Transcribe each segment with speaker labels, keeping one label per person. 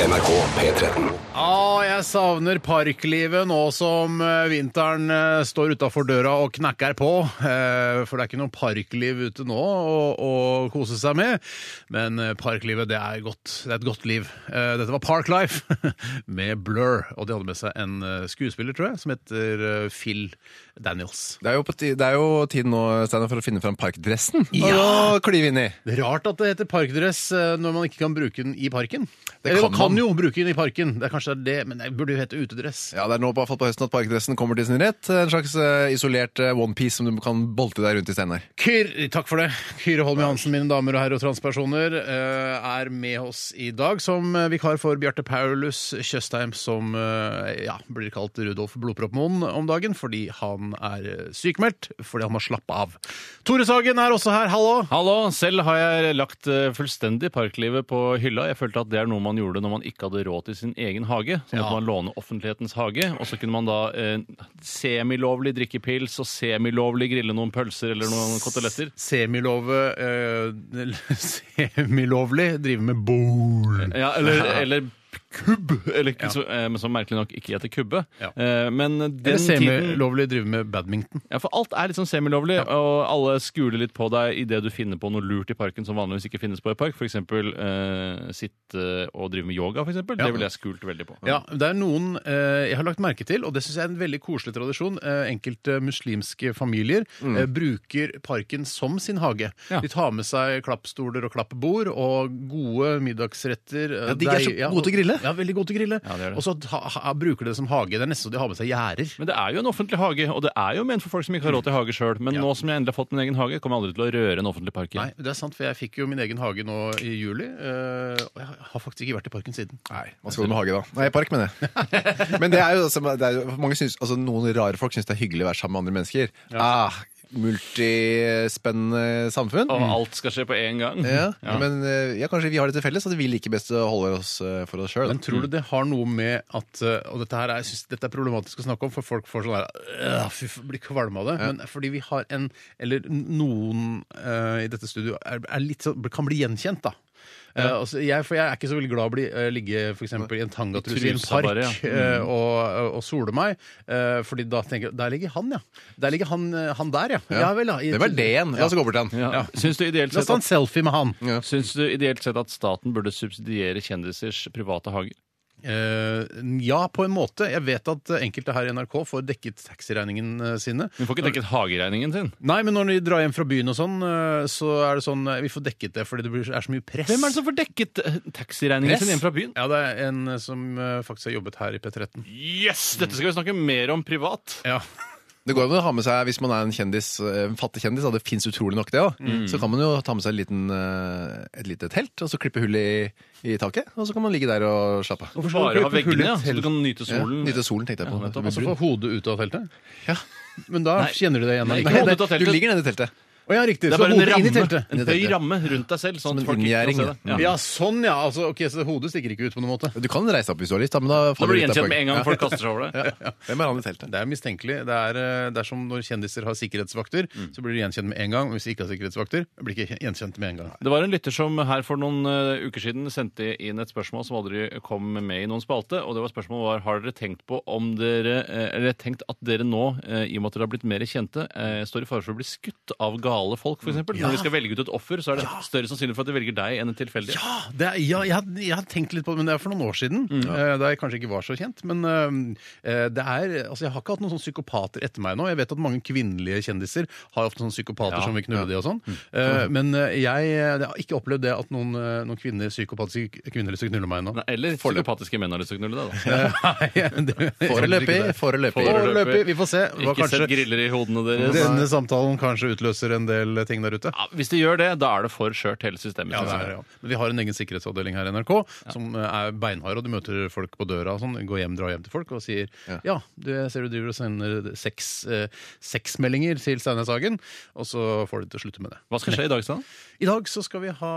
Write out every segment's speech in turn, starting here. Speaker 1: NRK P13.
Speaker 2: Ah, jeg savner parklivet nå som eh, vinteren eh, står utafor døra og knakker på. Eh, For det er ikke noe parkliv ute nå å, å kose seg med. Men eh, parklivet, det er godt. Det er et godt liv. Eh, Dette var Park Life med Blur. Og de hadde med seg en eh, skuespiller, tror jeg, som heter eh, Phil Daniels.
Speaker 3: Det er jo, på ti, det er jo tid nå Steiner, for å finne fram parkdressen
Speaker 2: Ja.
Speaker 3: og klyve inn i.
Speaker 2: Det er Rart at det heter parkdress eh, når man ikke kan bruke den i parken.
Speaker 3: Det
Speaker 2: Eller
Speaker 3: kan
Speaker 2: man kan
Speaker 3: man.
Speaker 2: jo bruke den i parken, det er kanskje det, men det burde jo hete utedress.
Speaker 3: Ja, Det er nå på, i hvert fall på høsten at parkdressen kommer til sin rett. En slags eh, isolert eh, onepiece som du kan bolte deg rundt i, Steinar.
Speaker 2: Kyr, takk for det. Kyrre Holm Johansen, mine damer og herrer og transpersoner, eh, er med oss i dag som eh, vikar for Bjarte Paulus Tjøstheim, som eh, ja, blir kalt Rudolf Blodproppmoen om dagen fordi han er eh, sykemeldt, fordi han må slappe av. Tore Sagen er også her, hallo!
Speaker 4: Hallo, selv har jeg lagt eh, fullstendig parklivet på hylla. Jeg følte at det er noe man gjorde når man ikke hadde råd til sin egen hage. Så måtte
Speaker 2: Ja.
Speaker 4: man låne offentlighetens hage, og så kunne man da eh, semilovlig drikke pils og semilovlig grille noen pølser eller noen koteletter.
Speaker 2: Semilove eh, Semilovlig driver med bol.
Speaker 4: Ja, eller, eller kubb, eller, ikke så, eh, men som merkelig nok ikke heter kubbe.
Speaker 2: Ja.
Speaker 4: Eh, men den
Speaker 2: Eller
Speaker 4: tiden
Speaker 2: semilovlig driver med badminton.
Speaker 4: Ja, for alt er litt sånn semilovlig, og alle skuler litt på deg idet du finner på noe lurt i parken som vanligvis ikke finnes på i park. F.eks. Eh, sitte og drive med yoga, for eksempel. Det ville jeg skult veldig på.
Speaker 2: Ja, det er noen eh, jeg har lagt merke til, og det syns jeg er en veldig koselig tradisjon. Eh, enkelte muslimske familier eh, bruker parken som sin hage.
Speaker 4: Ja.
Speaker 2: De tar med seg klappstoler og klappbord og gode middagsretter. eh,
Speaker 3: Ja, de er så
Speaker 2: deig- ja,
Speaker 3: gode til å grille.
Speaker 2: Ja, veldig gode til å grille.
Speaker 4: Ja, det er det.
Speaker 2: Og så ta- ha- bruker de det som hage. Det er nesten så de har med seg gjerder.
Speaker 4: Men det er jo en offentlig hage, og det er jo ment for folk som ikke har råd til hage sjøl. Men
Speaker 2: Ja.
Speaker 4: nå som jeg endelig har fått min egen hage, kommer jeg aldri til å røre en offentlig park
Speaker 2: Nei,
Speaker 4: igjen.
Speaker 2: det er sant, for jeg fikk jo min egen hage nå i juli, eh, og jeg har faktisk ikke vært i parken siden.
Speaker 3: Nei, Hva skal du med hage, da? Nei, park, mener jeg. Men det er jo, altså, det er jo mange synes, altså, Noen rare folk syns det er hyggelig å være sammen med andre mennesker. Ah, Multispennende samfunn.
Speaker 4: Og alt skal skje på én gang.
Speaker 3: Ja,
Speaker 4: Mm. Ja.
Speaker 3: Men eh, ja, kanskje vi har det til felles, at vi liker best å holde oss eh, for oss sjøl.
Speaker 2: Men tror du det har noe med at eh, Og dette her er, jeg synes, dette er problematisk å snakke om, for folk får sånn der «Åh, Fy, f- blir kvalme av det. Men fordi vi har en Eller noen eh, i dette studio er, er litt sånn, kan bli gjenkjent, da. Eh, altså, jeg, for jeg er ikke så veldig glad i å bli, eh, ligge for eksempel, i en tangatruse i en
Speaker 4: Trusa
Speaker 2: park
Speaker 4: bare, ja.
Speaker 2: eh, og, og sole meg. eh, fordi da tenker jeg Der ligger han, ja. Der ligger han, eh, han der, ja. Ja, vel, ja. I-
Speaker 3: Hvem er det igjen? Altså, La oss gå bort til han.
Speaker 4: Ja. Syns, du ideelt
Speaker 2: La oss
Speaker 4: sett
Speaker 2: ta en
Speaker 4: at,
Speaker 2: selfie med han.
Speaker 4: syns du ideelt sett at staten burde subsidiere kjendisers private hager?
Speaker 2: Eh, ja, på en måte. Jeg vet at eh, enkelte her i NRK får dekket taxiregningene sine.
Speaker 4: Hun får ikke dekket hageregningen sin.
Speaker 2: Nei, men når de drar hjem fra byen og sånn, eh, så er det sånn eh, Vi får dekket det fordi det blir- er så mye press.
Speaker 4: Hvem er det som får dekket eh, taxiregningen sin hjemme fra byen?
Speaker 2: Ja, det er en eh, som eh, faktisk har jobbet her i P13.
Speaker 4: Yes! Dette skal vi snakke mer om privat.
Speaker 2: Ja.
Speaker 3: Det går an å ha med seg, Hvis man er en kjendis, eh, en fattig kjendis, og det fins utrolig nok det, da,
Speaker 4: Mm.
Speaker 3: så kan man jo ta med seg en liten, eh, et lite telt og så klippe hull i, i taket. Og så kan man ligge der og slappe av.
Speaker 2: Hvorfor skal
Speaker 4: Bare
Speaker 2: du
Speaker 4: ha
Speaker 2: klippe hull i
Speaker 4: veggene, ja, så
Speaker 2: telt?
Speaker 4: du kan nyte
Speaker 3: Ja,
Speaker 4: solen.
Speaker 3: Nyte solen, tenkte jeg på.
Speaker 4: nettopp.
Speaker 2: Og så får hodet ut av teltet?
Speaker 3: Ja.
Speaker 2: Men da kjenner du deg igjen? da,
Speaker 3: Nei,
Speaker 2: Ikke?
Speaker 4: hodet
Speaker 3: det,
Speaker 4: ut av teltet.
Speaker 3: du ligger nede i teltet.
Speaker 2: Å ja, riktig. Så
Speaker 4: Det er bare en
Speaker 2: hodet inn i
Speaker 4: ramme,
Speaker 2: teltet.
Speaker 4: en høy ramme rundt deg selv.
Speaker 3: Som
Speaker 4: Sånn
Speaker 3: en
Speaker 4: at folk ikke kan se
Speaker 3: inngjerding,
Speaker 4: det. Ja.
Speaker 2: Ja, sånn ja. Altså, ok, Så hodet stikker ikke ut på noen måte.
Speaker 3: Du kan reise deg opp hvis du har lyst, da, men da
Speaker 4: Da blir du
Speaker 3: ut av
Speaker 4: gjenkjent
Speaker 3: poenget.
Speaker 4: med en gang folk kaster seg over deg.
Speaker 3: Ja. Hvem er han i teltet?
Speaker 2: Det er mistenkelig. Det er, eh, det er som når kjendiser har sikkerhetsvakter, så blir de gjenkjent med en gang. Og hvis de ikke har sikkerhetsvakter, blir de ikke gjenkjent med en gang.
Speaker 4: Det var en lytter som her for noen eh, uker siden sendte inn et spørsmål som aldri kom med i noen spalte. og det var spørsmålet var, Har dere tenkt på om dere, eh, eller tenkt at dere nå, eh, i og med at dere har blitt mer kjente, eh, står i fare for å bli skutt av gale folk, f.eks.?
Speaker 2: Mm,
Speaker 4: eksempel Når de skal velge ut et offer, så er det større sannsynlig for at de velger deg enn en tilfeldig.
Speaker 2: Ja, Ah, det er, ja jeg, har- jeg har tenkt litt på det, men det er for noen år siden. eh, Da jeg kanskje ikke var så kjent. Men eh, det er, altså jeg har ikke hatt noen sånne psykopater etter meg nå. Jeg vet at mange kvinnelige kjendiser har ofte sånne psykopater
Speaker 4: Ja.
Speaker 2: som vil knulle de og sånn. Eh, Men eh, jeg, jeg har ikke opplevd det at noen, eh, noen kvinner, psykopatiske kvinner har lyst til å knulle meg nå. Eh,
Speaker 4: Nei, Eller psykopatiske menn har lyst til å knulle deg, da.
Speaker 3: Foreløpig. Foreløpig.
Speaker 4: Foreløpig.
Speaker 2: Foreløpig. Vi får se. Det var
Speaker 4: Ikke sett
Speaker 2: kanskje
Speaker 4: griller i hodene deres.
Speaker 2: denne samtalen kanskje utløser en en del ting der ute.
Speaker 4: Ja, hvis de gjør det, da er det for skjørt hele systemet.
Speaker 2: Ja, det
Speaker 4: synes
Speaker 2: er,
Speaker 4: jeg.
Speaker 2: det, ja. Men vi har en egen sikkerhetsavdeling her i NRK som eh, er beinhard, og du møter folk på døra og sånn. Går hjem, drar hjem til folk og sier ja, du, jeg ser du driver og sender seks, eh, sexmeldinger til Steinar Sagen, og så får de til å slutte med det.
Speaker 4: Hva skal skje i dag, Stan?
Speaker 2: I dag så skal vi ha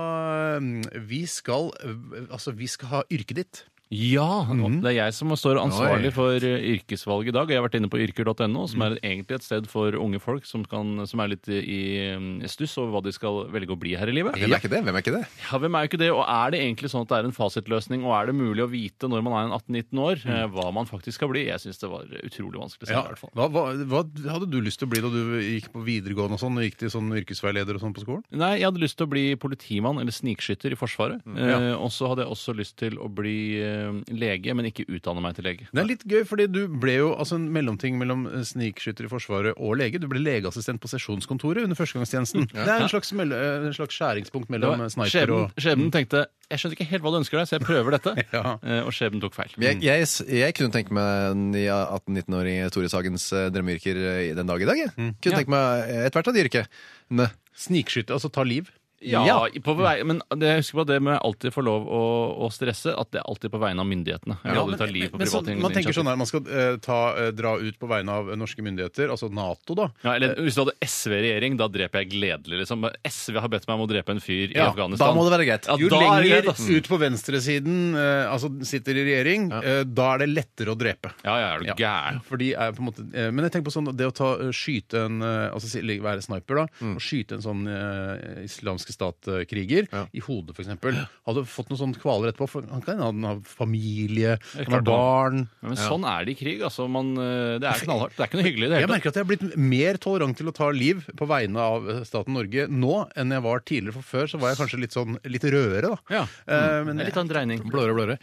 Speaker 2: mm, Vi skal eh, Altså, vi skal ha yrket ditt.
Speaker 4: Ja, Det er jeg som står ansvarlig
Speaker 3: Oi.
Speaker 4: for eh, yrkesvalg i dag. og Jeg har vært inne på yrker.no, som er egentlig et sted for unge folk som, kan, som er litt i eh, stuss over hva de skal velge å bli her i livet.
Speaker 3: Hvem er ikke det? Hvem er ikke det?
Speaker 4: Ja, hvem er jo ikke det, og Er det egentlig sånn at det er en fasitløsning, og er det mulig å vite når man er en 18-19 år, eh, hå hva man faktisk skal bli? Jeg syns det var utrolig vanskelig. selv, i hvert fall.
Speaker 2: Hva, hva, hva hadde du lyst til å bli da du gikk på videregående og sånn, og gikk til sånn yrkesveileder og sånn på skolen?
Speaker 4: Nei, Jeg hadde lyst til å bli politimann eller snikskytter i Forsvaret. eh, og så hadde jeg også lyst til å bli eh, lege, men ikke utdanne meg til lege.
Speaker 2: Det er litt gøy, fordi du ble jo altså, en mellomting mellom eh, snikskytter i Forsvaret og lege. Du ble legeassistent på sesjonskontoret under førstegangstjenesten. Det er en slags, mell- eh, en slags skjæringspunkt
Speaker 4: Det
Speaker 2: mellom
Speaker 4: var-
Speaker 2: eh, sniper
Speaker 4: Skjebnen
Speaker 2: og
Speaker 4: skjebnen tenkte jeg skjønner ikke helt hva du ønsker deg, så jeg prøver dette.
Speaker 2: Ja.
Speaker 4: Eh, Og skjebnen tok feil.
Speaker 3: Men Jeg, jeg, jeg kunne tenke meg en 18-19-åring Tore Sagens eh, drømmeyrker eh, i den dag i dag. Jeg. Kunne
Speaker 4: Mm. Ja.
Speaker 3: tenke meg eh, ethvert av de yrkene.
Speaker 2: Snikskytte, altså ta liv.
Speaker 4: Ja,
Speaker 3: Ja.
Speaker 4: På vei, men det, jeg husker på det med alltid få lov å, å stresse, at det er alltid på vegne av myndighetene. Jeg vil aldri ta liv på
Speaker 2: men
Speaker 4: private
Speaker 2: sånn- man tenker sånn
Speaker 4: initiativ.
Speaker 2: her, man skal eh, ta, eh, dra ut på vegne av eh, norske myndigheter, altså Nato, da.
Speaker 4: Ja, eller Hvis du hadde SV-regjering, da dreper jeg gledelig. liksom. SV har bedt meg om å drepe en fyr i
Speaker 2: Ja,
Speaker 4: Afghanistan.
Speaker 3: Da må det være greit.
Speaker 4: Ja,
Speaker 2: Jo
Speaker 4: da er det greit,
Speaker 2: lenger
Speaker 4: ass.
Speaker 2: ut på venstresiden eh, altså sitter i regjering, eh, da er det lettere å drepe.
Speaker 4: Ja, ja, er du gæren?
Speaker 2: For de er på en måte, eh, men jeg tenker på sånn, det å ta, eh, skyte en eh, altså si- være sniper da,
Speaker 4: Mm.
Speaker 2: og skyte en sånn eh, islamske stat-kriger i hodet for eksempel, hadde fått noen sånne kvaler etterpå, for han kan han har familie, han
Speaker 4: er
Speaker 2: har
Speaker 4: klart han-
Speaker 2: barn.
Speaker 4: Men sånn er det i krig. altså. Man, eh, det er knallhardt. Det er ikke noe hyggelig i det
Speaker 2: Jeg
Speaker 4: hele tatt.
Speaker 2: merker at jeg har blitt mer tolerant til å ta liv på vegne av eh, staten Norge nå enn jeg var tidligere, for før så var jeg kanskje litt sånn, litt rødere da.
Speaker 4: Ja.
Speaker 2: Eh,
Speaker 4: Mm. Det
Speaker 2: men
Speaker 4: er litt av en dreining.
Speaker 3: Blåere og blåere.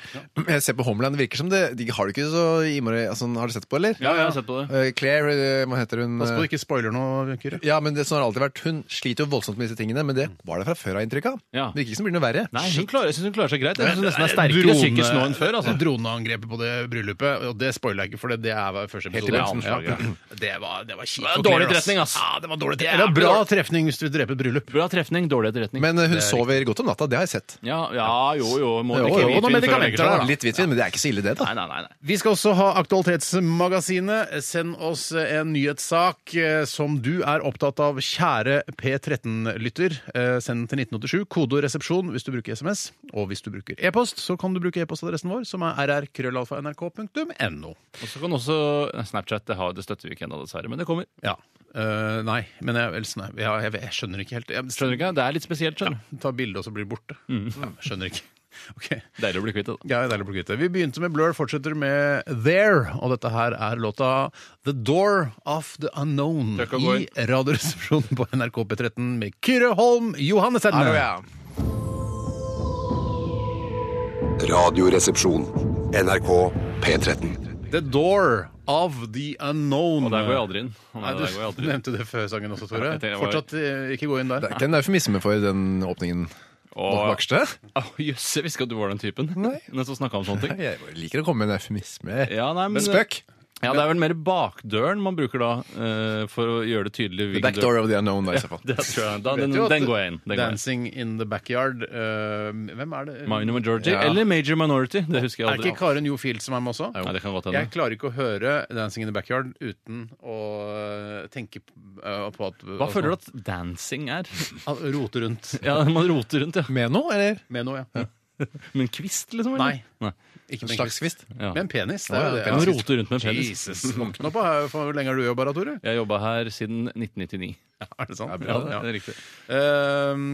Speaker 3: Jeg ser på Homeland, det virker som det De har det ikke så innmari altså, Har du sett på, eller?
Speaker 4: Ja, jeg har sett på det.
Speaker 3: Eh, Claire, eh, hva heter hun?
Speaker 2: pass på
Speaker 3: eh,
Speaker 2: du ikke spoiler noe, Kyrre.
Speaker 3: Ja, men det som har alltid vært Hun sliter jo voldsomt med disse tingene, men det var det fra før av inntrykk av.
Speaker 4: Mm. Ja.
Speaker 3: Det virker ikke som det blir noe verre.
Speaker 4: Nei, hun klarer, jeg syns hun klarer seg greit. Jeg synes hun nesten er
Speaker 2: eh,
Speaker 4: sterkere psykisk nå enn før. altså.
Speaker 2: Droneangrepet på det bryllupet, og det spoiler jeg ikke, for det, det er første
Speaker 4: Helt i
Speaker 2: episode.
Speaker 4: begynnelsen,
Speaker 2: Ja.
Speaker 4: slaget,
Speaker 2: Det var, det var kjipt.
Speaker 4: Det var
Speaker 2: for
Speaker 4: dårlig
Speaker 2: Claire, ass.
Speaker 4: trefning, ass.
Speaker 2: Ja, det var dårlig
Speaker 4: Jævlig
Speaker 2: trefning. Eller bra
Speaker 4: dårlig.
Speaker 2: trefning hvis du vil drepe et bryllup.
Speaker 4: Bra trefning, dårlig etterretning.
Speaker 3: Men eh, hun sover godt om natta, det har jeg sett.
Speaker 4: ja, ja, jo, jo. Må
Speaker 3: Jo,
Speaker 4: drikke
Speaker 3: jo,
Speaker 4: hvitvin
Speaker 2: noen
Speaker 4: før hun legger
Speaker 2: medikamenter
Speaker 4: seg,
Speaker 2: da.
Speaker 4: da.
Speaker 3: Litt hvitvin, men det er ikke så ille, det, da.
Speaker 4: Nei, nei, nei. nei.
Speaker 2: Vi skal også ha Aktualitetsmagasinet. Send oss en nyhetssak eh, som du er opptatt av, kjære P13-lytter. Eh, Send den til 1987. Kode og resepsjon hvis du bruker SMS. Og hvis du bruker e-post, så kan du bruke e-postadressen vår, som er rrkrøllalfa.nrk.no.
Speaker 4: Og så kan også Nei, Snapchat det, har, det støtter vi ikke ennå, dessverre. Men det kommer.
Speaker 2: Ja. Eh, nei, men jeg, eller, sånn, jeg, jeg, jeg skjønner ikke helt. Jeg,
Speaker 4: Skjønner du ikke? Mm. Det er litt spesielt. skjønner du.
Speaker 2: Ta bilde, og så blir det borte. Ja, skjønner ikke. Ok.
Speaker 4: Deilig å bli kvitt det. da.
Speaker 2: Ja, deilig å bli kvitt det. Vi begynte med Blur, fortsetter med There. Og dette her er låta The Door of the Unknown
Speaker 4: Takk og
Speaker 2: i Radioresepsjonen på NRK P13 med Kyrre Holm Johannessen.
Speaker 5: Radioresepsjon. NRK P13.
Speaker 2: The Door of the Unknown.
Speaker 4: Og der går jeg aldri inn. Å, Nei,
Speaker 2: Nei,
Speaker 4: der går jeg
Speaker 2: du
Speaker 4: aldri inn.
Speaker 2: nevnte det før sangen også, Tore.
Speaker 4: Ja, jeg tenkte jeg var-
Speaker 2: Fortsatt eh, ikke gå inn der.
Speaker 3: Det er ikke en eufemisme for den åpningen.
Speaker 4: Å,
Speaker 3: Bakste?
Speaker 4: Å, Jøss, jeg visste ikke at du var den typen.
Speaker 3: Nei.
Speaker 4: Men så snakket om sånne ting.
Speaker 3: Jeg liker å komme med en eufemisme.
Speaker 4: Ja, nei, men-
Speaker 3: Spøk!
Speaker 4: Ja, Det er vel mer bakdøren man bruker da, eh, for å gjøre det tydelig.
Speaker 3: The
Speaker 4: hvilken
Speaker 3: back door of the unknown, da, i så fall.
Speaker 4: Det tror jeg. Da,
Speaker 2: Vet
Speaker 4: den,
Speaker 2: jo at
Speaker 4: den går jeg inn. Den går jeg inn.
Speaker 2: Dancing in the backyard. eh, hvem er det?
Speaker 4: Minor majority
Speaker 3: Ja.
Speaker 4: eller major minority. Det husker jeg
Speaker 2: Er
Speaker 4: aldri.
Speaker 2: ikke Karen Jo Field som er med også?
Speaker 4: Nei, det kan godt hende.
Speaker 2: Jeg klarer ikke å høre 'Dancing in the Backyard' uten å øh, tenke p- øh, på at
Speaker 4: Hva føler du at dancing er?
Speaker 2: at Rote rundt
Speaker 4: Ja, Man roter rundt, ja.
Speaker 3: Med noe, eller?
Speaker 2: med noe, ja.
Speaker 4: Med en kvist, liksom? eller?
Speaker 2: Nei.
Speaker 4: Nei.
Speaker 2: Ikke
Speaker 3: En
Speaker 2: med en
Speaker 3: slags
Speaker 2: kvist.
Speaker 3: kvist?
Speaker 4: Ja.
Speaker 2: Med en penis. Det
Speaker 3: Å,
Speaker 2: er
Speaker 3: ja,
Speaker 2: jo det.
Speaker 4: Man roter rundt med en penis.
Speaker 2: Jesus. Våkne opp her. For Hvor lenge har du jobba, da, Tore?
Speaker 4: Jeg jobba her siden 1999.
Speaker 2: Er det sant?
Speaker 4: Ja, det
Speaker 2: Ja.
Speaker 4: er riktig.
Speaker 2: Ehm,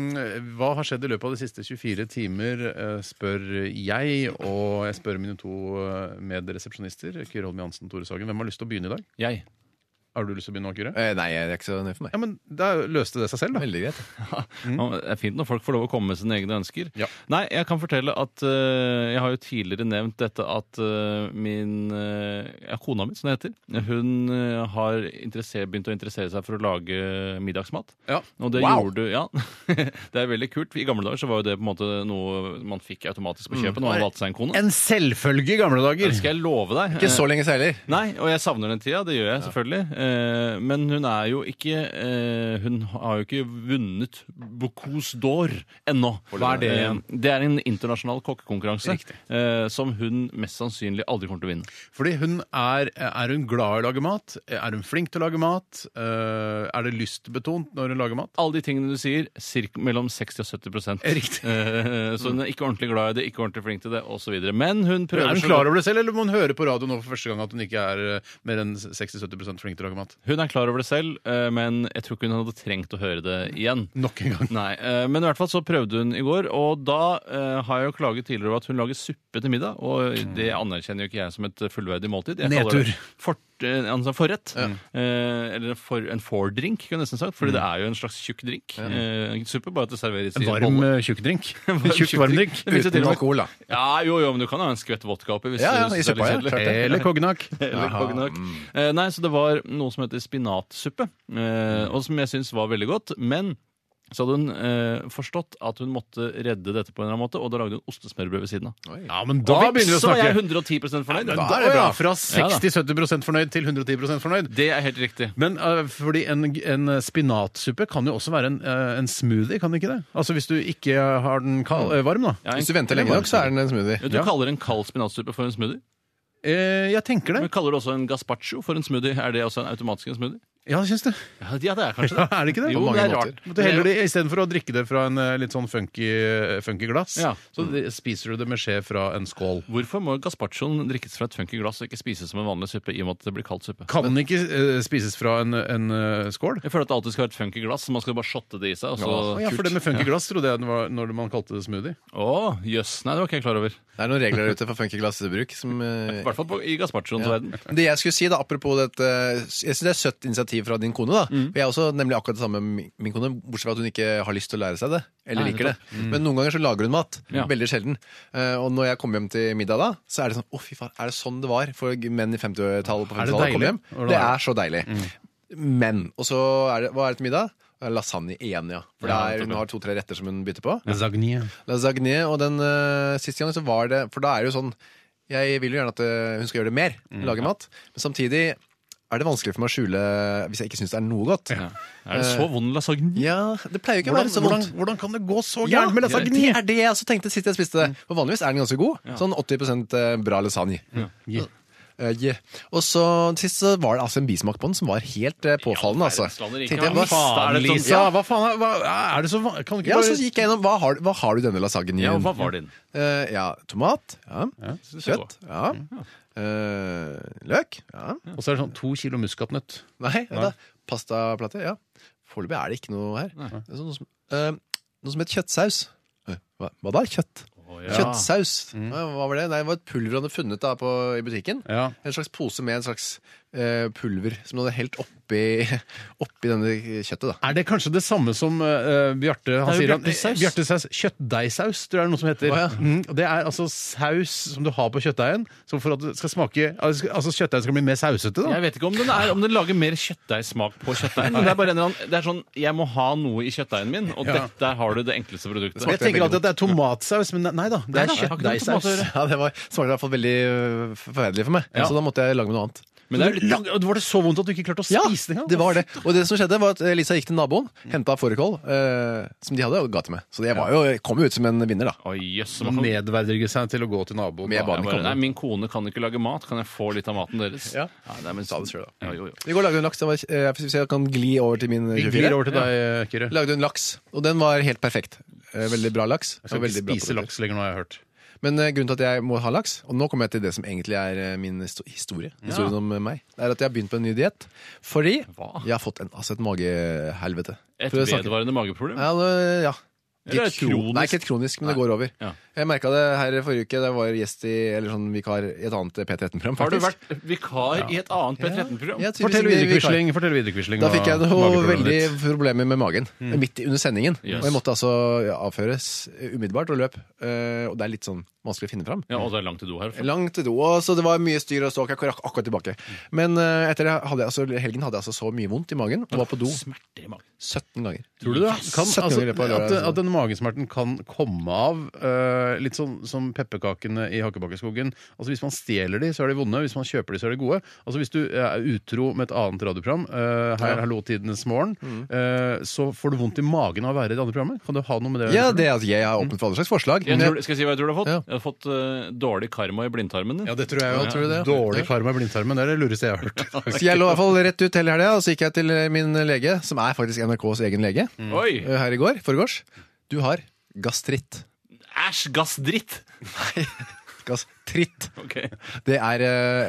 Speaker 2: hva har skjedd i løpet av de siste 24 timer, eh, spør jeg. Og jeg spør mine to eh, medresepsjonister, Kyrre Holm Johansen og Tore Sagen. Hvem har lyst til å begynne i dag?
Speaker 4: Jeg.
Speaker 2: Har du lyst til å begynne nå, Kyrre?
Speaker 3: Eh, Nei, det er ikke så nøye for meg.
Speaker 2: Ja, men Da løste det seg selv, da.
Speaker 3: Veldig greit.
Speaker 4: Ja, Det er fint når folk får lov å komme med sine egne ønsker.
Speaker 2: Ja.
Speaker 4: Nei, jeg kan fortelle at eh, jeg har jo tidligere nevnt dette at eh, min eh, ja, kona mi, som det heter, hun eh, har interesser- begynt å interessere seg for å lage middagsmat.
Speaker 2: Ja.
Speaker 4: Og det
Speaker 3: Wow!
Speaker 4: gjorde Ja, det er veldig kult. I gamle dager så var jo det på en måte noe man fikk automatisk
Speaker 2: Mm.
Speaker 4: på kjøpet når man valgte seg en kone.
Speaker 2: En selvfølge i gamle dager.
Speaker 4: Skal jeg love deg?
Speaker 3: Ikke så lenge seiler.
Speaker 4: Nei, og jeg savner den tida. Det gjør jeg selvfølgelig. eh, men hun er jo ikke eh, Hun har jo ikke vunnet Bocuse d'Or ennå.
Speaker 2: Hva er det
Speaker 4: Eh,
Speaker 2: igjen?
Speaker 4: Det er en internasjonal kokkekonkurranse
Speaker 2: Riktig.
Speaker 4: eh, som hun mest sannsynlig aldri kommer til å vinne.
Speaker 2: Fordi hun er, er hun glad i å lage mat? Er hun flink til å lage mat? Eh, Er det lystbetont når hun lager mat?
Speaker 4: Alle de tingene du sier, cirka mellom 60 og 70
Speaker 2: Riktig.
Speaker 4: Eh, Så hun er ikke ordentlig glad i det, ikke ordentlig flink til det, osv. Men hun
Speaker 2: Er
Speaker 4: prøver
Speaker 2: hun
Speaker 4: så
Speaker 2: klar
Speaker 4: godt-
Speaker 2: over det selv, eller må hun høre på radio nå for første gang at hun ikke er eh, mer enn 60-70 flink til å lage mat?
Speaker 4: hun er klar over det selv, eh, men jeg tror ikke hun hadde trengt å høre det igjen.
Speaker 2: Nok en gang.
Speaker 4: Nei, eh, Men i hvert fall så prøvde hun i går, og da eh, har jeg jo klaget tidligere over at hun lager suppe til middag. Og det anerkjenner jo ikke jeg som et fullverdig måltid. Jeg kaller det
Speaker 2: Nedtur.
Speaker 4: Fort, eh, altså forrett. Eh, eller en for, en fordrink, kunne jeg nesten sagt. Fordi det er jo en slags tjukk drink. Eh, suppe, bare at det serveres
Speaker 2: En
Speaker 4: i
Speaker 2: varm
Speaker 4: bolle.
Speaker 2: eh, tjukkdrink. En
Speaker 4: varm
Speaker 2: Tjukk varmdrink.
Speaker 4: tjukkdrink. Uten
Speaker 2: Uten
Speaker 3: alkohol, da.
Speaker 4: Ja, jo, jo, men du kan ha en skvett vodka oppi. Hvis
Speaker 3: Ja, ja,
Speaker 4: du
Speaker 3: i
Speaker 4: synes det er
Speaker 3: suppa, ja,
Speaker 4: litt kjedelig.
Speaker 3: klart det.
Speaker 2: Eller kognak.
Speaker 4: Eller kognak. Eh, Nei, så det var noe som heter spinatsuppe, eh, og som jeg syns var veldig godt. Men så hadde hun eh, forstått at hun måtte redde dette på en eller annen måte, og da lagde hun ostesmørbrød ved siden av.
Speaker 2: Ja, men da
Speaker 4: og vips,
Speaker 2: begynner vi å
Speaker 4: så er
Speaker 2: snakke.
Speaker 4: jeg 110 fornøyd.
Speaker 2: Men
Speaker 4: da.
Speaker 2: da
Speaker 3: er det
Speaker 2: ja,
Speaker 3: bra.
Speaker 2: Fra
Speaker 4: Ja, da.
Speaker 2: 60-70 fornøyd til 110 fornøyd.
Speaker 4: Det er helt riktig.
Speaker 2: Men eh, fordi en, en spinatsuppe kan jo også være en, eh, en smoothie, kan det ikke det? Altså hvis du ikke har den kal eh, varm, da.
Speaker 4: Mm. Ja, en-
Speaker 3: Hvis du venter lenge nok, så er den en smoothie.
Speaker 4: Du kaller en kald spinatsuppe for en smoothie.
Speaker 2: Eh, jeg tenker det.
Speaker 4: Men kaller du også en gazpacho for en smoothie? Er det også en automatisk en smoothie?
Speaker 2: Ja, jeg syns det.
Speaker 4: Ja, det er kanskje
Speaker 2: Ja,
Speaker 4: det.
Speaker 2: er det ikke det?
Speaker 4: Jo,
Speaker 3: På
Speaker 4: det
Speaker 3: mange
Speaker 4: er
Speaker 3: måter.
Speaker 4: rart.
Speaker 2: Men Du heller det Istedenfor å drikke det fra en eh, litt sånn funky, funky glass,
Speaker 4: Ja.
Speaker 2: så det- spiser du det med skje fra en skål.
Speaker 4: Hvorfor må gazpachoen drikkes fra et funky glass og ikke spises som en vanlig suppe? i og med at det blir kald suppe?
Speaker 2: Kan den ikke eh, spises fra en, en eh, skål?
Speaker 4: Jeg føler at det alltid skal være et funky glass, så man skal bare shotte det i seg. Og så...
Speaker 2: Å ja, for det med funky glass trodde jeg den var når man kalte det smoothie.
Speaker 4: Å, jøss. Nei, det var ikke jeg klar over.
Speaker 3: Det er noen regler der ute for funky glassbruk som eh,
Speaker 4: I hvert fall på, i gazpachoens verden.
Speaker 3: Men Det jeg skulle si da, apropos dette Jeg synes det er et søtt initiativ fra din kone da For jeg er også nemlig akkurat det samme med min kone Bortsett fra at hun ikke har lyst til å lære seg det Eller
Speaker 4: Nei,
Speaker 3: liker det Men noen ganger så lager hun mat
Speaker 4: Ja.
Speaker 3: Veldig sjelden Eh, Og når jeg kommer hjem til middag da Så er det sånn, å fy faen, er det sånn det var For menn i 50-tallet
Speaker 2: Er
Speaker 3: på
Speaker 2: det
Speaker 3: 50-tallet kommer hjem
Speaker 2: deilig? Hvordan
Speaker 3: Det
Speaker 2: er
Speaker 3: er så deilig Men, og så er det, hva er det til middag? Det er Lasagne igjen, ja For det
Speaker 4: Ja,
Speaker 3: er, hun har to-tre retter som hun bytter på
Speaker 2: Lasagne.
Speaker 3: Lasagne, og den uh, siste gangen så var det For da er det jo sånn Jeg vil jo gjerne at eh, hun skal gjøre det mer,
Speaker 2: Mm,
Speaker 3: lage mat. Men samtidig er det vanskelig for meg å skjule hvis jeg ikke syns det er noe godt. Ja,
Speaker 4: Er det så vond lasagne?
Speaker 3: Det pleier jo ikke å
Speaker 2: Hvordan,
Speaker 3: være så
Speaker 2: hvordan,
Speaker 3: vondt.
Speaker 2: hvordan kan det gå så
Speaker 3: Ja,
Speaker 2: gærent med lasagne? Mm.
Speaker 3: Det er det jeg også tenkte sist jeg spiste det. For vanligvis er den ganske god. Sånn 80 bra lasagne.
Speaker 2: Yeah.
Speaker 3: Eh, yeah. Og så sist så var det altså en bismak på den som var helt eh, påfallende, altså.
Speaker 4: Verdenslandet ikke.
Speaker 3: Tenkte jeg,
Speaker 4: Hva
Speaker 3: hva
Speaker 4: faen
Speaker 3: faen
Speaker 4: er det
Speaker 3: Lisa?
Speaker 4: sånn-
Speaker 2: Lisa, hva faen er, hva, er det så van- Kan du ikke
Speaker 3: Ja, så
Speaker 2: bare
Speaker 3: gikk jeg gjennom hva har, hva har du i denne lasagnen?
Speaker 4: Ja, hva var din?
Speaker 3: Eh, ja, tomat. Ja.
Speaker 4: synes jeg
Speaker 3: Kjøtt. Mm, Ja. Eh, løk. Ja.
Speaker 2: Og så er det sånn to kilo muskatnøtt.
Speaker 3: Nei, vent da. Pastaplate. Ja. Foreløpig er det ikke noe her. Det er sånn noe, som, eh, noe som heter kjøttsaus. Eh, Hva, hva da? Kjøtt? Kjøttsaus. Ja, hva var det? Nei, det var et pulver han hadde funnet da på, i butikken.
Speaker 2: Ja.
Speaker 3: En slags pose med en slags eh, pulver som han hadde helt oppi, oppi denne kjøttet. da.
Speaker 2: Er det kanskje det samme som eh, Bjarte han
Speaker 4: Det er
Speaker 2: sier
Speaker 4: jo
Speaker 2: han-
Speaker 4: bjartesaus.
Speaker 2: Bjartesaus. Kjøttdeigsaus, tror jeg det er noe som heter.
Speaker 3: Å, ja.
Speaker 2: mm, og det er altså saus som du har på kjøttdeigen, så for at det skal smake Altså kjøttdeigen skal bli mer sausete, da.
Speaker 4: Jeg vet ikke om den, er, om den lager mer kjøttdeigsmak på kjøttdeigen. men Det er bare en eller annen, det er sånn, jeg må ha noe i kjøttdeigen min, og
Speaker 2: Ja.
Speaker 4: dette der har du det enkleste produktet.
Speaker 2: Jeg tenker alltid at det er tomatsaus, men nei da. Det
Speaker 4: Nei
Speaker 2: er
Speaker 4: da, det har ikke noe med tomat
Speaker 2: kjøttdeigsaus.
Speaker 4: å gjøre.
Speaker 3: Ja, Det var, smakte i hvert fall veldig eh, forferdelig for meg.
Speaker 4: Ja.
Speaker 3: Så da måtte jeg lage med noe annet.
Speaker 4: Men det er litt,
Speaker 2: Lang- Var det så vondt at du ikke klarte å
Speaker 3: Ja,
Speaker 2: spise det engang?
Speaker 3: det var det. Og det som skjedde var at eh, Lisa gikk til naboen, henta fårikål, eh, som de hadde, og ga til meg. Så jeg var jo, jeg kom jo ut som en vinner, da.
Speaker 4: Å, jøss.
Speaker 2: Man
Speaker 4: man kan-
Speaker 2: Nedverdiger seg til å gå til naboen.
Speaker 3: Med
Speaker 2: da.
Speaker 3: barn.
Speaker 4: Jeg bare, Nei, min kone kan ikke lage mat. Kan jeg få litt av maten deres?
Speaker 3: Ja.
Speaker 4: nei, men,
Speaker 3: Ta det selv,
Speaker 4: Ja, jo, jo.
Speaker 3: I går lagde hun laks. Den var, eh, hvis jeg kan gli over til min
Speaker 2: Vi glir
Speaker 3: 24.
Speaker 2: over til
Speaker 4: eh,
Speaker 2: deg, Kyrre.
Speaker 3: Lagde hun laks, og den var helt perfekt. Eh, Veldig bra laks.
Speaker 2: Jeg skal
Speaker 3: og veldig
Speaker 2: ikke
Speaker 3: bra
Speaker 2: spise
Speaker 3: produkter.
Speaker 2: laks lenger, nå har jeg hørt.
Speaker 3: Men eh, grunnen til at jeg må ha laks, og nå kommer jeg til det som egentlig er eh, min histo- historie, historien om eh, meg, er at jeg har begynt på en ny diett. Fordi
Speaker 4: Hva?
Speaker 3: jeg har fått en, altså et magehelvete.
Speaker 4: Et
Speaker 3: For å snakke-
Speaker 4: vedvarende mageproblem?
Speaker 3: Ja, det, ja.
Speaker 4: Eller er
Speaker 3: Litt
Speaker 4: det
Speaker 3: kro-
Speaker 4: kronisk?
Speaker 3: Nei, ikke et kronisk, men det går over.
Speaker 4: Ja.
Speaker 3: Jeg merka det her i forrige uke. Det var gjest i eller sånn vikar i et annet P13-program.
Speaker 4: Har du vært vikar i et annet P13-program?
Speaker 3: Ja, tydeligvis
Speaker 2: Fortell
Speaker 3: en
Speaker 2: videre,
Speaker 3: vikar.
Speaker 2: Quisling. Fortell videre, Quisling.
Speaker 3: Da fikk jeg
Speaker 2: hva
Speaker 3: noe
Speaker 2: mageproblemet
Speaker 3: veldig
Speaker 2: ditt.
Speaker 3: problemer med magen midt i- under sendingen.
Speaker 4: Yes.
Speaker 3: Og jeg måtte altså avføres umiddelbart og løp. Eh, Og det er litt sånn vanskelig å finne fram.
Speaker 4: Ja, og det er langt til do her.
Speaker 3: Langt til do, og så det var mye styr og ståk. Jeg rakk akkurat tilbake. Men eh, etter det hadde jeg, altså, helgen hadde jeg altså så mye vondt i magen og var på do
Speaker 4: Smerter i magen.
Speaker 3: 17 ganger.
Speaker 2: Tror du det? Kan,
Speaker 3: 17
Speaker 2: altså,
Speaker 3: ganger i løpet
Speaker 2: at,
Speaker 3: av lørdag, altså.
Speaker 2: at den magesmerten kan komme av eh, litt sånn som pepperkakene i Hakkebakkeskogen. Altså Hvis man stjeler de, så er de vonde. Hvis man kjøper de, så er de gode. Altså Hvis du er utro med et annet radioprogram, eh, her Hallo tidenes morgen,
Speaker 3: Mm.
Speaker 2: eh, så får du vondt i magen av å være i det andre programmet. Kan du ha noe med det? å
Speaker 3: Ja,
Speaker 2: gjøre?
Speaker 3: det at jeg er åpen for alle slags forslag. men
Speaker 4: Jeg
Speaker 3: jeg-
Speaker 4: tror, skal jeg si hva jeg tror du har fått?
Speaker 3: Ja.
Speaker 4: Jeg har fått eh, dårlig karma i blindtarmen din.
Speaker 2: ja, det tror jeg jo.
Speaker 3: Ja, tror du det?
Speaker 2: Dårlig
Speaker 3: Ja.
Speaker 2: karma i blindtarmen. Det er det lureste jeg har hørt.
Speaker 3: Så jeg lå i hvert fall rett ut hele helga, og så gikk jeg til min lege, som er faktisk NRKs egen lege,
Speaker 4: Mm. Oi!
Speaker 3: eh, her i går, foregårs. Du har gastritt.
Speaker 4: Æsj! Gassdritt!
Speaker 3: Gastritt.
Speaker 4: Ok. Jeg
Speaker 3: Det er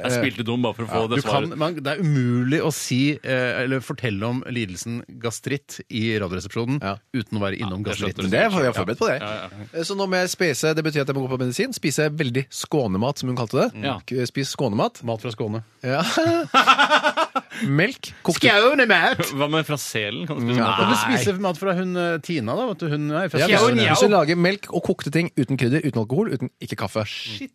Speaker 3: eh,
Speaker 4: spilte dum bare for å få
Speaker 2: Du
Speaker 4: det
Speaker 2: kan,
Speaker 4: svaret.
Speaker 2: man, det er umulig å si eh, eller fortelle om lidelsen gastritt i Radioresepsjonen
Speaker 3: Ja.
Speaker 2: uten å være innom
Speaker 4: det skjønte
Speaker 2: gastritt.
Speaker 4: du.
Speaker 3: Det er, jeg er forberedt på det.
Speaker 4: Ja, ja.
Speaker 3: Eh, Så nå må jeg spise, det betyr at jeg må gå på medisin. Spise veldig skånemat, som hun kalte det.
Speaker 4: Ja.
Speaker 3: K- Spis skånemat.
Speaker 2: Mat fra Skåne.
Speaker 3: Ja. Melk. Kokte
Speaker 4: Hva med fra selen? Kan du spise
Speaker 2: Kan
Speaker 3: Nei.
Speaker 4: mat?
Speaker 2: du spise mat fra hun eh, Tina, da? Vet du, hun er i
Speaker 3: Ja,
Speaker 2: festen.
Speaker 3: hvis,
Speaker 4: Njau, njau.
Speaker 3: hvis du lager melk og kokte ting uten krydder, uten alkohol, uten ikke kaffe.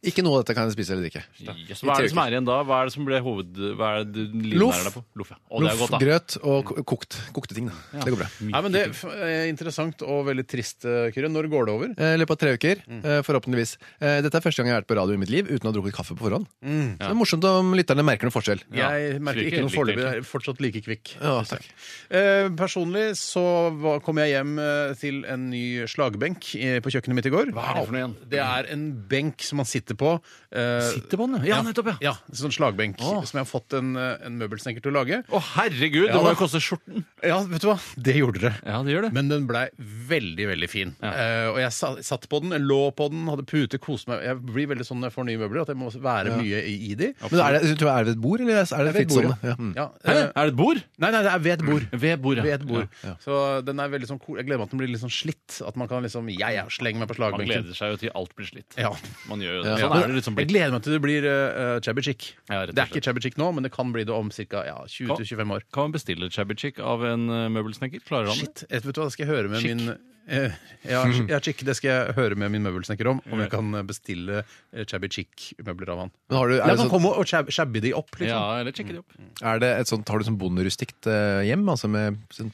Speaker 3: Ikke noe av dette kan jeg spise eller drikke.
Speaker 4: Yes, hva er det som er igjen da? Hva er det som ble hoved... Hva er det du
Speaker 3: Loff.
Speaker 4: livnærer deg på? Loff. ja. Å, det er
Speaker 3: Loff,
Speaker 4: godt, da.
Speaker 3: grøt og ko- kokt, kokte ting. Da. Det går bra.
Speaker 2: Nei, men Det er eh, interessant og veldig trist, eh, Kyrre. Når går det over?
Speaker 3: Eh, I løpet av tre uker,
Speaker 2: Mm.
Speaker 3: eh, forhåpentligvis. Eh, Dette er første gang jeg har vært på radio i mitt liv uten å ha drukket kaffe på forhånd.
Speaker 2: Mm.
Speaker 3: Så det er morsomt om lytterne merker noen forskjell.
Speaker 4: Ja,
Speaker 2: Jeg merker
Speaker 4: slik
Speaker 2: ikke noe
Speaker 4: likt,
Speaker 2: foreløpig.
Speaker 4: egentlig.
Speaker 2: Jeg er fortsatt like kvikk.
Speaker 3: Ja, takk.
Speaker 2: Eh, personlig så var- kom jeg hjem eh, til en ny slagbenk eh, på kjøkkenet mitt i går.
Speaker 4: Hva er det for noe igjen?
Speaker 2: Det er en benk som man sitter på. eh,
Speaker 4: Sitter på den, ja. Ja, nettopp, ja.
Speaker 2: Ja, en sånn slagbenk som jeg har fått en, eh, en møbelsnekker til å lage.
Speaker 4: Å, herregud!
Speaker 2: Ja,
Speaker 4: det må
Speaker 2: da.
Speaker 4: jo koste skjorten.
Speaker 2: Ja, vet du hva? Det gjorde dere.
Speaker 4: Ja, det gjør det.
Speaker 2: Men den blei veldig, veldig fin.
Speaker 4: Ja.
Speaker 2: Eh, og jeg sa, satt på den, lå på den, hadde pute, koste meg. Jeg blir veldig sånn når jeg får nye møbler, at jeg må være mye i, i de.
Speaker 3: Men er det, tror jeg, er det ved et bord, eller er det, fritt
Speaker 2: bord,
Speaker 3: sånn? Ja.
Speaker 2: Ja,
Speaker 4: Hæ?
Speaker 2: eh,
Speaker 4: Er det et bord?
Speaker 2: nei, nei, det er ved et bord.
Speaker 4: Ved bordet.
Speaker 2: Ved et bord.
Speaker 4: Ja.
Speaker 2: Så den er veldig sånn cool. Jeg gleder meg at den blir litt sånn slitt. At man kan liksom Ja, ja, slenge meg på
Speaker 4: Man
Speaker 2: slagbenken.
Speaker 4: gleder seg jo til alt blir slitt.
Speaker 2: Ja.
Speaker 4: Man gjør jo det.
Speaker 3: Ja.
Speaker 4: Sånn er det litt som
Speaker 2: Jeg
Speaker 4: blitt.
Speaker 2: gleder meg til det blir uh, chabby chick.
Speaker 4: Ja, rett og
Speaker 2: det er ikke
Speaker 4: slett.
Speaker 2: chabby chick nå, men det kan bli det om ca. Ja, 20-25 år.
Speaker 4: Kan man bestille shabby chick av en eh, møbelsnekker? Klarer han det?
Speaker 2: Shit. Jeg vet du hva, det skal jeg høre med
Speaker 4: Chic.
Speaker 2: min eh, ja,
Speaker 4: Mm.
Speaker 2: ja, chic, det skal jeg høre med min møbelsnekker om. Om jeg kan bestille eh, chabby chic-møbler av han.
Speaker 3: Men har du,
Speaker 2: La
Speaker 3: er,
Speaker 2: meg
Speaker 3: det sånn,
Speaker 2: komme og chab- shabby de opp,
Speaker 4: Ja,
Speaker 2: liksom.
Speaker 4: eller sjekke det opp.
Speaker 3: er det et sånt, har du sånn bonderustikt eh, hjem? Altså med, sånn,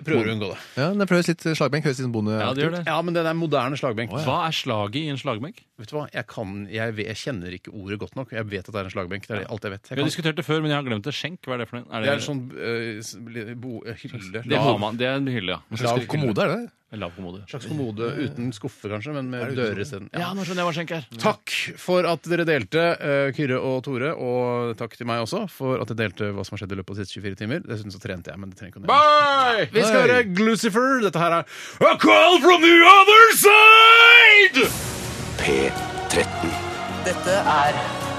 Speaker 2: Jeg Prøver å unngå det.
Speaker 3: ja, det høres litt slagbenk, høres litt sånn bonde...
Speaker 4: Ja, det gjør det.
Speaker 2: Ja, men den er moderne slagbenk.
Speaker 4: Hva er slaget i en slagbenk?
Speaker 2: Vet du hva, jeg, kan, jeg, vet, jeg kjenner ikke ordet godt nok. Jeg vet at det er en slagbenk. Det er alt jeg vet.
Speaker 4: Vi
Speaker 2: Jeg
Speaker 4: har
Speaker 2: kan,
Speaker 4: diskutert det før, men jeg har glemt det. Skjenk, hva er det for en? Er
Speaker 2: det er en sånn eh, s- li- bo, eh, hylle.
Speaker 4: det, har man, det er en hylle, ja.
Speaker 3: Slags kommode, er det?
Speaker 4: En Lav kommode.
Speaker 2: En slags kommode uten skuffe, kanskje, men med dører isteden. Ja.
Speaker 4: sånn? Ja, nå skjønner jeg hva skjenk er.
Speaker 2: Takk for at dere delte, eh, Kyrre og Tore, og takk til meg også for at dere delte hva som har skjedd i løpet av de siste 24 timer. Dessuten så trente jeg, men det trenger ikke å nevne. Vi skal høre Glucifer. Dette her er A Call From The Other Side!
Speaker 5: P13.
Speaker 6: Dette er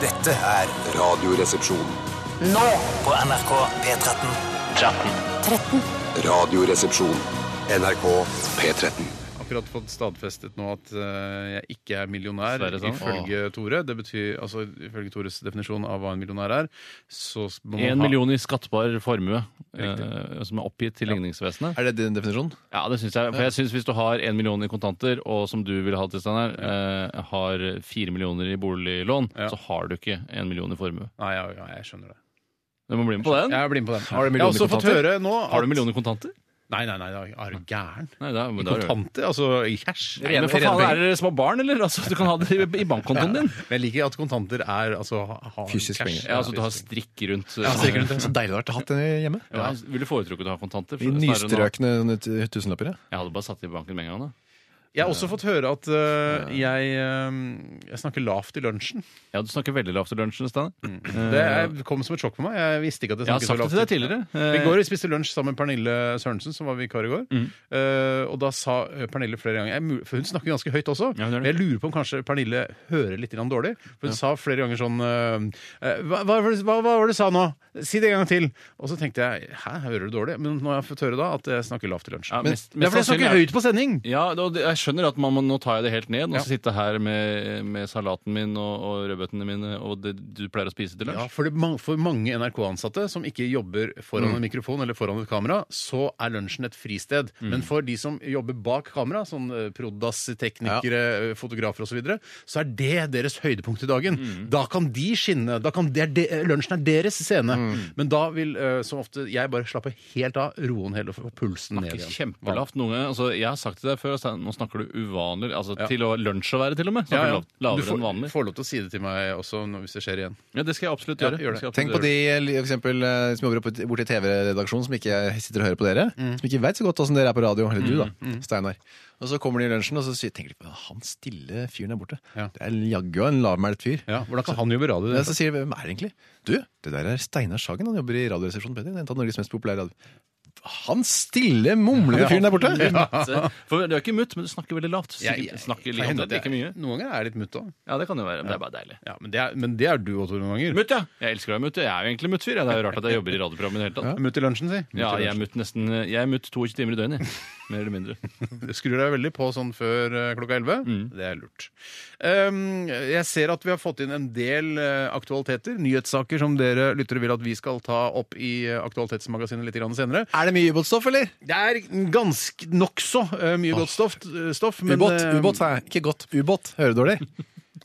Speaker 5: Dette er Radioresepsjonen.
Speaker 6: nå på NRK P13.
Speaker 5: Radioresepsjon. NRK P13.
Speaker 2: Akkurat fått stadfestet nå at eh, jeg ikke er millionær,
Speaker 4: Dessverre, sant?
Speaker 2: ifølge Tore. Det betyr, altså Ifølge Tores definisjon av hva en millionær er, så må man
Speaker 4: En
Speaker 2: ha-
Speaker 4: million i skattbar formue eh, som er oppgitt til ligningsvesenet.
Speaker 3: Er det din definisjon?
Speaker 4: Ja, det synes jeg. For jeg synes hvis du har en million i kontanter, og som du vil ha til stand her, eh, har fire millioner i boliglån, så har du ikke en million i formue.
Speaker 2: Nei, ja, ja, jeg skjønner det.
Speaker 4: Du må bli med på den.
Speaker 2: Jeg blir med på den.
Speaker 3: Har du
Speaker 2: jeg har også
Speaker 3: millioner
Speaker 2: fått
Speaker 3: kontanter?
Speaker 2: høre nå at,
Speaker 4: Har du millioner i kontanter?
Speaker 2: Nei, nei, nei, er du gæren?
Speaker 4: Nei, da, men da er det-
Speaker 2: Kontanter? Altså i cash?
Speaker 4: Nei, men for faen, er dere små barn, eller? Altså, du kan ha det i, i bankkontoen din.
Speaker 2: Men jeg liker at kontanter er altså ha- ha
Speaker 3: Fysisk penger.
Speaker 4: Ja, altså, du har strikk rundt. sånn.
Speaker 2: Ja, strikk rundt.
Speaker 3: Det er så deilig det har vært å ha den hjemme.
Speaker 4: Ja, vil du foretrukke å ha kontanter?
Speaker 3: I
Speaker 4: Snarere enn å-
Speaker 3: nystrøkne t- tusenlapper, ja.
Speaker 4: Jeg hadde bare satt det i banken med en gang. da.
Speaker 2: Jeg har også fått høre at øh, jeg, øh, jeg snakker lavt i lunsjen.
Speaker 4: Ja, Du snakker veldig lavt i lunsjen. Steiner.
Speaker 2: Det er- kom som et sjokk på meg. Jeg visste Mm. ikke at jeg
Speaker 4: Eh. Jeg har
Speaker 2: snakket så
Speaker 4: sagt det
Speaker 2: lavt.
Speaker 4: til deg tidligere.
Speaker 2: Vi går og spiste lunsj sammen med Pernille Sørensen, som var vikar i går.
Speaker 4: Mm.
Speaker 2: Eh, og da sa eh, Pernille flere ganger jeg, mul- For hun snakker ganske høyt også.
Speaker 4: Ja, hun gjør det.
Speaker 2: Men jeg lurer på om kanskje Pernille hører litt grann dårlig. For hun sa flere ganger sånn eh, eh, hva, hva, var det- hva, hva var det du sa nå? Si det en gang til! Og så tenkte jeg hæ, hører du dårlig? Men nå har jeg fått høre da at jeg snakker lavt i lunsj.
Speaker 4: Ja,
Speaker 2: Men,
Speaker 4: mest-
Speaker 2: det er fordi
Speaker 4: mest
Speaker 2: jeg snakker
Speaker 4: sannsynlig er-
Speaker 2: høyt på sending!
Speaker 4: Ja, da- det- jeg skjønner at man må, nå tar jeg det helt ned. Nå skal jeg sitte her med, med salaten min og, og rødbetene mine og det du pleier å spise til
Speaker 2: Ja,
Speaker 4: lunsj.
Speaker 2: for, det, man- for mange NRK-ansatte som ikke jobber foran en mikrofon eller foran et kamera, så er lunsjen et fristed. Men for de som jobber bak kamera, sånn eh, prodas, teknikere, eh, fotografer osv., så, videre, så er det deres høydepunkt i dagen. Da kan de skinne. Da kan det er de, eh, lunsjen er deres scene. Men da vil eh, som ofte jeg bare slappe helt av, roe ned og få pulsen ned
Speaker 4: Ikke
Speaker 2: igjen.
Speaker 4: Kjempelavt noen ganger. Altså, jeg har sagt til deg før altså, Nå snakker du uvanlig. Altså, Til å lunsj å være, til og med.
Speaker 2: Ja,
Speaker 4: Snakker
Speaker 2: ja.
Speaker 4: lavt- Lavere
Speaker 2: Du får,
Speaker 4: enn vanlig.
Speaker 2: får lov til å si det til meg også nå- hvis det skjer igjen.
Speaker 4: Ja, det skal jeg absolutt
Speaker 2: Ja,
Speaker 4: gjøre.
Speaker 2: gjør det.
Speaker 4: Skal jeg absolutt
Speaker 3: Tenk på
Speaker 4: gjøre.
Speaker 3: de for eksempel, eh, som jobber oppe- borti TV-redaksjonen, som ikke sitter og hører på dere.
Speaker 2: Mm.
Speaker 3: Som ikke veit så godt åssen dere er på radio. Eller du, da, Steinar. Og så kommer de i lunsjen, og så sier- tenker de på han stille fyren der borte.
Speaker 2: Ja.
Speaker 3: Det er jaggu en lavmælt fyr.
Speaker 2: Ja, hvordan kan han jobbe radio? i
Speaker 3: Men
Speaker 2: det?
Speaker 3: så sier de, hvem er det egentlig? Du, det der er Steinar Sagen. Han jobber i Radioresepsjonen Petter. En av Norges mest populære radio... Han stille, mumlende fyren der borte!
Speaker 4: Se, Altså, For du er ikke mutt, men du snakker veldig lavt.
Speaker 2: Jeg-
Speaker 4: Sikkert,
Speaker 2: jeg-
Speaker 4: snakker
Speaker 2: kan
Speaker 4: litt
Speaker 2: hende
Speaker 4: omtrent
Speaker 2: at
Speaker 4: like mye.
Speaker 2: jeg- Noen ganger er jeg litt mutt òg.
Speaker 4: Ja, det kan jo være. men Det er bare deilig.
Speaker 2: Ja, men, det er- men det er du òg, Tore, noen ganger.
Speaker 4: Mutt, ja! Jeg elsker å være mutt. Jeg er jo egentlig muttfyr. jeg. Det er jo rart at jeg jobber i radioprogrammet i det hele tatt.
Speaker 2: Mutt i lunsjen, si. Mutt i
Speaker 4: Ja, jeg er
Speaker 2: lunsjen.
Speaker 4: mutt nesten Jeg er mutt 22 timer i døgnet, jeg. Mer eller mindre.
Speaker 2: Du skrur deg veldig på sånn før eh, klokka 11. Det er lurt. Um, jeg ser at vi har fått inn en del eh, aktualiteter, nyhetssaker som dere lyttere vil at vi skal ta opp i eh, Aktualitetsmagasinet litt grann senere.
Speaker 3: Er det mye ubåtstoff, eller?
Speaker 2: Det er ganske nokså eh, mye godt stoff, stoff men
Speaker 3: Ubåt,
Speaker 2: eh,
Speaker 3: ubåt, sa jeg. Ikke godt. Ubåt. Hører dårlig.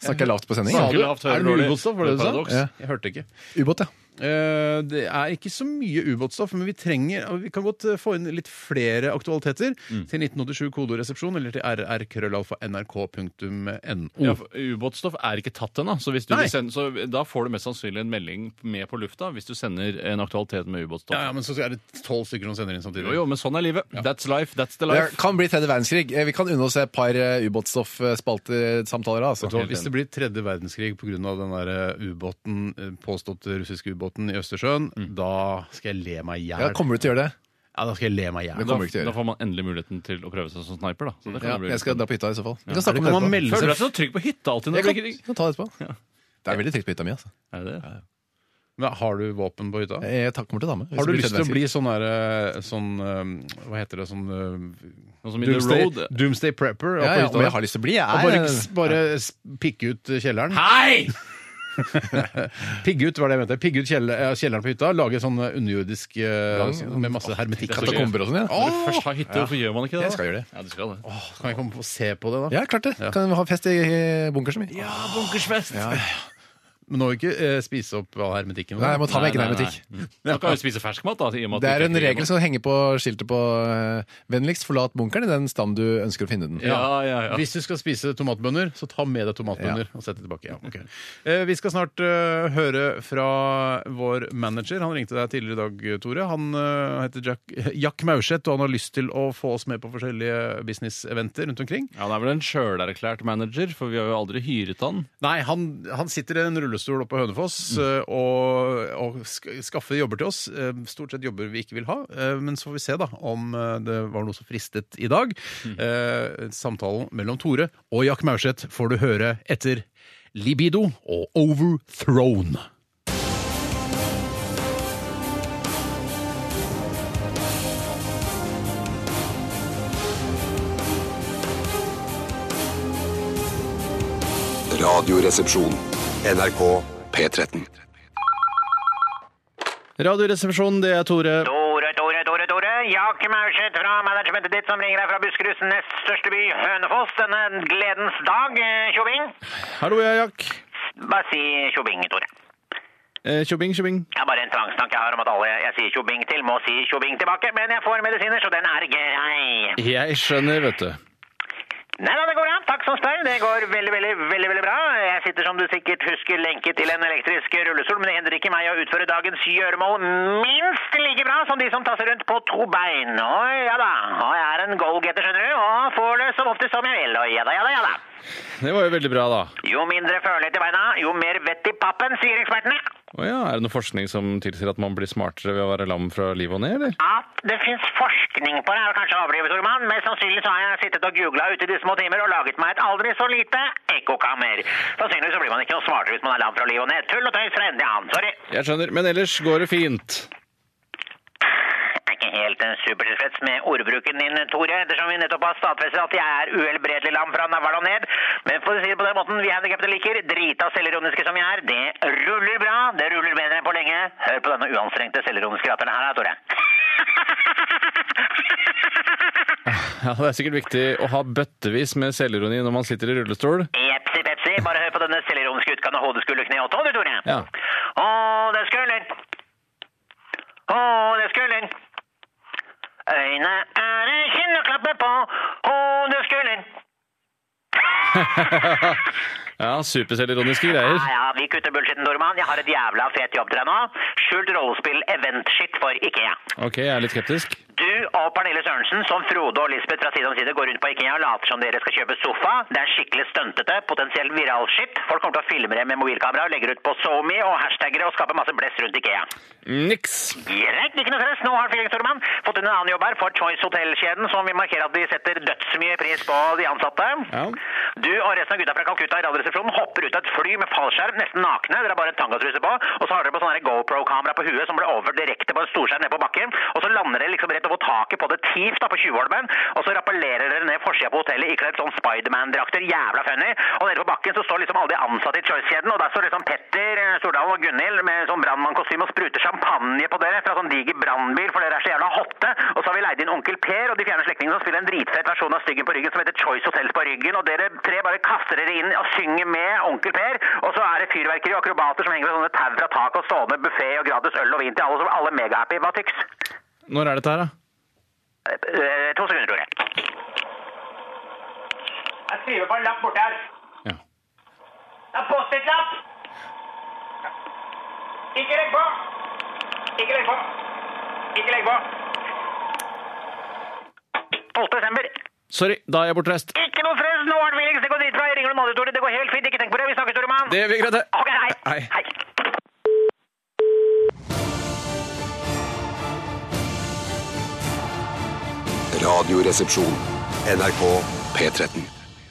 Speaker 3: Snakker jeg lavt på sending?
Speaker 2: Sa
Speaker 4: Snakker
Speaker 2: du?
Speaker 4: lavt,
Speaker 2: Er
Speaker 4: hører
Speaker 2: det mye
Speaker 4: dårlig.
Speaker 2: ubåtstoff, var det du sa?
Speaker 4: Paradoks.
Speaker 2: Ja. Jeg hørte ikke.
Speaker 3: Ubåt, ja.
Speaker 2: Eh, Det er ikke så mye ubåtstoff, men vi trenger Vi kan godt eh, få inn litt flere aktualiteter til 1987 kodoresepsjon eller til rrkrøllalfa.nrk.no.
Speaker 4: Ja, for Ubåtstoff er ikke tatt ennå, så, hvis du
Speaker 2: Nei.
Speaker 4: vil sende- så da får du mest sannsynlig en melding med på lufta hvis du sender en aktualitet med ubåtstoff.
Speaker 2: Ja, ja, men så er det tolv stykker som sender inn samtidig.
Speaker 4: Jo, jo, men sånn er livet. That's life. That's the
Speaker 3: Det
Speaker 4: life.
Speaker 3: kan bli tredje verdenskrig. Eh, Vi kan unne oss et par eh, ubåtstoffspaltersamtaler. Altså.
Speaker 2: Så hvis det blir tredje verdenskrig pga. den der eh, ubåten, eh, påståtte russiske ubåten i Østersjøen, da skal jeg le meg i hjel.
Speaker 3: Ja, kommer du til å gjøre det?
Speaker 2: Ja, da skal jeg le meg i hjel.
Speaker 3: Det kommer du ikke
Speaker 4: da,
Speaker 3: til å
Speaker 4: da
Speaker 3: gjøre.
Speaker 4: får man endelig muligheten til å prøve seg som sniper. da. Så det kan
Speaker 3: Ja,
Speaker 4: jo bli
Speaker 3: jeg skal dra på hytta i så fall. Vi
Speaker 2: det
Speaker 3: kan snakke om det
Speaker 2: kan man
Speaker 3: etterpå.
Speaker 2: melde-
Speaker 4: Føler du deg så trygg på hytta alltid? Når
Speaker 3: Jeg
Speaker 4: det
Speaker 3: kan,
Speaker 4: blir
Speaker 3: jeg
Speaker 4: krig?
Speaker 3: kan ta det etterpå. Det er veldig trygt på hytta mi. Altså.
Speaker 4: Er det det?
Speaker 2: Men har du våpen på hytta?
Speaker 3: Jeg tar- kommer til å ta med. Eh, hvis
Speaker 2: Har du
Speaker 3: det blir
Speaker 2: lyst til å
Speaker 3: tredje
Speaker 2: bli sånn derre sånn eh, Hva heter det? Sånn eh,
Speaker 4: Noe som i The
Speaker 2: Doomsday,
Speaker 4: Road
Speaker 2: Doomsday Prepper. på
Speaker 3: verdenskrig. Ja, ja,
Speaker 2: hytta
Speaker 3: om
Speaker 2: der.
Speaker 3: jeg har lyst til å bli? Jeg
Speaker 2: og bare,
Speaker 3: er
Speaker 2: bare s- pikke ut kjelleren.
Speaker 4: Hei!
Speaker 2: Pigge ut, var det jeg mente. Pigge ut kjelle- eh, kjelleren på hytta. Lage sånn underjordisk eh, sånn med masse hermetikk.
Speaker 4: så
Speaker 2: Kan
Speaker 3: katakomber og sånn, ja.
Speaker 4: Når du først har hytte, hvorfor gjør man ikke det? da?
Speaker 3: Jeg skal gjøre det.
Speaker 4: Ja, du skal det.
Speaker 2: jeg komme og se på det, da?
Speaker 3: Ja, klart det. Kan ha fest i eh, bunkersen min.
Speaker 4: Ja, bunkersfest!
Speaker 2: Men nå ikke eh, spise opp all hermetikken.
Speaker 3: Nei, jeg må ta med egen
Speaker 4: Nei, nei,
Speaker 3: hermetikk.
Speaker 4: nei. Da kan vi spise ferskmat, da. I og med at
Speaker 3: Det
Speaker 4: du
Speaker 3: er
Speaker 4: ikke
Speaker 3: en
Speaker 4: kriger
Speaker 3: regel
Speaker 4: nå.
Speaker 3: som henger på skiltet på eh, 'vennligst forlat bunkeren' i den stand du ønsker å finne den.
Speaker 4: Ja, ja, ja.
Speaker 2: Hvis du skal spise tomatbønner, så ta med deg tomatbønner og sett det tilbake. Ja, ok. eh, vi skal snart eh, høre fra vår manager. Han ringte deg tidligere i dag, Tore. Han eh, heter Jack, Jack Maurseth, og han har lyst til å få oss med på forskjellige business-eventer rundt omkring.
Speaker 4: Ja, Han er vel en sjølerklært manager, for vi har jo aldri hyret han.
Speaker 2: Nei, han, han sitter i en rullestol oppe på Hønefoss eh, og, og sk- skaffer jobber til oss. Eh, Stort sett jobber vi ikke vil ha, eh, men så får vi se da om eh, det var noe som fristet i dag. Eh, Samtalen mellom Tore og Jack Maurseth får du høre etter Libido og Overthrown.
Speaker 5: Radioresepsjon. NRK P13.
Speaker 4: Radioresepsjonen, det er Tore.
Speaker 7: Tore, Tore, Tore, Tore. Jack Maurseth fra managementet ditt som ringer deg fra Buskeruds nest største by, Hønefoss, denne gledens dag. eh, Tjobing.
Speaker 4: Hallo, jeg er Jack.
Speaker 7: Bare si tjobing, Tore.
Speaker 4: Eh, Tjobing, tjobing.
Speaker 7: Det er bare en tvangstanke jeg har om at alle jeg sier tjobing til, må si tjobing tilbake. Men jeg får medisiner, så den er grei.
Speaker 4: Jeg skjønner, vet du.
Speaker 7: Nei da, det går bra. Takk som spør. Det går veldig, veldig, veldig veldig bra. Jeg sitter, som du sikkert husker, lenket til en elektrisk rullestol, men det hindrer ikke meg å utføre dagens gjøremål minst like bra som de som tasser rundt på to bein. Å ja da. Og jeg er en goalgetter, skjønner du, og får det som ofte som jeg vil. Å ja da, ja da, ja da.
Speaker 4: Det var jo veldig bra, da.
Speaker 7: Jo mindre følelighet i beina, jo mer vett i pappen, sier ekspertene.
Speaker 4: Å ja, Er det noe forskning som tilsier at man blir smartere ved å være lam fra livet og ned, eller?
Speaker 7: At det finnes forskning på det, er jo kanskje avlivet, Tormann. Mest sannsynlig så har jeg sittet og googla ute i de små timer og laget meg et aldri så lite ekkokammer. Sannsynligvis så blir man ikke noe smartere hvis man er lam fra livet og ned. Tull og tøys fra ende annen. Sorry.
Speaker 4: Jeg skjønner, men ellers går det fint.
Speaker 7: Det er ikke helt eh, supertilfreds med ordbruken din, Tore, ettersom vi nettopp har stadfestet at jeg er uhelbredelig lam fra Navarra og ned. Men for å si det på den måten vi handikappede liker, drita selvironiske som jeg er, det ruller bra. Det ruller bedre enn på lenge. Hør på denne uanstrengte selvironiske latteren her, da, Tore.
Speaker 4: Ja, Det er sikkert viktig å ha bøttevis med selvironi når man sitter i rullestol.
Speaker 7: Jepsi pepsi, bare hør på denne selvironiske utgaven av Hode skulle kne åtte, du Tore.
Speaker 4: Ja.
Speaker 7: Å, det er skulder. Å, det er skulder. Øyne er en kinn å klappe på. Å, det er skulder.
Speaker 4: Ja, Superselvironiske greier.
Speaker 7: Ja, ja, vi kutter bullshitten, Dorman. Jeg har et jævla fet jobb til deg nå. Skjult rollespill event-shit for IKEA.
Speaker 4: Ok, jeg er litt skeptisk.
Speaker 7: Du og Pernille Sørensen, som Frode og Lisbeth fra side om side, går rundt på IKEA og later som dere skal kjøpe sofa. Det er skikkelig stuntete, potensielt viral shit. Folk kommer til å filme det med mobilkamera og legger ut på SoMe og hashtagger og skaper masse blest rundt IKEA.
Speaker 4: Niks!
Speaker 7: Greit, ikke noe stress. Nå har Fyllingstormann fått inn en annen jobb her for Choice Hotel-kjeden, som vil markere at de setter dødsmye pris på de ansatte.
Speaker 4: Ja.
Speaker 7: Du og resten av gutta fra Calcutta i Radioresepsjonen hopper ut av et fly med fallskjerm, nesten nakne. Dere har bare tangatruse på, og så har dere på sånne her GoPro-kamera på huet som ble overført direkte på en storskjerm nede på bakken. Og så lander dere liksom rett over taket på det tivt da på Tjuvholmen, og så rappellerer dere ned forsida på hotellet ikledd sånn Spiderman-drakter. Jævla funny. Og nede på bakken så står liksom alle de ansatte i Choice-kjeden, og der står liksom Petter eh, Stordalen og Gunhild med sånn brannmannkostyme og spruter champagne på dere fra sånn diger brannbil, for dere er så jævla hotte. Og så har vi leid inn onkel Per og de fjerne slektningene som spiller en dritfett versjon av Styggen på ryggen som heter Choice Hotels på ryggen, og dere tre bare kaster dere inn og synger med onkel Per, og så er det fyrverkeri og akrobater som henger ved sånne tau fra taket og stående buffé og gratis øl og vin til alle, så alle er megahappy. Hva tyks?
Speaker 4: Når er dette her, da?
Speaker 7: Eh, to sekunder, Tore. Jeg skriver på en lapp borte her.
Speaker 4: Ja.
Speaker 7: Det er Post-It-lapp! Ikke legg på! Ikke legg på! Ikke legg på! 12. desember.
Speaker 4: Sorry, da er jeg bortreist.
Speaker 7: Ikke noe stress! Nå er det Felix. Det går dritbra. Jeg ringer om andre, Tore. Det går helt fint. Ikke tenk på det. Vi snakkes, Tore mann.
Speaker 4: Det vi greide.
Speaker 7: Ok, hei.
Speaker 4: Hei.
Speaker 7: hei.
Speaker 5: Radioresepsjon. NRK P13.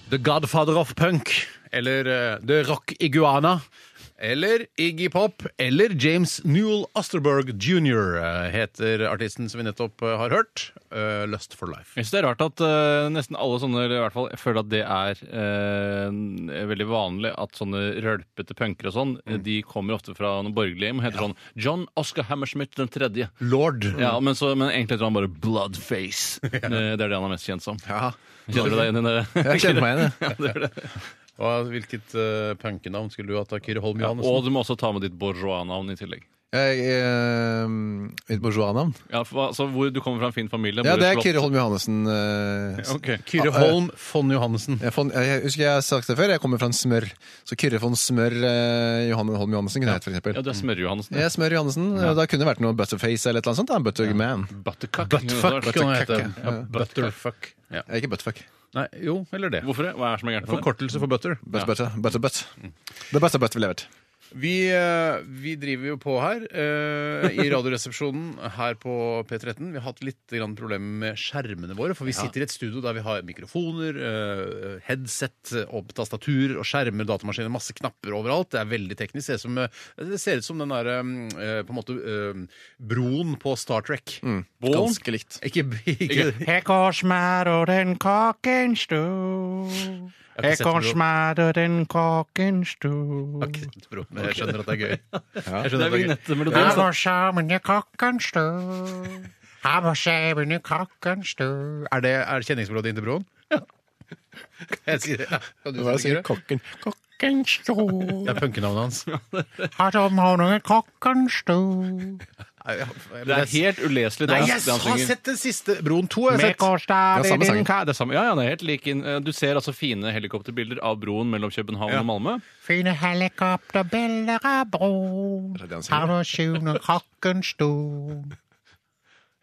Speaker 2: The Godfather of Punk, eller eh, The Rock Iguana, eller Iggy Pop, eller James Newell Osterberg jr. eh, heter artisten som vi nettopp eh, har hørt. eh, Lust for Life.
Speaker 4: Jeg synes det er rart at eh, nesten alle sånne eller i hvert fall, jeg føler at det er eh, veldig vanlig at sånne rølpete punkere og sånn,
Speaker 3: Mm.
Speaker 4: de kommer ofte fra noen borgerlige hjem og heter sånn John Oscar Hammersmith den tredje.
Speaker 3: Mm.
Speaker 2: Lord.
Speaker 4: Ja, men, så, men egentlig heter han bare Bloodface. Eh, Det er det han er mest kjent som.
Speaker 3: Ja.
Speaker 4: Kjenner du deg igjen i det?
Speaker 3: Jeg kjenner meg igjen, jeg.
Speaker 4: Ja, det er det.
Speaker 2: Hva- hvilket eh, punkenavn skulle du hatt da, Kyrre Holm Johannessen?
Speaker 4: Og du må også ta med ditt bourgeois-navn i tillegg.
Speaker 3: jeg eh, mitt bourgeois-navn?
Speaker 4: Ja, for, altså, hvor du kommer fra en fin familie.
Speaker 3: Ja,
Speaker 4: bor
Speaker 3: det
Speaker 4: i
Speaker 3: er
Speaker 4: slott.
Speaker 3: Kyrre Holm Johannessen. eh,
Speaker 4: Ok.
Speaker 2: Kyrre Holm von Johannessen.
Speaker 3: Jeg, fon, jeg husker jeg har sagt det før, jeg kommer fra en smør. Så Kyrre von Smør eh, Johan Holm Johannessen kunne jeg hett, for eksempel.
Speaker 4: Ja, du er Smør-Johansen.
Speaker 3: Jeg er Smør Johannessen. og Da kunne det vært noe Butterface eller et eller annet sånt. da. Butterman.
Speaker 4: Buttercuck.
Speaker 2: Buttfuck kan det hete.
Speaker 3: Buttercuck, ja.
Speaker 2: Ja, butterfuck. Ja.
Speaker 3: Eh, Ikke Buttfuck.
Speaker 2: Nei, jo, eller det.
Speaker 4: Hvorfor det? Hva er det som er gærent med det?
Speaker 2: Forkortelse for butter.
Speaker 3: Butt, butter, butter, butt. Det beste butt vi levert.
Speaker 2: Vi, eh, vi driver jo på her eh, i Radioresepsjonen her på P13. Vi har hatt litt grann problemer med skjermene våre, for vi sitter i et studio der vi har mikrofoner, eh, headset og tastaturer og skjermer, datamaskiner, masse knapper overalt. Det er veldig teknisk. Det ser, som, eh, det ser ut som den derre eh, på en måte eh, broen på Star Trek.
Speaker 3: Mm. Ganske likt.
Speaker 2: Ikke, ikke, ikke
Speaker 8: Jeg går smart, og den kokken sto. Jeg
Speaker 2: sett
Speaker 8: går
Speaker 2: noe-
Speaker 8: smart, og den kokken sto.
Speaker 2: bro, men jeg skjønner at det er gøy. Jeg
Speaker 4: Det
Speaker 2: skjønner
Speaker 4: er
Speaker 2: at det er gøy.
Speaker 4: vignettemelodien.
Speaker 8: Jeg
Speaker 4: så-
Speaker 8: går sammen, og kokken sto. Jeg går sammen, og kokken sto.
Speaker 2: Er det er det kjenningsmelodien til broen? Jeg sier det. Kan du
Speaker 3: Hva er det
Speaker 2: si
Speaker 3: sier
Speaker 2: det?
Speaker 3: kokken? Kok
Speaker 8: Kokken sto.
Speaker 2: Det er punkenavnet hans.
Speaker 8: Har de noen kokken sto?
Speaker 4: Det er helt uleselig.
Speaker 2: Nei,
Speaker 4: dansk,
Speaker 2: jeg
Speaker 4: det han
Speaker 2: har
Speaker 4: synger.
Speaker 2: sett den siste Broen 2 har
Speaker 8: Vi
Speaker 2: jeg sett.
Speaker 8: går
Speaker 3: Ja,
Speaker 8: stadig
Speaker 3: samme sang.
Speaker 8: din
Speaker 4: Ja, det er samme. Ja, ja, det er helt lik inn. Eh, Du ser altså fine helikopterbilder av broen mellom København og Malmö.
Speaker 8: Fine helikopterbilder av broen.
Speaker 3: det det han sier?
Speaker 8: Har du sjuende kokken sto?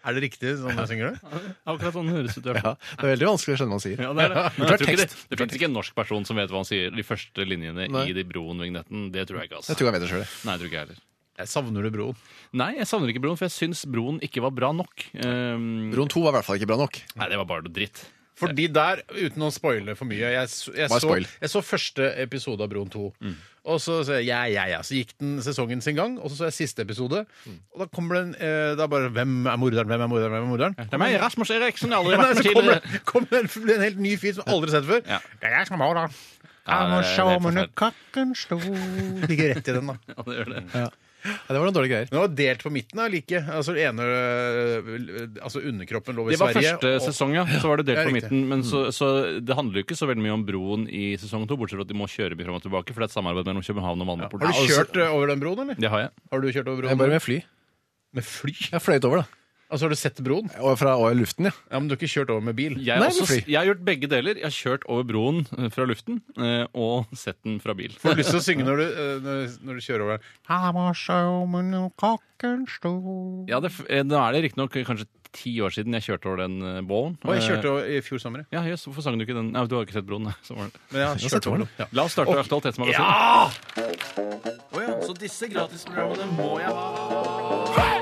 Speaker 2: Er det riktig sånn jeg synger det?
Speaker 4: Akkurat sånn høres ut. i hvert
Speaker 3: ja,
Speaker 4: fall.
Speaker 3: det er veldig vanskelig å skjønne hva han sier.
Speaker 4: Ja, det er det.
Speaker 3: Klar
Speaker 4: Men jeg tror ikke det,
Speaker 3: tekst.
Speaker 4: det finnes ikke en norsk person som vet hva han sier de første linjene
Speaker 3: Nei.
Speaker 4: i de broen-vignetten. Det tror jeg ikke.
Speaker 3: Jeg
Speaker 4: Altså.
Speaker 3: tror han vet det sjøl.
Speaker 4: Nei, jeg tror ikke jeg heller.
Speaker 2: Jeg savner det, Broen.
Speaker 4: Nei, jeg savner ikke broen, for jeg syns broen ikke var bra nok. Um,
Speaker 3: Broen 2 var i hvert fall ikke bra nok.
Speaker 4: Nei, det var bare noe dritt.
Speaker 2: Fordi der, uten å spoile for mye Jeg, s- jeg,
Speaker 3: Bare
Speaker 2: så,
Speaker 3: spoil. Mm.
Speaker 2: jeg så første episode av Broen 2. Og så, så, jeg, ja, ja, ja. så gikk den sesongen sin gang, og så så jeg siste episode.
Speaker 3: Mm.
Speaker 2: Og da kommer den eh, da bare Hvem er morderen? Hvem er morderen? Hvem er morderen?
Speaker 4: Det er meg, Rasmus Eriksen. Jeg har aldri
Speaker 2: Nei,
Speaker 4: vært
Speaker 2: så
Speaker 4: med
Speaker 2: kommer,
Speaker 4: tidligere.
Speaker 2: kommer det en, en helt ny fyr som jeg aldri har sett før.
Speaker 4: Ja.
Speaker 8: Det er jeg som har den.
Speaker 4: Ja,
Speaker 8: Jeg må
Speaker 4: det
Speaker 8: se
Speaker 4: er- det er
Speaker 8: om under
Speaker 4: forferdelig.
Speaker 8: kakken sto
Speaker 2: Ligger rett i den, da.
Speaker 4: Ja, det gjør det.
Speaker 3: det var noen dårlige greier.
Speaker 2: Men det var delt på midten av liket. Altså, det ene, øh, altså underkroppen lå i
Speaker 4: Det var
Speaker 2: Sverige.
Speaker 4: første
Speaker 2: og-
Speaker 4: sesong, ja. Så var det delt
Speaker 2: Ja,
Speaker 4: på
Speaker 2: riktig. Mm.
Speaker 4: midten. Men så, så det handler jo ikke så veldig mye om broen i sesong to, bortsett fra at de må kjøre mye fram og tilbake, for det er et samarbeid mellom København og Malmö.
Speaker 2: Har du kjørt øh, over den broen, eller?
Speaker 4: Det har Altså- jeg.
Speaker 2: Har du kjørt over
Speaker 3: Jeg
Speaker 2: broen?
Speaker 3: bare med fly.
Speaker 2: Med fly?
Speaker 3: Jeg fløyt over, da.
Speaker 2: Altså, har du sett broen?
Speaker 3: Og fra og i luften, ja.
Speaker 2: Ja, men du har ikke kjørt over med bil?
Speaker 4: Jeg, har
Speaker 3: Nei,
Speaker 4: også,
Speaker 3: med fly.
Speaker 4: jeg har gjort begge deler. Jeg har kjørt over broen eh, fra luften eh, og sett den fra bil.
Speaker 2: Får du lyst til å synge når du, øh, når, når du kjører over den?
Speaker 8: Jeg må se om under kakken sto
Speaker 4: Ja, det, f- eh, Nå er det riktignok kanskje ti år siden jeg kjørte over den eh, bålen.
Speaker 2: Å, jeg kjørte over i fjor sommer, jeg.
Speaker 4: Ja, jøss, hvorfor sang du ikke den? Nei, du har ikke sett broen. nei. Så var det.
Speaker 2: men jeg har kjørt over den. Ja.
Speaker 4: La oss starte Aktualitetsmagasinet. Ja! Så disse gratisprogrammene må jeg ha.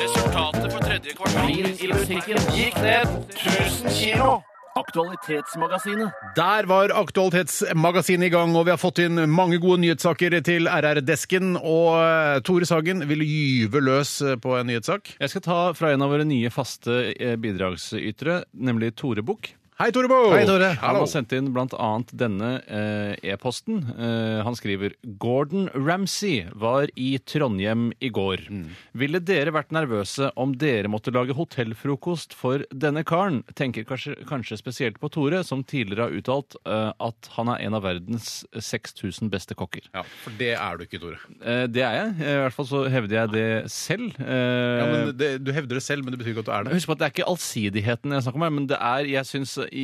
Speaker 4: Resultatet på tredje kvartal i musikken gikk ned 1000 kilo. Aktualitetsmagasinet.
Speaker 2: Der var Aktualitetsmagasinet i gang, og vi har fått inn mange gode nyhetssaker til RR-desken. Og øh, Tore Sagen vil gyve løs øh, på en nyhetssak.
Speaker 4: Jeg skal ta fra en av våre nye faste eh, bidragsytere, nemlig Tore Bukk.
Speaker 2: Hei, Tore Bo!
Speaker 3: Hei, Tore.
Speaker 4: Han
Speaker 2: Hallo.
Speaker 4: har sendt inn bl.a. denne eh, e-posten. Eh, han skriver Gordon Ramsay var i Trondheim i går.
Speaker 2: Mm.
Speaker 4: Ville dere vært nervøse om dere måtte lage hotellfrokost for denne karen? Tenker kanskje, kanskje spesielt på Tore, som tidligere har uttalt eh, at han er en av verdens 6000 beste kokker.
Speaker 2: Ja, for det er du ikke, Tore.
Speaker 4: Eh, det er jeg. I hvert fall så hevder jeg det selv. Eh,
Speaker 2: Ja, men det, du hevder det selv, men det betyr ikke at du er det.
Speaker 4: Husk på at det er ikke allsidigheten jeg snakker om her, men det er, jeg synes i,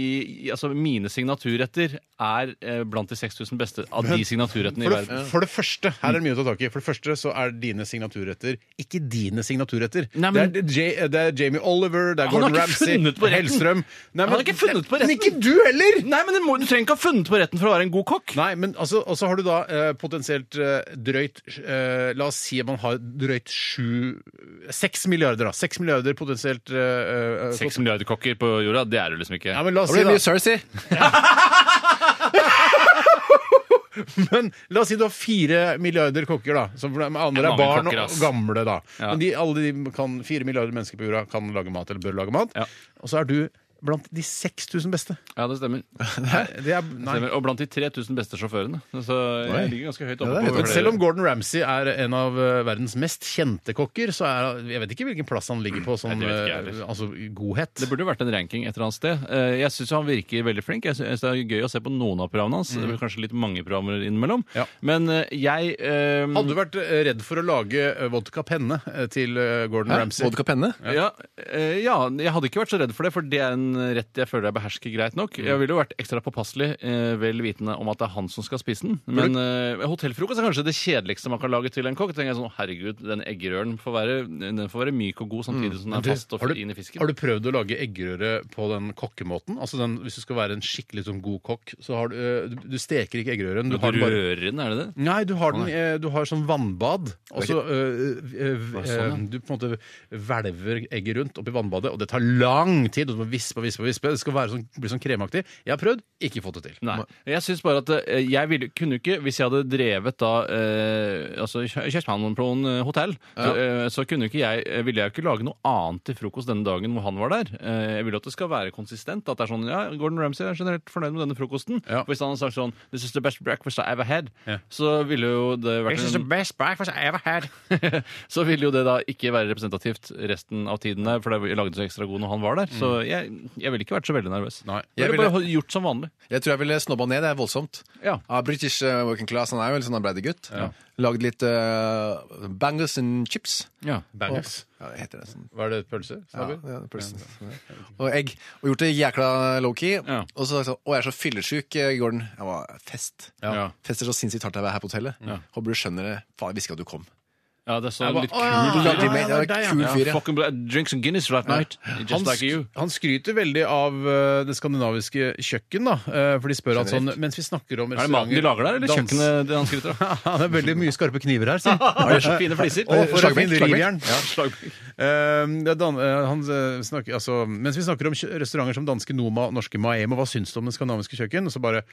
Speaker 4: i, altså mine signaturretter er eh, blant de 6000 beste av de signaturrettene i
Speaker 2: For det,
Speaker 4: verden.
Speaker 2: for det første her er det mye å ta tak i. For det første så er dine signaturretter ikke dine signaturretter.
Speaker 4: Nei, men-
Speaker 2: det, er, J, det er Jamie Oliver, det er
Speaker 4: Han har
Speaker 2: Gordon
Speaker 4: ikke
Speaker 2: Ramsay,
Speaker 4: funnet på retten.
Speaker 2: Hellstrøm Nei,
Speaker 4: Han har ikke funnet på
Speaker 2: Men
Speaker 4: retten.
Speaker 2: ikke du heller!
Speaker 4: Nei, men det må, Du trenger ikke ha funnet på retten for å være en god kokk.
Speaker 2: Nei, men altså, Og så har du da eh, potensielt eh, drøyt eh, La oss si at man har drøyt sju Seks milliarder, da. Seks milliarder potensielt eh, eh,
Speaker 4: Seks milliarder kokker på jorda, det er du liksom ikke.
Speaker 2: Ja, men la oss
Speaker 3: Da
Speaker 2: si da
Speaker 3: blir det mye Cersei.
Speaker 2: Men la oss si du har fire milliarder kokker, da. Som for de andre
Speaker 4: Det er
Speaker 2: er
Speaker 4: mange
Speaker 2: barn
Speaker 4: kokker,
Speaker 2: og
Speaker 4: ass.
Speaker 2: gamle, da.
Speaker 4: Ja.
Speaker 2: Men de, alle de kan, fire milliarder mennesker på jorda kan lage mat, eller bør lage mat.
Speaker 4: Ja.
Speaker 2: Og så er du blant de 6000 beste.
Speaker 4: Ja, det stemmer.
Speaker 2: Det er,
Speaker 4: Det
Speaker 2: nei.
Speaker 4: stemmer. Og blant de 3000 beste sjåførene. Så
Speaker 3: Oi.
Speaker 4: jeg ligger ganske høyt
Speaker 3: Ja,
Speaker 4: oppe.
Speaker 3: det er
Speaker 4: på
Speaker 2: Men
Speaker 3: høyt.
Speaker 4: flere-
Speaker 2: selv om Gordon Ramsay er en av eh, verdens mest kjente kokker, så er jeg vet ikke hvilken plass han ligger på sånn
Speaker 4: Nei, det vet ikke jeg
Speaker 2: eh,
Speaker 4: heller.
Speaker 2: altså, godhet.
Speaker 4: Det burde jo vært en ranking et eller annet sted. Eh, Jeg syns han virker veldig flink. Jeg synes Det er gøy å se på noen av programmene hans. Det blir Kanskje litt mange programmer innimellom.
Speaker 2: Mm. Ja.
Speaker 4: Men eh, jeg eh,
Speaker 2: Hadde du vært eh, redd for å lage eh, vodka penne eh, til eh, Gordon Ramsay?
Speaker 3: Vodka penne.
Speaker 4: Ja. eh, ja, jeg hadde ikke vært så redd for det, for det er en rett jeg føler jeg behersker greit nok.
Speaker 2: Mm.
Speaker 4: Jeg ville jo vært ekstra påpasselig, eh, vel vitende om at det er han som skal spise den. Men eh, hotellfrokost er kanskje det kjedeligste man kan lage til en kokk. Tenker jeg sånn, herregud, den eggerøren får være, den får være myk og god samtidig som den
Speaker 2: Mm. Men
Speaker 4: er
Speaker 2: du,
Speaker 4: fast og
Speaker 2: har du-
Speaker 4: fin i fisken.
Speaker 2: Har du prøvd å lage eggerøre på den kokkemåten? Altså den, Hvis du skal være en skikkelig sånn god kokk, så har du eh, Du, du steker ikke eggerøren. Du har den bare
Speaker 4: Rører den, er det det?
Speaker 2: Nei, du har, den, eh, du har sånn vannbad, og så eh, eh,
Speaker 4: Å, sånn, ja.
Speaker 2: eh, Du på en måte hvelver egget rundt oppi vannbadet, og det tar lang tid. og Du må vispe og vispe og vispe. Det skal være sånn, bli sånn kremaktig. Jeg har prøvd, ikke fått det til.
Speaker 4: Nei. Jeg synes bare at eh, jeg ville, kunne jo ikke, hvis jeg hadde drevet da eh, altså Kjø- Kjøstmanplan eh, hotell, så, eh, så kunne ikke jeg, eh, ville jeg jo ikke lage noe annet til frokost denne dagen hvor han var der. Eh, jeg vil jo at det skal være konsistent. At det er sånn ja, Gordon Ramsay er generelt fornøyd med denne frokosten.
Speaker 2: Ja.
Speaker 4: Hvis han hadde sagt sånn This is the best breakfast I ever had,
Speaker 2: Ja.
Speaker 4: så ville jo det vært
Speaker 8: This is the
Speaker 4: en,
Speaker 8: best breakfast I ever had.
Speaker 4: Så ville jo det da ikke være representativt resten av tiden der, for det lagde seg ekstra god når han var der. Så jeg, jeg ville ikke vært så veldig nervøs.
Speaker 2: Nei.
Speaker 4: Jeg
Speaker 3: Jeg
Speaker 4: ville bare gjort som vanlig.
Speaker 3: Jeg tror jeg ville snobba ned. Det er voldsomt.
Speaker 4: Ja.
Speaker 3: British eh, working class. Han er jo en sånn arbeidergutt.
Speaker 2: Ja.
Speaker 3: Lagd litt eh, bangers and chips.
Speaker 4: Ja.
Speaker 2: Bangers.
Speaker 3: Ja, det heter det sånn.
Speaker 2: Hva er det, pølse?
Speaker 3: Ja,
Speaker 2: Snabel?
Speaker 3: ja, plutselig. og egg. Og gjort det jækla lowkey.
Speaker 4: Ja.
Speaker 3: Og så sa jeg sånn Å, jeg er så fyllesjuk, eh, Gordon. Jeg var fest.
Speaker 4: Ja.
Speaker 3: Fester så sinnssykt hardt jeg er her på hotellet. Håper du skjønner det. Faen, jeg visste ikke at du kom.
Speaker 4: Ja, det er så
Speaker 2: Jeg bare,
Speaker 4: litt
Speaker 2: «Å, ja,
Speaker 4: kul.
Speaker 3: Bloody
Speaker 2: det var
Speaker 3: man, det var
Speaker 2: deg, ja.
Speaker 3: kul fyr,
Speaker 4: Ja,
Speaker 3: ja.
Speaker 4: fucking bl- drink some Guinness right night.
Speaker 2: Han,
Speaker 4: Just like you.
Speaker 2: sk- han skryter veldig av eh, det skandinaviske kjøkken, da. eh, For de spør han sånn
Speaker 3: Generelt.
Speaker 2: mens vi snakker om
Speaker 4: Er det maten de lager der, eller
Speaker 2: dans-
Speaker 4: kjøkkenet de han skryter av?
Speaker 2: Ja, det er veldig mye skarpe kniver her, si.
Speaker 4: Har de så fine fliser?
Speaker 2: Og for å
Speaker 3: Slagbenk,
Speaker 2: finne
Speaker 3: slagbenk.
Speaker 2: rivjern.
Speaker 4: Ja, slagbenk.
Speaker 2: Ehm, det er dan eh, han eh, snakker, altså, mens vi snakker om kjø- restauranter som danske Noma og norske Maemo, hva syns du om det skandinaviske kjøkken? Og så bare,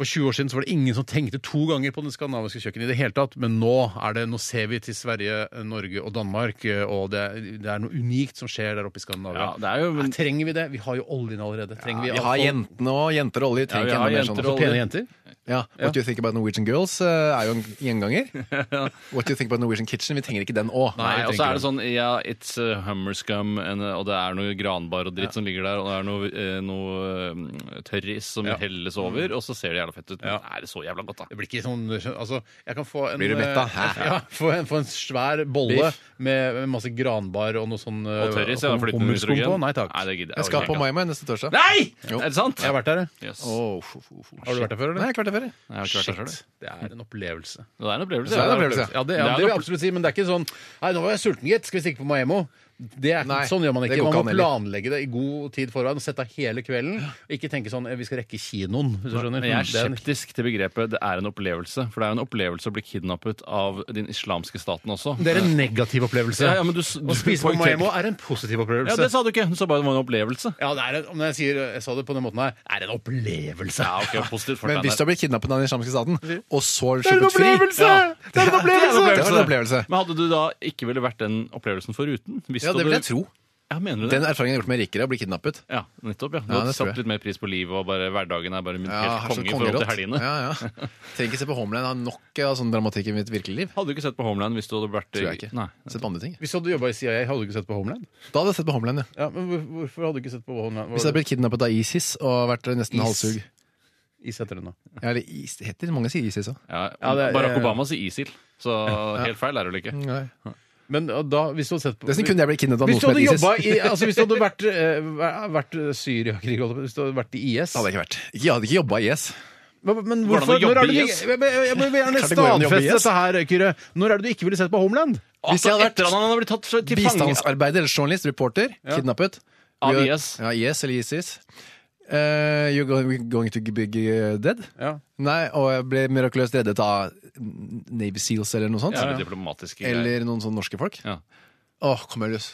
Speaker 2: for 20 år siden så var det ingen som tenkte to ganger på det skandinaviske kjøkken i det hele tatt, men nå er det, nå ser vi til Sverige, eh, Norge og Danmark, eh, og det, det er noe unikt som skjer der oppe i Skandinavia.
Speaker 4: Ja, det er jo-
Speaker 2: Nei, trenger vi det? Vi har jo oljen allerede. Trenger
Speaker 3: Vi
Speaker 2: vi,
Speaker 3: har
Speaker 2: alt-
Speaker 3: jentene og jenter og olje.
Speaker 4: Ja, vi
Speaker 3: Trenger
Speaker 4: har
Speaker 3: ikke enda
Speaker 4: jenter
Speaker 3: mer
Speaker 4: og
Speaker 3: sånn.
Speaker 4: olje.
Speaker 2: pene jenter?
Speaker 3: Ja. What do you think about Norwegian girls? eh, er jo en gjenganger. What do you think about Norwegian kitchen? Vi trenger ikke den òg.
Speaker 4: Nei,
Speaker 2: jeg
Speaker 4: og så
Speaker 2: tenker
Speaker 4: er det sånn Ja, it's uh, hummer scum, and, uh, og det er noe granbar og dritt som ligger der, og det er noe, eh, noe eh, tørris som
Speaker 2: Ja.
Speaker 4: helles over, og så ser det jævla fett ut. Men
Speaker 2: Ja.
Speaker 4: er det så jævla godt, da?
Speaker 2: Det blir ikke sånn altså, jeg kan få en,
Speaker 3: Blir du mett da?
Speaker 2: eh, Ja, få en, få en svær bolle
Speaker 3: Biff.
Speaker 2: med, med masse granbar og noe sånn eh,
Speaker 4: Og tørris, ja.
Speaker 2: hum-
Speaker 4: flytende
Speaker 2: hummuskum
Speaker 4: hydrogen.
Speaker 2: på. Nei takk.
Speaker 4: Nei, det gidder jeg
Speaker 3: Jeg skal på
Speaker 4: orker ikke.
Speaker 2: sånn-
Speaker 3: Mai Mai neste torsdag.
Speaker 4: Nei!
Speaker 3: Jo.
Speaker 4: Er det sant?
Speaker 2: Jeg har vært der, jeg.
Speaker 4: Yes.
Speaker 3: Åh, fu, fu, fu.
Speaker 2: Har du vært der før, eller?
Speaker 3: Nei, jeg har ikke vært der før. jeg.
Speaker 4: Jeg har ikke vært der selv, jeg.
Speaker 2: Det er en opplevelse.
Speaker 4: Det er en opplevelse.
Speaker 3: Det er en
Speaker 4: ja.
Speaker 3: opplevelse.
Speaker 2: Ja, det,
Speaker 4: Det er
Speaker 2: ja,
Speaker 4: en
Speaker 2: det vil jeg
Speaker 4: opplevelse.
Speaker 2: absolutt si, men det er ikke sånn Nei, nå var jeg sulten, gitt. Skal vi stikke på Maemo? Det er,
Speaker 3: Nei,
Speaker 2: sånn gjør man
Speaker 3: det
Speaker 2: ikke.
Speaker 3: går
Speaker 2: Man
Speaker 3: ikke
Speaker 2: må
Speaker 3: an
Speaker 2: planlegge det i god tid forveien og sette av hele kvelden. Og ikke tenke sånn eh, Vi skal rekke kinoen, hvis du skjønner.
Speaker 4: Men jeg
Speaker 2: Det er
Speaker 4: er
Speaker 2: en-
Speaker 4: skeptisk til begrepet 'det er en opplevelse'. For det er jo en opplevelse å bli kidnappet av den islamske staten også.
Speaker 2: det er en negativ opplevelse.
Speaker 4: Ja, ja, men du s- du
Speaker 2: Å spise på
Speaker 4: poengterte-
Speaker 2: Maemo er en positiv opplevelse.
Speaker 4: Ja, det sa du ikke! Du sa bare det var en opplevelse.
Speaker 2: Ja, det er en, når jeg, sier, jeg sa det på den måten her, er det en opplevelse.
Speaker 4: Ja, ok, positivt for
Speaker 3: Men
Speaker 4: deg
Speaker 3: hvis du
Speaker 4: der.
Speaker 3: har blitt kidnappet av den islamske staten, og så
Speaker 2: det er en
Speaker 3: sluppet fri
Speaker 2: opplevelse!
Speaker 4: Ja.
Speaker 2: Det er en opplevelse!
Speaker 3: Det var en opplevelse.
Speaker 4: Men hadde du da ikke ville vært den opplevelsen foruten? Hvis
Speaker 3: Ja, det vil jeg tro.
Speaker 4: Ja, mener du det?
Speaker 3: Den erfaringen jeg har gjort med rikere, å bli kidnappet.
Speaker 4: Ja, nettopp, ja. Du
Speaker 3: Ja,
Speaker 4: hadde
Speaker 3: det tror
Speaker 4: satt
Speaker 3: jeg.
Speaker 4: litt mer pris på livet, og bare hverdagen er bare
Speaker 3: Ja,
Speaker 4: helt
Speaker 3: her så
Speaker 4: konge i forhold til
Speaker 3: kongerått.
Speaker 4: helgene.
Speaker 3: Ja, ja. Trenger ikke se på Homeland. Har nok av sånn dramatikk i mitt virkelige liv.
Speaker 4: Hadde du ikke sett på Homeland hvis du hadde vært
Speaker 3: Tror jeg ikke.
Speaker 4: Nei.
Speaker 3: Sett på andre ting.
Speaker 2: Hvis du hadde jobba i CIA, hadde du ikke sett på Homeland?
Speaker 3: Da hadde jeg sett på Homeland, ja.
Speaker 2: Ja, men hvor- Hvorfor hadde du ikke sett på Homeland?
Speaker 3: Hvis jeg hadde blitt kidnappet av ISIS og vært nesten
Speaker 2: Is.
Speaker 3: halshugg.
Speaker 2: Is heter det nå.
Speaker 3: Ja, eller is, det heter mange sier ISIS òg.
Speaker 4: Ja,
Speaker 2: Ja, det er-
Speaker 4: Barack Obama sier ISIL, så helt feil er det vel ikke?
Speaker 3: Nesten
Speaker 2: Men ja, da, hvis du hadde sett på
Speaker 3: kunne jeg blitt kidnappet av
Speaker 2: Hvis du hadde
Speaker 3: noen som het ISIS.
Speaker 2: jobba i altså, Hvis du hadde vært, eh, vært eh, Syriakrig, holdt jeg på å si, hvis du hadde vært i IS
Speaker 3: Det hadde jeg ikke vært. Ikke- Jeg hadde ikke jobba i IS.
Speaker 2: Hva- Men
Speaker 4: Hvordan
Speaker 2: hvorfor
Speaker 4: å jobbe
Speaker 2: når er det
Speaker 4: i
Speaker 2: du,
Speaker 4: IS?
Speaker 2: jeg, jeg, jeg må gjerne
Speaker 3: Klart det går an å jobbe i
Speaker 2: stadfeste
Speaker 3: IS.
Speaker 2: dette her, Kyrre. Når er det du ikke ville sett på Homeland?
Speaker 3: Hvis jeg
Speaker 4: Altså,
Speaker 3: hadde vært
Speaker 4: etter at han hadde blitt tatt fra- til fange
Speaker 3: Bistandsarbeider eller journalist, reporter, kidnappet.
Speaker 4: Av
Speaker 3: You-
Speaker 4: IS.
Speaker 3: Ja, IS eller ISIS. Eh, you're going, going to be dead?
Speaker 2: Ja.
Speaker 3: Nei, og jeg ble mirakuløst reddet av Navy Seals eller noe sånt.
Speaker 4: ja, ja. diplomatiske greier.
Speaker 3: Eller noen sånne norske folk.
Speaker 4: Ja.
Speaker 3: Åh, kom jeg løs.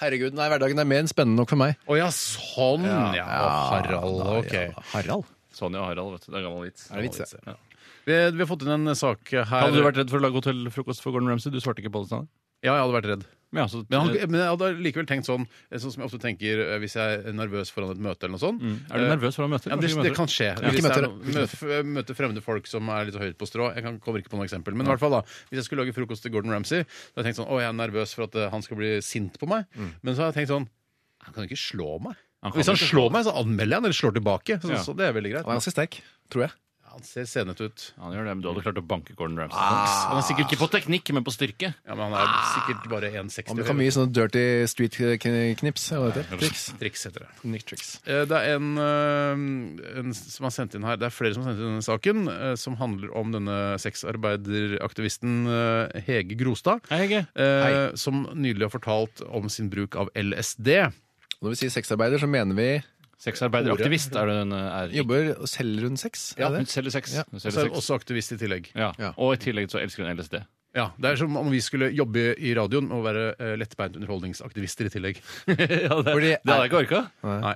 Speaker 3: Herregud, nei, hverdagen er mer enn spennende nok for meg.
Speaker 2: Å ja, sånn! Ja, Harald.
Speaker 3: da,
Speaker 2: Ok.
Speaker 3: ja. Harald?
Speaker 4: Sonja og Harald, vet du. Det er gammel vits.
Speaker 3: Er det vits,
Speaker 4: Gammel ja?
Speaker 2: Vi, vi har fått inn en sak her.
Speaker 4: Hadde du vært redd for å lage hotellfrokost for Gordon Ramsay? Du svarte ikke på det, Steinar.
Speaker 2: Ja, jeg hadde vært redd.
Speaker 4: Men, Eh, ja, så-
Speaker 2: Men, han, men jeg hadde likevel tenkt sånn, sånn som jeg ofte tenker eh, hvis jeg er nervøs foran et møte eller noe sånt.
Speaker 4: er du nervøs for å møte?
Speaker 2: Ja, det, det kan skje. Hvis jeg
Speaker 3: møter,
Speaker 2: er noe- møte, møte fremmede folk som er litt høyt på strå. Jeg kan, kommer ikke på noe eksempel. Men i hvert fall da, hvis jeg skulle lage frokost til Gordon Ramsay, så hadde jeg tenkt sånn, å, jeg er nervøs for at eh, han skal bli sint på meg. Men så har jeg tenkt sånn, han kan jo ikke slå meg.
Speaker 4: Mm. Han kan
Speaker 2: Hvis han
Speaker 4: ikke
Speaker 2: slår meg, så anmelder jeg han, eller slår tilbake. Så,
Speaker 4: Ja.
Speaker 2: så det er veldig greit.
Speaker 3: Han er ganske sterk, tror jeg.
Speaker 2: Han ser senet ut.
Speaker 4: Ja, han gjør det, men du hadde klart å banke Gordon Ramsay. Ah. Han er sikkert ikke på teknikk, men på styrke.
Speaker 2: Ja, men han er sikkert bare 1,60.
Speaker 3: Han kan mye sånne dirty street kn- knips. eller hva det heter.
Speaker 2: Triks. Triks heter det.
Speaker 3: Nick tricks.
Speaker 2: Eh, Det er en, eh, en som har sendt inn her Det er flere som har sendt inn denne saken, eh, som handler om denne sexarbeideraktivisten eh, Hege Grostad.
Speaker 4: Hei, Hege.
Speaker 2: eh, Som nylig har fortalt om sin bruk av LSD.
Speaker 3: Og Når vi sier sexarbeider, så mener vi
Speaker 4: Sexarbeideraktivist er hun eh, er.
Speaker 3: jobber og selger hun sex. Er
Speaker 4: Ja,
Speaker 3: det
Speaker 4: hun
Speaker 3: det?
Speaker 4: selger sex.
Speaker 3: Ja.
Speaker 4: Hun
Speaker 2: Og så er
Speaker 4: selger
Speaker 2: hun
Speaker 4: sex.
Speaker 2: Altså, også aktivist i tillegg.
Speaker 4: Ja.
Speaker 3: Ja.
Speaker 4: Og i tillegg så elsker hun LSD.
Speaker 2: Ja, Det er som om vi skulle jobbe i radioen og være eh, lettbeint underholdningsaktivister i tillegg.
Speaker 4: ja, det,
Speaker 3: Fordi-
Speaker 4: det hadde jeg ikke orka.
Speaker 2: Nei.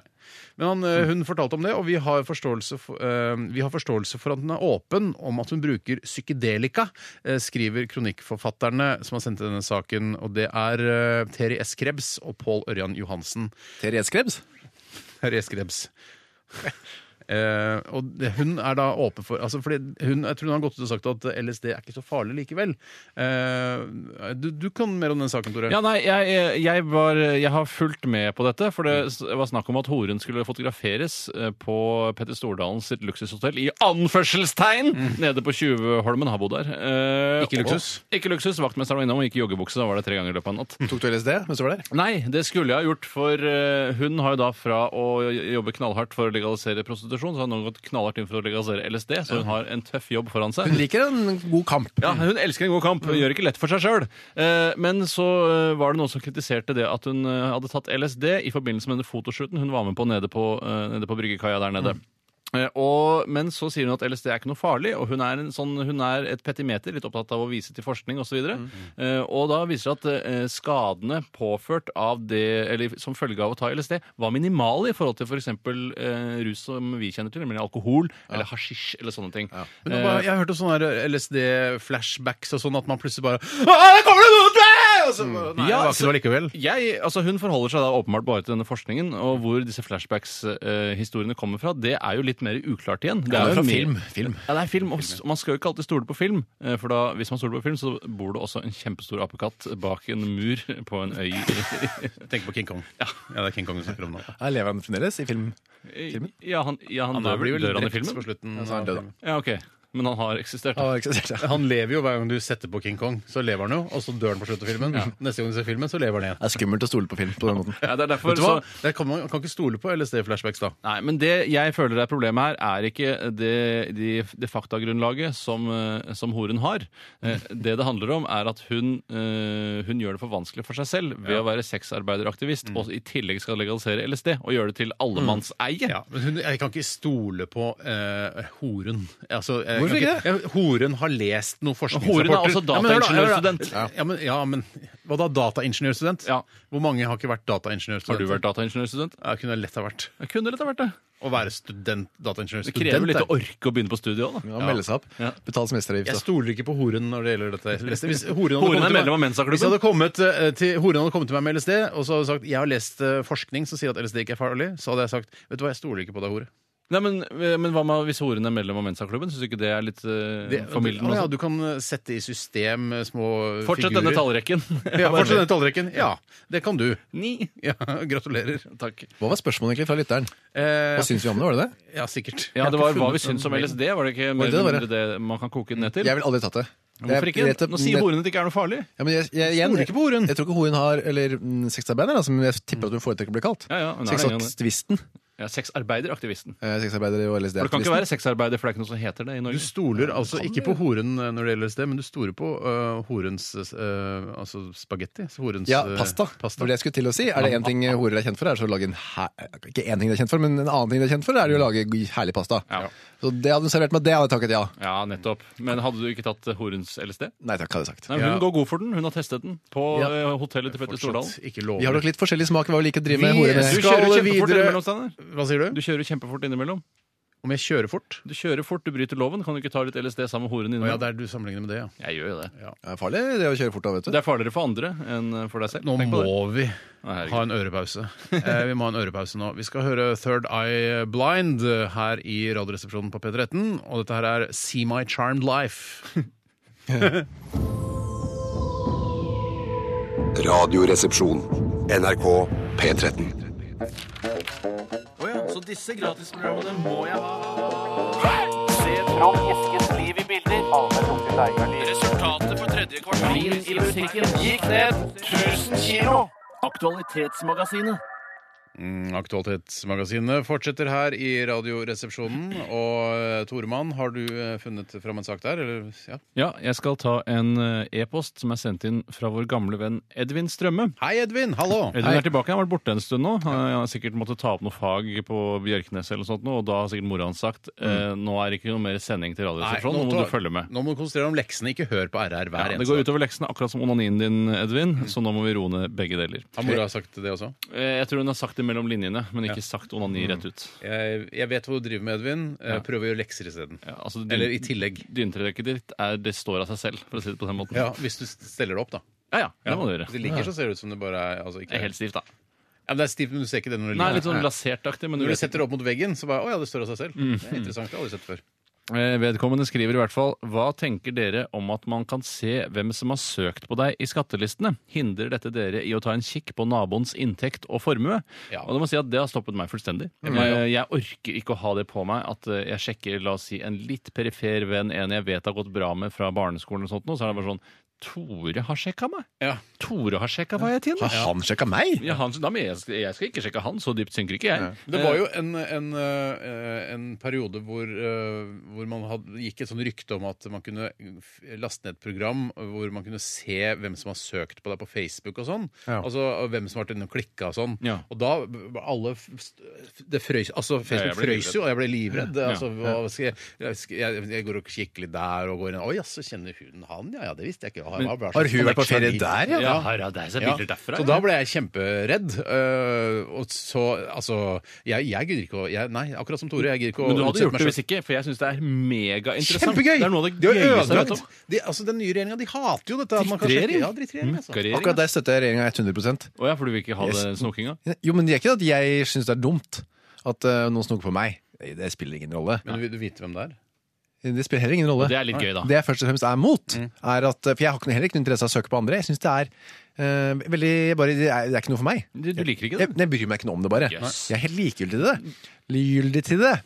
Speaker 2: Men han, eh, hun fortalte om det, og vi har, forståelse for, eh, vi har forståelse for at hun er åpen om at hun bruker psykedelika, eh, skriver kronikkforfatterne som har sendt denne saken, og det er eh, Terje S. Krebs og Pål Ørjan Johansen.
Speaker 3: Therese Krebs?
Speaker 2: Terje S. Krebs. Eh, og det, hun er da åpen for altså fordi hun, Jeg tror hun har gått ut og sagt at LSD er ikke så farlig likevel. Eh, du, du kan mer om den saken, Tore.
Speaker 4: Ja, nei, jeg, jeg, var, jeg har fulgt med på dette, for det s- var snakk om at horen skulle fotograferes eh, på Petter Stordalen sitt luksushotell i anførselstegn nede på Tjuvholmen. Har bodd der. Eh,
Speaker 2: Mm. Ikke
Speaker 4: og-
Speaker 2: luksus.
Speaker 4: Ikke luksus. Vaktmesteren var innom og gikk i joggebukse. Da var det tre ganger i løpet av en natt.
Speaker 3: Tok du LSD mens du var der?
Speaker 4: Nei, det skulle jeg ha gjort, for eh, hun har jo da fra å jobbe knallhardt for å legalisere prostitusjon prostitusjon, så har hun nå gått knallhardt inn for å legalisere LSD, så hun har en tøff jobb foran seg.
Speaker 3: Hun liker en god kamp.
Speaker 4: Ja, Hun elsker en god kamp, gjør ikke lett for seg sjøl. Men så eh, var det noen som kritiserte det at hun eh, hadde tatt LSD i forbindelse med denne fotoshooten hun var med på nede på, eh, nede på bryggekaia der nede. Eh, Og, men så sier hun at LSD er ikke noe farlig, og hun er, en sånn, hun er et petimeter, litt opptatt av å vise til forskning osv. Eh, og da viser det at eh, skadene påført av det, eller som følge av å ta LSD, var minimale i forhold til f.eks. eksempel eh, rus som vi kjenner til, nemlig alkohol eller hasjisj eller sånne ting.
Speaker 2: Men nå
Speaker 4: Eh,
Speaker 2: bare, jeg har hørt om sånne LSD-flashbacks og sånn at man plutselig bare Å, der kommer det noen til meg! Og så, bare, Nei,
Speaker 4: Mm. Ja,
Speaker 2: det var
Speaker 4: så-
Speaker 2: ikke noe likevel.
Speaker 4: Jeg, altså Hun forholder seg da åpenbart bare til denne forskningen. Og hvor disse flashbacks-historiene kommer fra, det er jo litt mer uklart igjen. Det
Speaker 3: Ja,
Speaker 4: er
Speaker 3: men
Speaker 4: jo
Speaker 3: fra
Speaker 4: mer-
Speaker 3: film, film.
Speaker 4: Ja, det er film. Og s- man skal jo ikke alltid stole på film. eh, For da, hvis man stoler på film, så bor det også en kjempestor apekatt bak en mur på en øy.
Speaker 2: Tenk på King Kong. Ja, det er King Kong vi snakker om nå.
Speaker 3: Her lever han fremdeles i film. Filmen?
Speaker 4: Ja, han, ja, han,
Speaker 2: Han
Speaker 4: dør,
Speaker 2: blir vel
Speaker 4: dør han i
Speaker 2: drept
Speaker 4: filmen?
Speaker 2: på slutten.
Speaker 3: Ja, så er Altså, han
Speaker 2: av
Speaker 3: død, da.
Speaker 2: filmen.
Speaker 4: Mm. Ja, ok. Men han har eksistert.
Speaker 3: Han har ikke sett det.
Speaker 2: Han lever jo hver gang du setter på King Kong, så lever han jo, og så dør han på slutten av filmen. Neste gang du ser filmen, så lever han igjen.
Speaker 3: Det er skummelt å stole på film på den måten.
Speaker 4: Ja, det er derfor
Speaker 2: Vet du hva?
Speaker 4: så-
Speaker 2: Det kan man kan ikke stole på LSD-flashbacks, da.
Speaker 4: Nei, men det jeg føler er problemet her, er ikke det, de, det faktagrunnlaget som, eh, som horen har. Eh, Det det handler om, er at hun, eh, hun gjør det for vanskelig for seg selv ved å være sexarbeideraktivist,
Speaker 2: Mm.
Speaker 4: og i tillegg skal legalisere LSD og gjøre det til allemannseie.
Speaker 2: Mm. Ja, men hun, jeg kan ikke stole på eh, horen. Altså, jeg
Speaker 3: Hvorfor
Speaker 2: kan jeg- horen har lest noen forskningsrapporter.
Speaker 4: Horen er også
Speaker 2: Ja, men hør da, hør da.
Speaker 4: dataingeniørstudent.
Speaker 2: Ja. Ja, men, ja, men hva da? Dataingeniørstudent?
Speaker 4: Ja.
Speaker 2: Hvor mange har ikke vært dataingeniørstudent?
Speaker 4: Har du vært dataingeniørstudent?
Speaker 2: Ja, kunne jeg lett ha vært.
Speaker 4: Jeg kunne lett ha vært det.
Speaker 2: Å være student, dataingeniørstudent.
Speaker 4: Det krever litt
Speaker 2: er-
Speaker 4: å orke å begynne på studiet òg, da.
Speaker 3: Ja, melde seg opp.
Speaker 4: Ja.
Speaker 3: Betale
Speaker 2: Jeg
Speaker 3: semesteravgift. da.
Speaker 2: stoler ikke på horen når det gjelder dette. LSD. Hvis horen,
Speaker 4: Horen
Speaker 2: kommet
Speaker 4: er
Speaker 2: til meg-
Speaker 4: medlem av Mensa-klubben.
Speaker 2: Hvis jeg hadde kommet, eh, til, horen hadde kommet til meg med LSD, og så hadde jeg sagt jeg har lest eh, forskning som sier at LSD ikke er farlig, så hadde jeg sagt vet du hva, jeg stoler ikke på deg, hore.
Speaker 4: Nei, men, eh, men hva med hvis horen er medlem av Mensa-klubben? Syns du ikke det er litt uh,
Speaker 2: Det-
Speaker 4: formildende?
Speaker 2: Å ja,
Speaker 4: også?
Speaker 2: du kan eh, sette i system eh, små
Speaker 4: Fortsett
Speaker 2: figurer.
Speaker 4: denne tallrekken.
Speaker 2: Ja, fortsett denne tallrekken. Ja, det kan du.
Speaker 4: Ni.
Speaker 2: Ja, gratulerer.
Speaker 4: Takk.
Speaker 3: Hva var spørsmålet egentlig fra lytteren?
Speaker 2: Eh,
Speaker 3: Hva syns vi om det? var det det?
Speaker 2: ja, sikkert.
Speaker 4: Ja, det
Speaker 2: Jeg har
Speaker 4: var
Speaker 2: ikke
Speaker 4: hva vi
Speaker 2: funnet
Speaker 4: syns
Speaker 2: den
Speaker 4: om LSD. Var det ikke mer
Speaker 3: Var det det
Speaker 4: eller
Speaker 3: det var,
Speaker 4: mindre det man kan koke det ned til?
Speaker 3: Jeg ville aldri tatt det.
Speaker 4: Hvorfor ikke?
Speaker 3: Jeg- jeg-
Speaker 4: Nå sier horene at det ikke er noe farlig.
Speaker 3: Ja, men jeg, jeg, jeg,
Speaker 2: Stoler ikke på horen.
Speaker 3: Jeg tror ikke horen har Eller mm, sexarbeider, da, som jeg tipper at hun foretrekker å bli kalt.
Speaker 4: Ja, ja, hun er enig i det.
Speaker 3: Sexaktivisten.
Speaker 4: Ja, Sexarbeideraktivisten.
Speaker 3: Eh, Sexarbeider og
Speaker 4: For det kan ikke
Speaker 3: LSD-aktivisten.
Speaker 4: være sexarbeider, for det er ikke noe som heter det i
Speaker 2: Du
Speaker 4: Norge.
Speaker 2: stoler altså ikke på horen eh, når det gjelder LSD, men du stoler på eh, horens eh, altså spagetti. så Horens
Speaker 3: Ja,
Speaker 2: eh,
Speaker 3: pasta.
Speaker 2: pasta.
Speaker 3: For det jeg skulle til å si, er det én ting horer er kjent for, er det å lage en hæ... Ikke én ting de er kjent for, men en annen ting de er kjent for, er det å lage herlig pasta.
Speaker 4: Ja.
Speaker 3: Så det hadde hun servert meg, det hadde jeg takket ja.
Speaker 4: Ja, nettopp. Men hadde du ikke tatt eh, horens LSD?
Speaker 3: Nei takk, hadde jeg sagt.
Speaker 4: Nei,
Speaker 2: Ja.
Speaker 4: hun går god for den. Hun har testet den på
Speaker 3: Ja.
Speaker 4: eh, hotellet til Petter Stordalen.
Speaker 2: Fortsatt ikke lover.
Speaker 3: Vi har nok litt forskjellig smak i hva vi liker å drive
Speaker 2: Vi
Speaker 3: med horer
Speaker 4: Du
Speaker 3: med.
Speaker 2: skal-
Speaker 4: kjører jo kjempefort
Speaker 2: videre-
Speaker 4: innimellom, Steinar.
Speaker 2: Hva sier du?
Speaker 4: Du kjører kjempefort innimellom.
Speaker 2: Om jeg kjører fort?
Speaker 4: Du kjører fort, du bryter loven. Kan du ikke ta litt LSD sammen med horen
Speaker 2: Å ja,
Speaker 4: innimellom?
Speaker 2: det er du sammenligner med det, ja.
Speaker 4: Jeg gjør jo det.
Speaker 3: Det er farlig det å kjøre fort da, vet du.
Speaker 4: Det er farligere for andre enn eh, for deg selv.
Speaker 2: Nå
Speaker 4: Tenk på det.
Speaker 2: må vi
Speaker 4: Nei, herregud.
Speaker 2: ha en ørepause. Eh, vi må ha en ørepause nå. Vi skal høre Third Eye Blind eh, her i Radioresepsjonen på P13, og dette her er See My Charmed Life.
Speaker 5: Radioresepsjon. NRK P13.
Speaker 9: Resultatet for tredje kvartal i musikken gikk ned 1000 kilo. Aktualitetsmagasinet.
Speaker 2: Mm, Aktualitetsmagasinet fortsetter her i Radioresepsjonen. Og eh, Toremann, har du eh, funnet fram en sak der? Eller? Ja.
Speaker 4: Ja, jeg skal ta en eh, e-post som er sendt inn fra vår gamle venn Edvin Strømme.
Speaker 2: Hei, Edvin! Hallo!
Speaker 4: Edvin er tilbake, han har vært borte en stund nå. Han han har sikkert måttet ta opp noe fag på Bjørknes eller noe sånt, nå, og da har sikkert mora hans sagt eh, nå er det ikke noe mer sending til
Speaker 2: Nei,
Speaker 4: Radioresepsjonen, nå må
Speaker 2: tar-
Speaker 4: du følge med.
Speaker 2: nå må du konsentrere deg om leksene, ikke hør på RR
Speaker 4: Ja,
Speaker 2: hver
Speaker 4: det
Speaker 2: eneste
Speaker 4: går
Speaker 2: dag.
Speaker 4: utover leksene, akkurat som onanien din, Edvin, så nå må vi roe ned begge deler.
Speaker 2: Har mora sagt det også?
Speaker 4: Mm. Eh, Jeg tror hun har sagt det mellom linjene, men ikke sagt onani rett ut.
Speaker 2: Jeg, jeg vet hva du driver med, Edvin. Eh, Prøv å gjøre lekser isteden.
Speaker 4: Ja, altså, dyn-
Speaker 2: Eller i tillegg.
Speaker 4: Dyntrekket ditt er, det står av seg selv, for å si det på den måten.
Speaker 2: Ja, hvis du steller det opp, da.
Speaker 4: ja, ja, det må du gjøre.
Speaker 2: Hvis det ligger, så ser det ut som det bare er altså,
Speaker 4: Det
Speaker 2: ikke
Speaker 4: er helt stivt, da.
Speaker 2: ja, men Det er stivt, men du ser ikke det når det
Speaker 4: Nei, litt sånn Mm.
Speaker 2: Nei.
Speaker 4: lasertaktig, men du
Speaker 2: Når du
Speaker 4: vet
Speaker 2: setter det opp mot veggen, så bare Å ja, det står av seg selv. Det er interessant. Det har jeg aldri sett før.
Speaker 4: Eh, Vedkommende skriver i hvert fall Hva tenker dere om at man kan se hvem som har søkt på deg i skattelistene? Hindrer dette dere i å ta en kikk på naboens inntekt og formue?
Speaker 2: Ja.
Speaker 4: Og det må jeg si at det har stoppet meg fullstendig. Eh, Jeg orker ikke å ha det på meg at eh, jeg sjekker la oss si, en litt perifer venn, en jeg vet har gått bra med fra barneskolen, og sånt, noe, så er det bare sånn Tore har sjekka meg.
Speaker 2: Ja.
Speaker 4: Tore har sjekka hva jeg tjener.
Speaker 3: Har han sjekka meg?
Speaker 4: Ja, han, da, men jeg, skal, jeg skal ikke sjekke han, så dypt synker ikke jeg.
Speaker 3: Eh,
Speaker 2: Det var jo en, en, eh, en periode hvor, eh, hvor man hadde, gikk et sånn rykte om at man kunne f- laste ned et program eh, hvor man kunne se hvem som har søkt på deg på Facebook og sånn.
Speaker 3: Ja.
Speaker 2: Altså hvem som har vært inne og klikka og sånn.
Speaker 4: Ja.
Speaker 2: Og da var alle f- st- det frøys, altså Facebook
Speaker 4: jeg ble
Speaker 2: frøys jo, og jeg ble livredd. Altså, hva skal jeg, jeg, skal- jeg, jeg går og kikker litt der og går inn Oi, jaså, kjenner hun han? Ja, ja, det visste jeg ikke. Har, har
Speaker 3: Har hun vært på ferie der, ja?
Speaker 4: Eh, Ja, her er det er så bilder derfra.
Speaker 2: så da ble jeg kjemperedd. øh, og så, altså Jeg, jeg gidder ikke å jeg, Nei, akkurat som Tore. Jeg gidder ikke å
Speaker 4: Men du hadde
Speaker 2: motsette
Speaker 4: gjort
Speaker 2: meg
Speaker 4: det
Speaker 2: selv.
Speaker 4: hvis ikke, for jeg syns det er megainteressant.
Speaker 2: Kjempegøy!
Speaker 4: Det er noe av det
Speaker 2: De har
Speaker 4: gøyeste jeg vet
Speaker 2: ødelagt.
Speaker 4: om.
Speaker 2: De, altså, den nye regjeringa, de hater jo dette. at man kan
Speaker 4: Drittregjering?
Speaker 2: sjekke- Ja, drittregjering, altså.
Speaker 4: Mørkeregjering.
Speaker 3: Akkurat der støtter jeg regjeringa 100
Speaker 4: Å ja, for du vil ikke ha det snokinga?
Speaker 3: Jo, men det er ikke at jeg syns det er dumt at eh, noen snoker på meg. Det det spiller ingen rolle.
Speaker 2: Men du vil du vite hvem det er?
Speaker 3: Det spiller heller ingen rolle.
Speaker 4: Det er litt gøy, da.
Speaker 3: Det jeg først og fremst er mot,
Speaker 4: Mm.
Speaker 3: er at For jeg har ikke- heller ikke noe interesse av å søke på andre. Jeg syns det er eh, veldig jeg bare, det, er, det er ikke noe for meg.
Speaker 4: Du, du liker ikke det?
Speaker 3: Jeg, jeg bryr meg ikke noe om det, bare.
Speaker 4: Yes. Mm.
Speaker 3: Jeg er helt likegyldig til det. Likegyldig til det.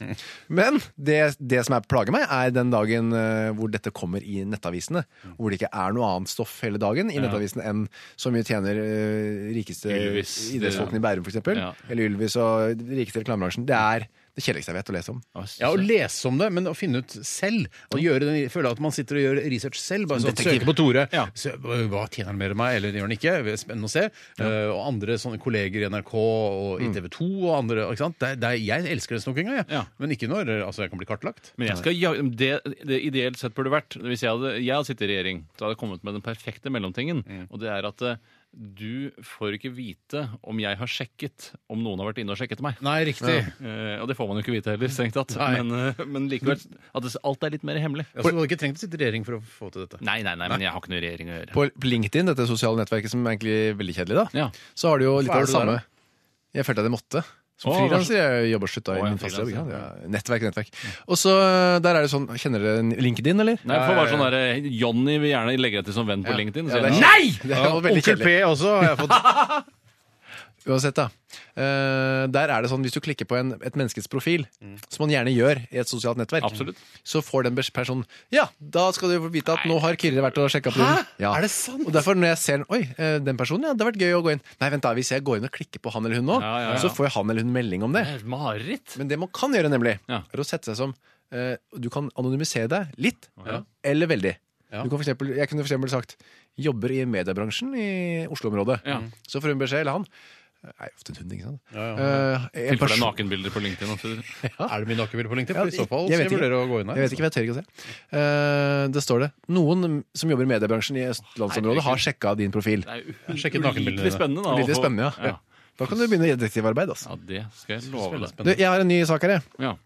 Speaker 3: Men det, det som er plager meg, er den dagen eh, hvor dette kommer i nettavisene.
Speaker 4: Mm.
Speaker 3: Hvor det ikke er noe annet stoff hele dagen i nettavisene enn så mye tjener eh, rikeste
Speaker 4: Ylvis.
Speaker 3: idrettsfolkene i Bærum, f.eks. eksempel
Speaker 4: Ja.
Speaker 3: Eller Ylvis og rikeste reklamebransjen. Det er det kjedeligste jeg vet å lese om.
Speaker 2: Ja, Å lese om det, men å finne ut selv. Og gjøre den, føle at man sitter og gjør research selv. Bare sånn,
Speaker 3: detektiv.
Speaker 2: Søke på Tore.
Speaker 4: Ja.
Speaker 2: Sø- hva tjener han mer enn meg, eller gjør han ikke? Det er Spennende å se. Eh, og andre sånne kolleger i NRK og i TV 2 og andre. Ikke sant? Det, er- det, er- jeg elsker den snokinga, jeg.
Speaker 4: Ja.
Speaker 2: Men ikke når altså, jeg kan bli kartlagt.
Speaker 4: Men jeg skal, ja- det, det ideelt sett burde vært Hvis jeg hadde, jeg hadde sittet i regjering, så hadde jeg kommet med den perfekte mellomtingen. Og det er at eh, du får ikke vite om jeg har sjekket om noen har vært inne og sjekket meg.
Speaker 2: Nei, riktig.
Speaker 4: Eh, og det får man jo ikke vite heller, strengt tatt.
Speaker 2: Nei.
Speaker 4: Men, eh, men likevel at det, alt er litt mer hemmelig.
Speaker 2: Ja, så du hadde ikke trengt å sitte i regjering for å få til dette?
Speaker 4: Nei, nei, nei, men jeg har ikke noe i regjering å gjøre.
Speaker 3: På LinkedIn, dette sosiale nettverket som er egentlig veldig kjedelig, da,
Speaker 4: Ja.
Speaker 3: så har du jo litt
Speaker 2: Hvorfor
Speaker 3: av
Speaker 2: er du
Speaker 3: det
Speaker 2: der,
Speaker 3: samme. Jeg følte at jeg måtte. Som
Speaker 4: Å,
Speaker 3: frilanser jeg jobber slutta i
Speaker 4: Å, ja,
Speaker 3: min faste jobb. ikke sant?
Speaker 4: frilanser,
Speaker 3: Ja, nettverk, nettverk. Og så der er det sånn Kjenner dere LinkedIn, eller?
Speaker 4: Nei, for bare sånn der, eh, Johnny vil gjerne legge deg til som venn på LinkedIn. Så
Speaker 3: det er-
Speaker 4: jeg, nei!
Speaker 3: Det er jo veldig
Speaker 2: Onkel
Speaker 3: kjedelig.
Speaker 2: P også har jeg fått.
Speaker 3: Uansett, da. Eh, der er det sånn hvis du klikker på en, et menneskes profil, som man gjerne gjør i et sosialt nettverk,
Speaker 4: Absolutt.
Speaker 3: så får den bes- personen Ja, da skal du få vite at nå har Kyrre vært og sjekka på den. Ja.
Speaker 2: Er det sant?
Speaker 3: Og derfor når jeg ser den Oi, eh, den personen, ja, det har vært gøy å gå inn. Nei, vent da, hvis jeg går inn og klikker på han eller hun nå,
Speaker 4: Ja, ja, ja.
Speaker 3: så får jo han eller hun melding om det.
Speaker 4: Det er et Mareritt.
Speaker 3: Men det man kan gjøre, nemlig,
Speaker 4: Ja.
Speaker 3: er å sette seg som eh, Du kan anonymisere deg litt, eller veldig.
Speaker 2: Ja.
Speaker 3: Du kan for eksempel, jeg kunne for eksempel sagt jobber i mediebransjen i Oslo-området.
Speaker 4: Ja.
Speaker 3: Så får hun beskjed, eller han Nei, ofte en hund, ikke sant?
Speaker 2: Ja,
Speaker 3: Eh, en
Speaker 4: Tilfelle det er
Speaker 3: person-
Speaker 4: nakenbilder på LinkedIn. altså. og så videre.
Speaker 2: Er det mye nakkebilder på LinkedIn?
Speaker 3: Ja,
Speaker 2: For I så fall skal
Speaker 3: jeg vet
Speaker 2: jeg
Speaker 3: ikke.
Speaker 2: vurdere å gå inn
Speaker 3: jeg
Speaker 2: der.
Speaker 3: vet ikke, for jeg tør ikke å se. Eh, det står det. Noen som jobber i mediebransjen i østlandsområdet, har sjekka din profil.
Speaker 4: Det er jo
Speaker 2: Sjekket nakenbildene
Speaker 4: ulidelig spennende. Da, å
Speaker 3: Litt
Speaker 4: få-
Speaker 3: spennende, ja. Da kan du begynne i detektivarbeid. Altså.
Speaker 4: Ja, det skal jeg love deg.
Speaker 3: Du, jeg har en ny sak her. jeg.
Speaker 4: Ja.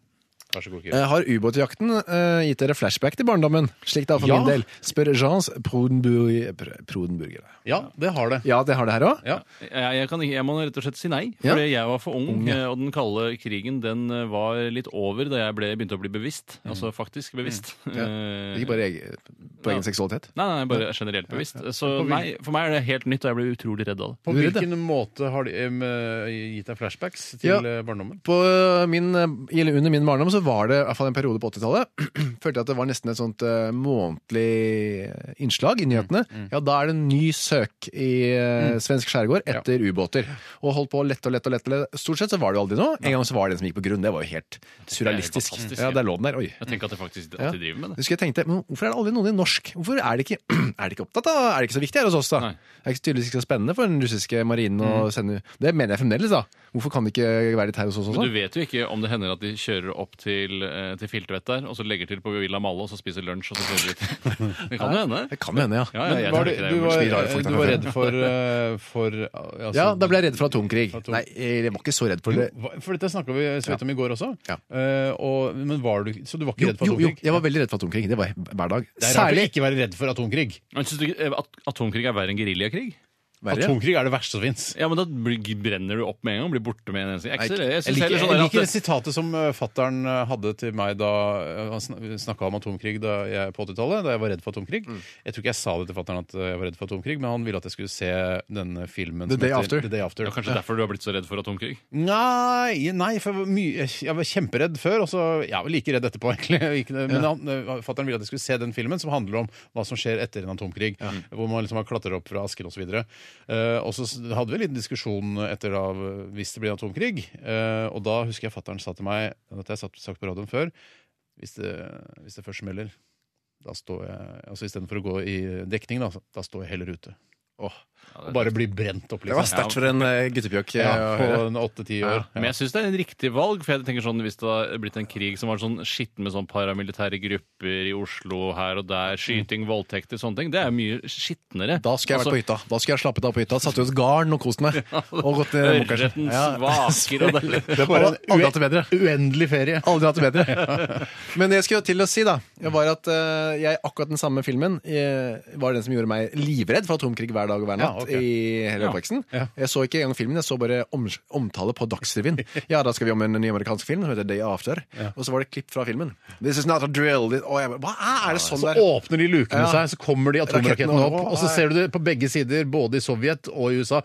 Speaker 2: Vær så god, Kyrre.
Speaker 3: Eh, Har ubåtjakten eh, gitt dere flashback til barndommen? Slik det er for
Speaker 2: Ja.
Speaker 3: min del. Spør Jeans Prodenburg- Pr- Prodenburger.
Speaker 2: Ja, det har det.
Speaker 3: Ja, det har det her òg.
Speaker 2: Ja.
Speaker 4: Jeg, jeg, kan, ikke- jeg må rett og slett si nei,
Speaker 3: Ja.
Speaker 4: fordi jeg var for ung.
Speaker 3: Ung, ja.
Speaker 4: eh, Og den kalde krigen den eh, var litt over da jeg ble, begynte å bli bevisst. Altså faktisk bevisst. Eh,
Speaker 3: Ikke bare egen, på egen
Speaker 4: Ja.
Speaker 3: seksualitet.
Speaker 4: Nei, nei, bare generelt bevisst. Så nei, for meg er det helt nytt, og jeg ble utrolig redd av det.
Speaker 2: På
Speaker 3: Du er redd,
Speaker 2: hvilken måte har de em, eh, gitt deg flashbacks til
Speaker 3: Ja.
Speaker 2: eh, barndommen?
Speaker 3: På min, eh, eller under min barndom så var det i hvert fall en periode på 80-tallet. Følte jeg at det var nesten et sånt eh, månedlig eh, innslag i nyhetene. Ja, da er det en ny søk i eh, svensk skjærgård etter ubåter. Og holdt på lett og lett og lett. og lett. Stort sett så var det jo aldri noe. En gang så var det en som gikk på grunn. Det var jo helt surrealistisk.
Speaker 4: fantastisk,
Speaker 3: Ja,
Speaker 4: ja.
Speaker 3: der lå den der. Oi.
Speaker 4: Jeg tenker at det faktisk
Speaker 3: Ja.
Speaker 4: at de driver med det.
Speaker 3: Husker jeg tenkte, men Hvorfor er det aldri noen i norsk? Hvorfor er det ikke, er det ikke opptatt av? Er det ikke så viktig her hos oss, da?
Speaker 4: Nei.
Speaker 3: Det er ikke tydeligvis ikke så spennende for den russiske marinen å
Speaker 2: Mm.
Speaker 3: sende Det mener jeg fremdeles, da. Hvorfor kan det ikke være litt her hos oss også?
Speaker 4: Men du vet jo ikke om det hender at de kjører opp til, eh, til Filtvet der, og så legger til på Villa Malle, og så spiser lunsj, og så kjører de ut. Det kan jo hende.
Speaker 3: Det kan jo hende, ja.
Speaker 4: Ja, ja, jeg
Speaker 2: Var
Speaker 4: tror
Speaker 2: det,
Speaker 4: ikke det er
Speaker 2: du,
Speaker 4: mulig.
Speaker 2: var,
Speaker 3: mye rare folk der
Speaker 2: du var
Speaker 3: nede.
Speaker 2: redd for, eh, for eh, altså,
Speaker 3: Ja, da ble jeg redd for atomkrig.
Speaker 2: Atom-
Speaker 3: Nei, jeg var ikke så redd for det.
Speaker 2: Hva- For dette snakka vi så vidt om i går også.
Speaker 3: Ja.
Speaker 2: Eh, og, men var du, så du var ikke
Speaker 3: Jo,
Speaker 2: redd for
Speaker 3: jo, jo,
Speaker 2: atomkrig?
Speaker 3: jeg var veldig redd for atomkrig. Det var jeg hver dag.
Speaker 2: Det er rart å
Speaker 3: Særlig
Speaker 2: ikke være redd for atomkrig.
Speaker 4: Men Syns du ikke eh, at atomkrig er verre enn geriljakrig?
Speaker 3: verre.
Speaker 2: Atomkrig er det verste som fins.
Speaker 4: Ja, men da blir- brenner du opp med en gang. Blir borte med en eneste. Jeg,
Speaker 3: Nei,
Speaker 4: jeg, jeg,
Speaker 2: Jeg
Speaker 4: synes
Speaker 2: liker,
Speaker 4: heller
Speaker 2: jeg
Speaker 4: sånn der at
Speaker 2: liker det
Speaker 4: det-
Speaker 2: sitatet som fattern hadde til meg da eh, han snakka om atomkrig da jeg, på 80-tallet, da jeg var redd for atomkrig.
Speaker 4: Mm.
Speaker 2: Jeg tror ikke jeg sa det til fattern at eh, jeg var redd for atomkrig, men han ville at jeg skulle se denne filmen
Speaker 3: The
Speaker 2: som
Speaker 3: Day
Speaker 2: heter
Speaker 3: After.
Speaker 2: The Day After.
Speaker 4: Det er kanskje derfor du har blitt så redd for atomkrig?
Speaker 2: Nei, nei for jeg var mye, jeg var kjemperedd før, og så jeg var like redd etterpå, egentlig. Ikke det- Men han- eh, fatteren ville at jeg skulle se den filmen som handler om hva som skjer etter en atomkrig. Hvor man liksom har klatret opp fra asken osv. Uh, og så s- hadde vi en liten diskusjon etter da, hvis det blir en atomkrig. Eh, og da husker jeg fattern sa til meg Dette har jeg satt- sagt på radioen før. Hvis det, hvis det først smeller, da står jeg Altså istedenfor å gå i dekning, da, da står jeg heller ute. Og bare blir brent opp,
Speaker 3: Det var
Speaker 2: liksom.
Speaker 3: sterkt for en eh, guttepjokk. eh,
Speaker 2: Ja,
Speaker 3: å
Speaker 2: på
Speaker 3: høre.
Speaker 2: en åtte-ti år.
Speaker 4: Men jeg syns det er en riktig valg. For jeg tenker sånn, Hvis det hadde blitt en krig som var sånn skitten med sånn paramilitære grupper i Oslo her og der, skyting, voldtekter, sånne ting, det er mye skitnere. Altså,
Speaker 3: Da skulle jeg vært på hytta.
Speaker 2: Altså-
Speaker 3: Da skulle jeg slappet av på hytta, satt ut garn og kost meg. Og gått ned i
Speaker 4: Ørreten
Speaker 3: mokkersen.
Speaker 4: svaker og det
Speaker 2: Det er bare en
Speaker 3: Aldri hatt det bedre.
Speaker 2: uen- uendelig ferie.
Speaker 3: Aldri hatt det bedre. Men det jeg skulle til å si, da, var at eh, jeg akkurat den samme filmen eh, var den som gjorde meg livredd for atomkrig hver dag og hver natt
Speaker 2: Ja, ok.
Speaker 3: i hele oppveksten.
Speaker 2: Ja.
Speaker 3: Jeg så ikke engang filmen, jeg så bare om, omtale på Dagsrevyen. Ja, da skal vi om en ny amerikansk film som heter Day After. Og så var det klipp fra filmen. This is not a drill. This, og jeg bare, Hva er det sånn
Speaker 2: Så
Speaker 3: der?
Speaker 2: åpner de lukene
Speaker 3: Ja.
Speaker 2: seg, så kommer de atomrakettene
Speaker 3: Rakettene
Speaker 2: opp,
Speaker 3: opp.
Speaker 2: og så ser du det på begge sider, både i Sovjet og i USA.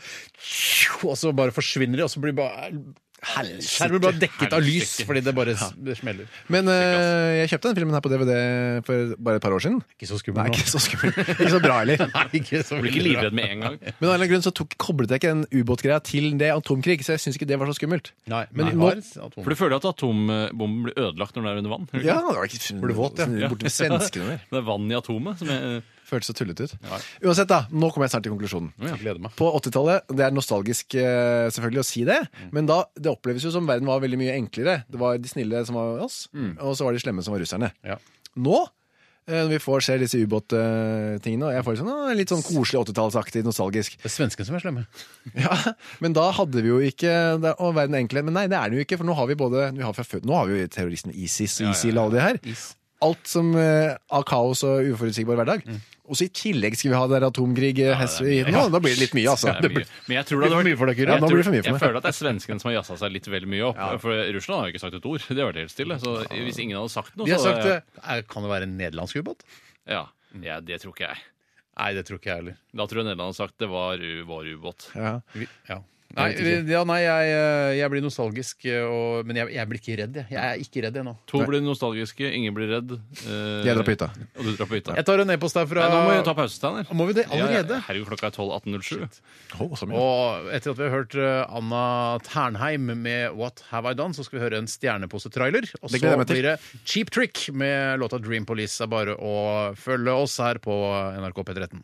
Speaker 2: Og så bare forsvinner de, og så blir bare skjermen bare dekket av lys
Speaker 4: Helsike.
Speaker 2: fordi det bare s- det smeller.
Speaker 3: Men eh, jeg kjøpte den filmen her på DVD for bare et par år siden.
Speaker 2: Ikke så
Speaker 3: Nei,
Speaker 2: skummelt
Speaker 3: ikke så skummel. Ikke så bra heller.
Speaker 2: Nei, ikke så
Speaker 4: Blir ikke
Speaker 2: veldig bra.
Speaker 4: livredd med en gang.
Speaker 3: Men av en eller annen grunn så tok, koblet jeg ikke den ubåtgreia til det atomkrig, så jeg syns ikke det var så skummelt.
Speaker 2: Nei,
Speaker 3: Men
Speaker 2: men de
Speaker 3: nå-
Speaker 2: har atom-
Speaker 4: For du føler at atombomben blir ødelagt når den er under vann? gjør du ikke?
Speaker 3: Ja, det var ikke
Speaker 2: Ble du våt, ja?
Speaker 3: sånn Borte ved svenskene der.
Speaker 4: Det er vann i atomet som er
Speaker 3: Føltes så tullete ut. Uansett, da. Nå kommer jeg snart til konklusjonen.
Speaker 2: Jeg gleder meg.
Speaker 3: På 80-tallet, det er nostalgisk eh, selvfølgelig å si det,
Speaker 2: Mm.
Speaker 3: men da, det oppleves jo som verden var veldig mye enklere. Det var de snille som var oss, og så var de slemme som var russerne.
Speaker 2: Mm. Ja.
Speaker 3: Nå, eh, når vi får se disse ubåttingene, og jeg får sånn, ah, litt sånn koselig 80-tallsaktig nostalgisk.
Speaker 2: Det er svenskene som er slemme.
Speaker 3: Ja, men da hadde vi jo ikke det, Å, verden er enklere. Men nei, det er den jo ikke, for nå har vi både vi har fra før, Nå har vi jo terroristen ISIS, ISIL og alle de her. Alt som eh, av kaos og uforutsigbar hverdag.
Speaker 4: Mm.
Speaker 3: Og så i tillegg skal vi ha der atomkrig eh, hest, i, nå, Da blir det litt mye, altså.
Speaker 4: det er mye. Men jeg tror det
Speaker 2: blir for
Speaker 4: hadde
Speaker 2: mye for deg,
Speaker 4: vært
Speaker 2: Kyrre.
Speaker 3: Ja,
Speaker 4: Jeg
Speaker 3: nå
Speaker 4: tror-
Speaker 3: blir det for mye for
Speaker 4: Jeg
Speaker 3: meg.
Speaker 4: føler at det er svenskene som har jassa seg litt vel mye opp. For Russland har jo ikke sagt et ord. Det har vært helt stille. Så hvis ingen hadde sagt noe,
Speaker 2: De har
Speaker 4: så
Speaker 2: sagt det. Er- Kan det være en nederlandsk ubåt?
Speaker 4: Ja, ja, det tror ikke jeg.
Speaker 2: Nei, det tror ikke jeg heller.
Speaker 4: Da tror jeg Nederland har sagt det var u- vår ubåt.
Speaker 3: Ja.
Speaker 2: Vi- Ja. Nei, ja, nei jeg, eh, jeg blir nostalgisk, eh, og, men jeg, jeg blir ikke redd. Jeg, jeg er ikke redd ennå.
Speaker 4: To blir nostalgiske, ingen blir redd. eh,
Speaker 3: Jeg drar på hytta.
Speaker 4: Og du drar på hytta.
Speaker 2: Jeg tar en e-post her fra
Speaker 4: Nei, nå må vi ta pause, Steiner.
Speaker 2: Må vi det
Speaker 4: Ja,
Speaker 2: allerede?
Speaker 4: herregud, klokka er 12.18.07.
Speaker 3: Å, så mye.
Speaker 2: Og etter at vi har hørt eh, Anna Ternheim med What Have I Done, så skal vi høre en stjerneposetrailer. Og så
Speaker 3: Det gleder jeg meg til.
Speaker 2: blir det Cheap Trick med låta Dream Police. Det er bare å følge oss her på NRK P13.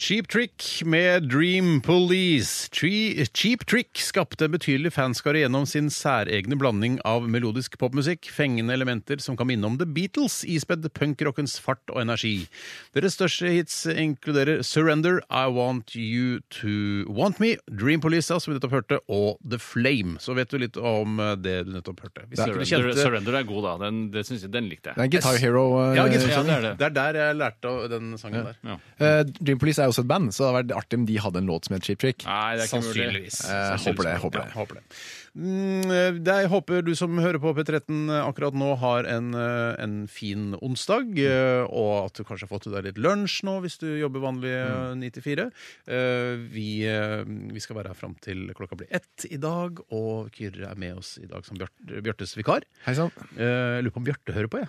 Speaker 2: Cheap Trick med Dream Police. Tre- Cheap Trick skapte en betydelig fanskare gjennom sin særegne blanding av melodisk popmusikk, fengende elementer som kan minne om The Beatles, ispedd punkrockens fart og energi. Deres største hits inkluderer Surrender, I Want You To Want Me, Dream Police, ja, som vi nettopp hørte, og The Flame. Så vet du litt om eh, det du nettopp hørte. Hvis ikke du
Speaker 4: Surrender,
Speaker 2: kjente
Speaker 4: Surrender er god, da. Den, det synes jeg, den
Speaker 3: Det
Speaker 4: likte
Speaker 3: er
Speaker 4: jeg.
Speaker 3: en Guitar Hero. eh,
Speaker 2: ja, gitt.
Speaker 4: Ja, det er det.
Speaker 2: det er der jeg lærte av den sangen der.
Speaker 4: Ja.
Speaker 3: eh, Dream Police er jo også et band, så det hadde vært artig om de hadde en låt som het Cheap Trick.
Speaker 4: Nei, det er ikke mulig.
Speaker 2: Sannsynligvis.
Speaker 3: Eh, håper det. håper det
Speaker 2: Ja, håper det. Mm, eh, jeg håper du som hører på P13 akkurat nå har en, eh, en fin onsdag,
Speaker 3: Mm.
Speaker 2: eh, og at du kanskje har fått til deg litt lunsj nå hvis du jobber vanlig eh,
Speaker 3: Mm.
Speaker 2: 9 til 4. Eh, Vi, eh, vi skal være her fram til klokka blir ett i dag, og Kyrre er med oss i dag som Bjarte, Bjartes vikar.
Speaker 3: Hei sann.
Speaker 2: Eh, Jeg lurer på om Bjarte hører på, jeg.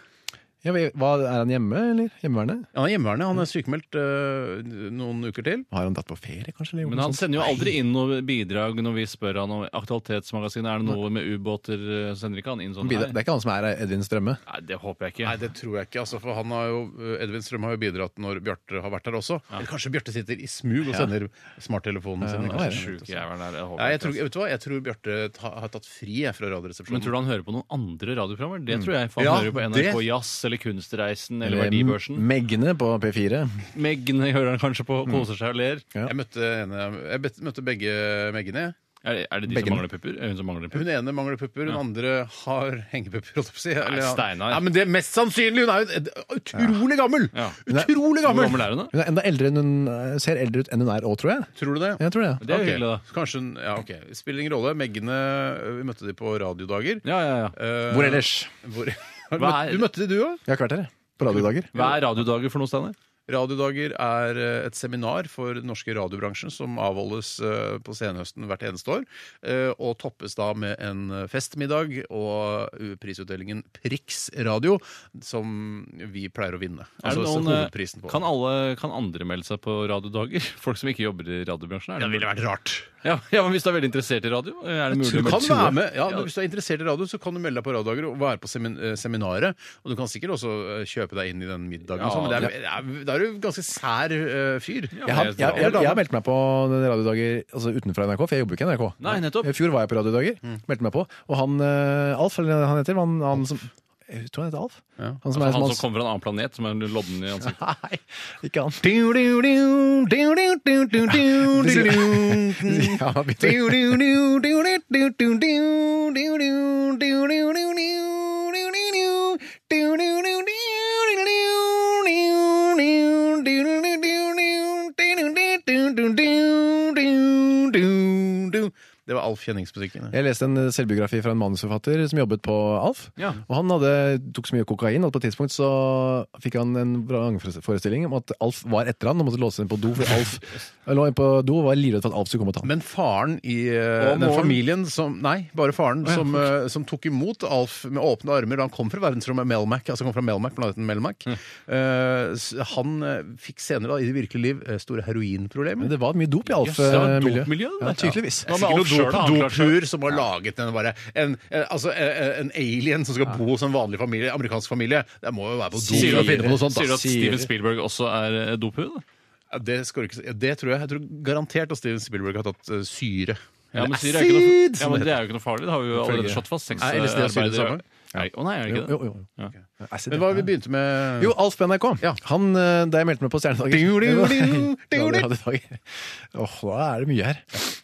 Speaker 3: Ja, men hva- er han hjemme, eller? Hjemmeværende?
Speaker 2: Han er hjemmeværende, han er sykemeldt eh, noen uker til.
Speaker 3: Har han dratt på ferie, kanskje? eller gjort
Speaker 4: Men
Speaker 3: noe
Speaker 4: han
Speaker 3: sånt?
Speaker 4: sender jo aldri inn noe bidrag når vi spør han om Aktualitetsmagasinet. Er det noe med ubåter? eh, Så sender ikke han inn sånn.
Speaker 3: Bidra- Det er ikke han som er Edvin Strømme.
Speaker 4: Nei, det håper jeg ikke.
Speaker 2: Nei, det tror jeg ikke. Altså, for han har jo, Edvin Strøm har jo bidratt når Bjarte har vært her også. Eller kanskje Bjarte sitter i smug og sender smarttelefonen sin.
Speaker 4: Nei,
Speaker 2: kanskje.
Speaker 4: sjuk jævel der. Jeg håper
Speaker 2: Nei, jeg
Speaker 4: ikke,
Speaker 2: tror,
Speaker 4: altså.
Speaker 2: vet du hva? Jeg tror Bjarte ta- har tatt fri jeg, fra
Speaker 4: Men
Speaker 2: Radioresepsjonen.
Speaker 4: tror du han hører på noen andre radioprogrammer? Det tror jeg. For han
Speaker 2: Mm. Ja,
Speaker 4: hører på
Speaker 2: det- Mm.
Speaker 4: NRK Jazz eller Kunstreisen eller
Speaker 3: Eller
Speaker 4: Verdibørsen.
Speaker 3: Megne på P4.
Speaker 4: Megne hører han kanskje på, koser seg og ler.
Speaker 3: Ja.
Speaker 2: Jeg møtte, ene, jeg bet- møtte begge meggene. jeg.
Speaker 4: Er, det- er det de
Speaker 3: Begge.
Speaker 4: som mangler pupper? Er det hun som mangler pupper?
Speaker 2: Hun ene mangler pupper, hun andre har hengepupper. holdt jeg på å si. Eller-
Speaker 4: Steinar.
Speaker 2: Ja, men det er mest sannsynlig! Hun er jo et- utrolig gammel!
Speaker 4: Ja.
Speaker 2: Utrolig
Speaker 4: Hvor
Speaker 2: gammel!
Speaker 4: gammel er hun, da?
Speaker 3: Hun er enda eldre enn hun eh, ser eldre ut enn hun er òg, tror jeg.
Speaker 2: Tror du det?
Speaker 3: Jeg tror det.
Speaker 4: Det er
Speaker 2: Ok.
Speaker 4: jo hyggelig, da.
Speaker 2: Kanskje hun, ja, ok. Spiller ingen rolle. Meggene ø, Vi møtte de på radiodager.
Speaker 4: Ja, ja, ja.
Speaker 2: Eh,
Speaker 3: Hvor ellers?
Speaker 2: hvor- Har du,
Speaker 4: Hva er-
Speaker 2: møtt, du møtte de, du òg?
Speaker 3: Jeg har ikke vært her, jeg. På radiodager.
Speaker 4: Hva er radiodager for noe, Steinar?
Speaker 2: altså, Radiodager er eh, et seminar for den norske radiobransjen som avholdes eh, på senhøsten hvert eneste år. eh, Og toppes da med en eh, festmiddag og eh, prisutdelingen Prix Radio, som vi pleier å vinne.
Speaker 4: Er det
Speaker 2: Altså
Speaker 4: noen, eh,
Speaker 2: hovedprisen på.
Speaker 4: kan, alle, kan andre melde seg på radiodager? Folk som ikke jobber i radiobransjen? Er det,
Speaker 2: ville vært rart.
Speaker 4: ja, ja, men Hvis du er veldig interessert i radio, eh, er det mulig
Speaker 2: Du
Speaker 4: å melde
Speaker 2: kan
Speaker 4: seg?
Speaker 2: være med, ja, Hvis du er interessert i radio, så kan du melde deg på Radiodager og være på semin eh, seminaret. Og du kan sikkert også eh, kjøpe deg inn i den middagen. og
Speaker 4: Ja,
Speaker 2: sånn, men det er, det er, da er du ganske sær eh, fyr.
Speaker 3: Jeg har, jeg, jeg, jeg, har meldt meg på radiodager altså utenfor NRK, for jeg jobber jo ikke i NRK.
Speaker 4: Nei, nettopp.
Speaker 3: I fjor var jeg på radiodager, meldte meg på. Og han eh, Alf, eller han heter han, han som Jeg tror han heter Alf. Han som
Speaker 4: Altså,
Speaker 3: er som
Speaker 4: han
Speaker 3: hans
Speaker 4: som kommer fra en annen planet, som er lodden i ansiktet.
Speaker 3: Nei, ikke han. Ja, han begynte-
Speaker 2: Det var Alf Kjenningsmusikken.
Speaker 3: Jeg leste en selvbiografi fra en manusforfatter som jobbet på Alf.
Speaker 4: Ja.
Speaker 3: Og han hadde, tok så mye kokain at på et tidspunkt så fikk han en vrangforestilling om at Alf var etter han og måtte låse inn på do. For Alf lå inn på do og var livredd for at Alf skulle komme og ta ham.
Speaker 2: Men faren i eh,
Speaker 4: Og
Speaker 2: den
Speaker 4: moren.
Speaker 2: familien som Nei, bare faren som, eh, som tok imot Alf med åpne armer. Han kom fra verdensrommet Melmac, altså han kom fra Melmac, planeten Melmac. Eh, s- han eh, fikk senere da, i det virkelige liv eh, store heroinproblemer.
Speaker 3: Men det var mye dop i
Speaker 2: eh,
Speaker 4: det var et
Speaker 3: Alf-miljøet.
Speaker 4: dopmiljø, det der.
Speaker 3: ja, tydeligvis.
Speaker 4: Ja.
Speaker 2: Det er
Speaker 4: men Alf
Speaker 2: Sikkert
Speaker 4: selv, da,
Speaker 2: noe
Speaker 4: han
Speaker 2: dop-
Speaker 4: klarte seg.
Speaker 2: dopur som har laget den bare en, eh, altså, eh, en alien som skal bo som vanlig familie, amerikansk familie. Det må jo være på do
Speaker 4: Sier
Speaker 2: for å finne på noe
Speaker 4: du,
Speaker 2: sånt.
Speaker 4: sier du
Speaker 2: Da.
Speaker 4: at Steven Spielberg også er eh, dophuet? da?
Speaker 2: Ja, Det, skal du ikke, si. Ja, det tror jeg. Jeg tror garantert at Steven Spielberg har tatt eh, syre.
Speaker 4: Ja, men, sier, det er ikke noe,
Speaker 2: acid!
Speaker 4: ja,
Speaker 2: som
Speaker 4: men
Speaker 2: det
Speaker 4: Det er jo ikke noe farlig. Det har vi jo allerede slått fast. Seks eh,
Speaker 2: Er LSD og syre det
Speaker 4: arbeidere-
Speaker 2: samme?
Speaker 4: Nei, å nei, er det
Speaker 3: Jo,
Speaker 4: ikke det?
Speaker 3: jo, jo.
Speaker 4: Ja.
Speaker 3: Acid,
Speaker 2: Men hva har vi
Speaker 3: ja.
Speaker 2: begynt med?
Speaker 3: Jo, Alf på NRK. Han, eh, da jeg meldte meg på
Speaker 2: Du, du, du, du, du.
Speaker 3: Stjernedager Åh, da er det mye her.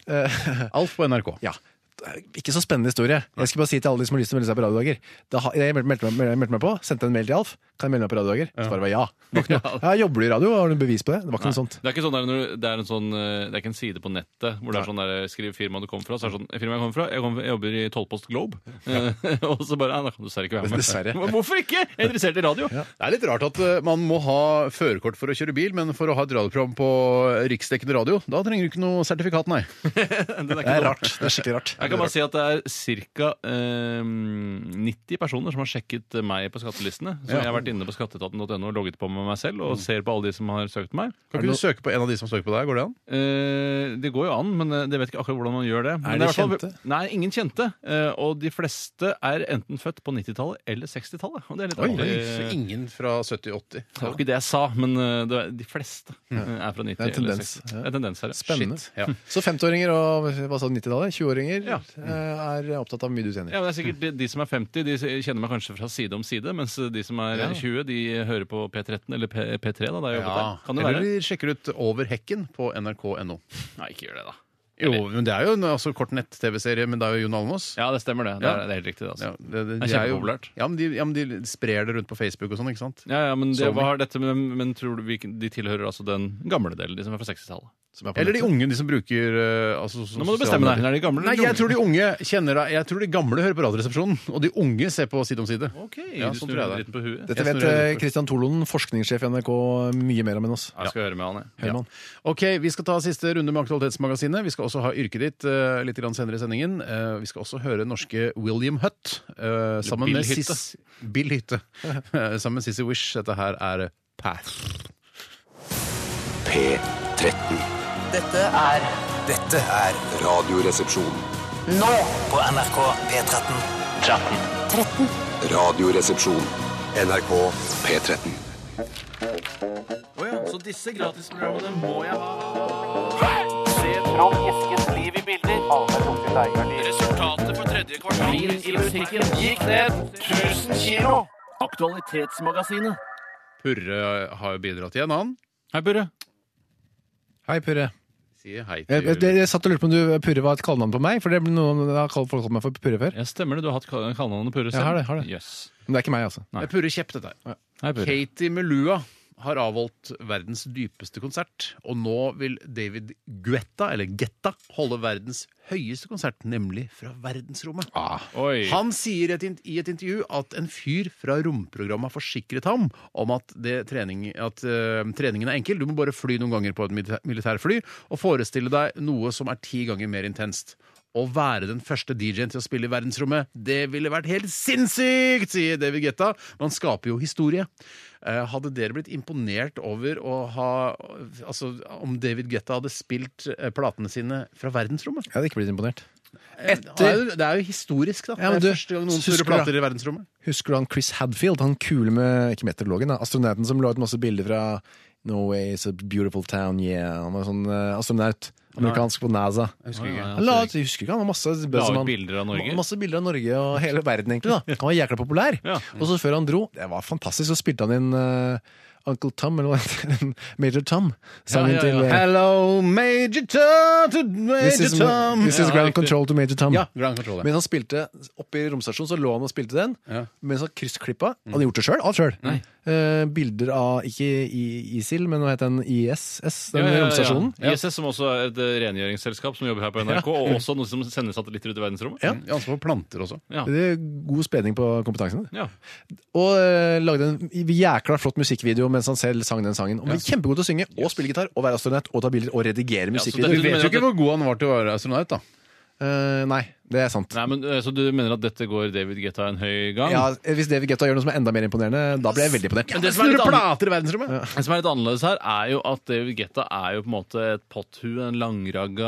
Speaker 3: Eh,
Speaker 2: Alf på NRK.
Speaker 3: Ja. Det er Ikke så spennende historie. Jeg skal bare si til alle de som har lyst til å melde seg på radiodager. Da har- jeg meldte meg, meldte meg på, sendte en mail til Alf. Kan jeg melde meg på radiodager? Svaret var ja. Det var ikke noe. Ja, jobber du i radio? Har du bevis på det? Det var ikke noe sånt.
Speaker 4: Det er ikke sånn der, når du- det, er en sånn, eh, det er ikke en side på nettet hvor det er sånn der, skriv firmaet du kommer fra. Så er det sånn, firmaet jeg kommer fra, jeg, kommer, jeg jobber i Tollpost Globe. Eh, og så bare, nei, da kan du dessverre ikke være med.
Speaker 3: Dessverre.
Speaker 4: Men Hvorfor ikke? Jeg er interessert i radio.
Speaker 2: Det er litt rart at eh, man må ha førerkort for å kjøre bil, men for å ha et radioprogram på riksdekkende radio, da trenger du ikke noe sertifikat, nei.
Speaker 4: Den er
Speaker 3: Det
Speaker 4: ikke
Speaker 3: er
Speaker 4: dum.
Speaker 3: rart. Det er skikkelig rart.
Speaker 4: Jeg kan bare si at det er ca. 90 personer som har sjekket meg på skattelistene. Så jeg har vært inne på skatteetaten.no og logget på med meg selv
Speaker 3: Mm.
Speaker 4: og ser på alle de som har søkt meg.
Speaker 2: Kan ikke du søke på en av de som søker på deg? Går det an?
Speaker 4: Eh, det går jo an, men eh, det vet ikke akkurat hvordan man gjør det. Men
Speaker 3: Er
Speaker 4: det
Speaker 3: de
Speaker 4: i hvert fall-
Speaker 3: kjente?
Speaker 4: Nei, ingen kjente. Eh, og de fleste er enten født på 90-tallet eller 60-tallet. Og det er litt artig.
Speaker 2: så ingen fra 70-80.
Speaker 4: Det var ikke det jeg sa, men eh, det er, de fleste eh, er fra 90
Speaker 3: Det er en
Speaker 4: eller
Speaker 3: tendens,
Speaker 4: 60.
Speaker 3: ja.
Speaker 4: Det er en tendens her, ja.
Speaker 3: Spennende.
Speaker 4: Shit.
Speaker 2: Ja.
Speaker 3: Så 50-åringer og hva sa du, 90-tallet? 20-åringer
Speaker 4: Ja.
Speaker 3: eh, er opptatt av hvor mye du tjener.
Speaker 4: Ja, men det er sikkert de, de som er 50, de kjenner meg kanskje fra side om side, mens eh, de som er
Speaker 3: Ja.
Speaker 4: 20, de hører på P13 eller P, P3 da, da jeg jobbet der. Kan det
Speaker 2: Eller
Speaker 4: være?
Speaker 2: de sjekker ut Over hekken på nrk.no.
Speaker 4: Nei, ikke gjør det da.
Speaker 2: Jo, men det er jo en altså, kort nett-TV-serie, men det er jo Jon Almaas.
Speaker 4: Ja, det stemmer det. Det
Speaker 2: Ja.
Speaker 4: er, det er helt riktig det, altså.
Speaker 2: Ja, det,
Speaker 4: Det er
Speaker 2: de jo-
Speaker 4: kjempepopulært.
Speaker 2: Ja, men de, ja, men de sprer det rundt på Facebook og sånn, ikke sant?
Speaker 4: Ja, ja, men, det,
Speaker 2: Sony.
Speaker 4: hva har dette med, men tror du vi, de tilhører altså den gamle delen, de som er fra 60-tallet?
Speaker 3: Som er på
Speaker 2: Eller de
Speaker 3: nettet.
Speaker 2: unge, de som bruker eh, altså, so-
Speaker 4: Nå må du
Speaker 2: sosiale
Speaker 4: bestemme
Speaker 2: medier.
Speaker 4: deg. Er de gamle
Speaker 2: Nei, jeg tror de unge kjenner deg Jeg tror de gamle hører på Radioresepsjonen, og de unge ser på Side om side.
Speaker 4: Ok,
Speaker 2: Ja,
Speaker 4: du
Speaker 2: sånn
Speaker 4: snur
Speaker 2: tror jeg det.
Speaker 4: dritten på huet.
Speaker 3: Dette
Speaker 2: Jeg
Speaker 3: vet
Speaker 2: snur
Speaker 3: eh,
Speaker 2: litt.
Speaker 3: Christian Torlonen, forskningssjef i NRK, mye mer om enn oss.
Speaker 4: Ja, Jeg skal høre med han, jeg.
Speaker 3: Høymann.
Speaker 2: Ok, Vi skal ta siste runde med Aktualitetsmagasinet. Vi skal også ha yrket ditt eh, litt grann senere i sendingen. Eh, vi skal også høre norske William Hutt eh, sammen
Speaker 4: Bill
Speaker 2: med
Speaker 4: Hytte.
Speaker 2: Sis Bill Hytte. Eh, sammen med Sissy Wish. Dette her er Path.
Speaker 5: P13.
Speaker 6: Dette er Dette er
Speaker 5: Radioresepsjon.
Speaker 6: nå på NRK P13.
Speaker 5: Radioresepsjon. NRK P13.
Speaker 9: Så disse gratisprogrammene må jeg ha. Se Trond Eskens liv i bilder. Resultatet for tredje kvartal i musikken gikk ned 1000 kilo. Aktualitetsmagasinet.
Speaker 2: Purre har jo bidratt igjen, han.
Speaker 4: Hei, Burre.
Speaker 3: Hei, Purre.
Speaker 2: Sier hei
Speaker 3: Jeg, jeg,
Speaker 2: til
Speaker 3: jeg satt og lurte på om du, Purre var et kallenavn på meg, for det blir noen, det har kalt- folk kalt meg for Purre før.
Speaker 4: Ja, stemmer det. Du har hatt kall- kallenavnet Purre selv?
Speaker 3: Jeg har det, har det.
Speaker 4: Yes.
Speaker 3: Men det er ikke meg, altså.
Speaker 2: Det er Purre Kjepp, dette her.
Speaker 4: Hei, Purre.
Speaker 2: Katie Melua har avholdt verdens dypeste konsert, og nå vil David Guetta, eller Getta, holde verdens høyeste konsert, nemlig fra verdensrommet.
Speaker 4: Oi.
Speaker 2: Han sier i et in- i et intervju at en fyr fra romprogrammet har forsikret ham om at, det trening, at eh, treningen er enkel. Du må bare fly noen ganger på et militæ- militærfly og forestille deg noe som er ti ganger mer intenst. Å være den første DJ-en til å spille i verdensrommet, det ville vært helt sinnssykt, sier David Guetta. Man skaper jo historie. Eh, Hadde dere blitt imponert over å ha Altså, om David Guetta hadde spilt eh, platene sine fra verdensrommet?
Speaker 3: Jeg hadde ikke blitt imponert.
Speaker 2: Det er jo, det er jo historisk, da.
Speaker 3: Ja, men
Speaker 2: det
Speaker 3: du,
Speaker 2: er første gang noen
Speaker 3: husker
Speaker 2: turer
Speaker 3: du
Speaker 2: plater i verdensrommet.
Speaker 3: Husker du han Chris Hadfield, han kule med Ikke meteorologen, da. Astronauten som la ut masse bilder fra Norway is a beautiful town, yeah. Han var sånn eh, astronaut. Amerikansk på NASA. Jeg husker
Speaker 4: ikke.
Speaker 3: Han la ut, jeg husker ikke, han var masse
Speaker 4: La
Speaker 3: bøss om
Speaker 4: ut
Speaker 3: han.
Speaker 4: bilder av Norge.
Speaker 3: Masse bilder av Norge og hele verden, egentlig. da Han var jækla populær.
Speaker 4: Ja.
Speaker 3: Og så før han dro, det var fantastisk, så spilte han inn eh, Uncle Tom, eller hva heter den? Major Tom. Sangen
Speaker 4: Ja, ja, ja.
Speaker 3: til eh,
Speaker 2: Hello, Major Tom to Major
Speaker 3: This is, this is
Speaker 4: Ja,
Speaker 3: ground
Speaker 4: riktig.
Speaker 3: control to Major Tom.
Speaker 2: Ja, Ground Control. ja.
Speaker 3: Mens han spilte oppe i romstasjonen, så lå han og spilte den.
Speaker 2: Ja.
Speaker 3: Mens han kryssklippa.
Speaker 4: Mm.
Speaker 3: Han hadde gjort det sjøl, alt sjøl. Eh, bilder av ikke I- ISIL, men hva het den? ISS, den romstasjonen.
Speaker 4: Ja. ISS, som også er et eh, rengjøringsselskap som jobber her på NRK, og også noe som sender satellitter ut i verdensrommet.
Speaker 3: Ja.
Speaker 2: Jeg har ansvar for planter også.
Speaker 4: Ja.
Speaker 3: Det er god spredning på kompetansen.
Speaker 4: Ja.
Speaker 3: Og eh, lagde en jækla flott musikkvideo mens han selv sang den sangen. Og var Kjempegod til å synge og spille gitar og være astronaut og ta bilder og redigere
Speaker 4: så
Speaker 3: musikkvideo.
Speaker 4: dette-
Speaker 2: Du vet jo ikke hvor god han var til å være astronaut, da.
Speaker 3: Eh, nei, det er sant.
Speaker 4: Nei, men, eh, så du mener at dette går David Getta en høy gang?
Speaker 3: Ja, eh, hvis David Guetta gjør noe som er enda mer imponerende, da blir jeg veldig imponert.
Speaker 4: Men
Speaker 2: Det
Speaker 4: det som er litt annet-
Speaker 2: plater i verdensrommet!
Speaker 4: Det som er litt annerledes her, er jo at David Guetta er jo på en måte et potthue, en langragga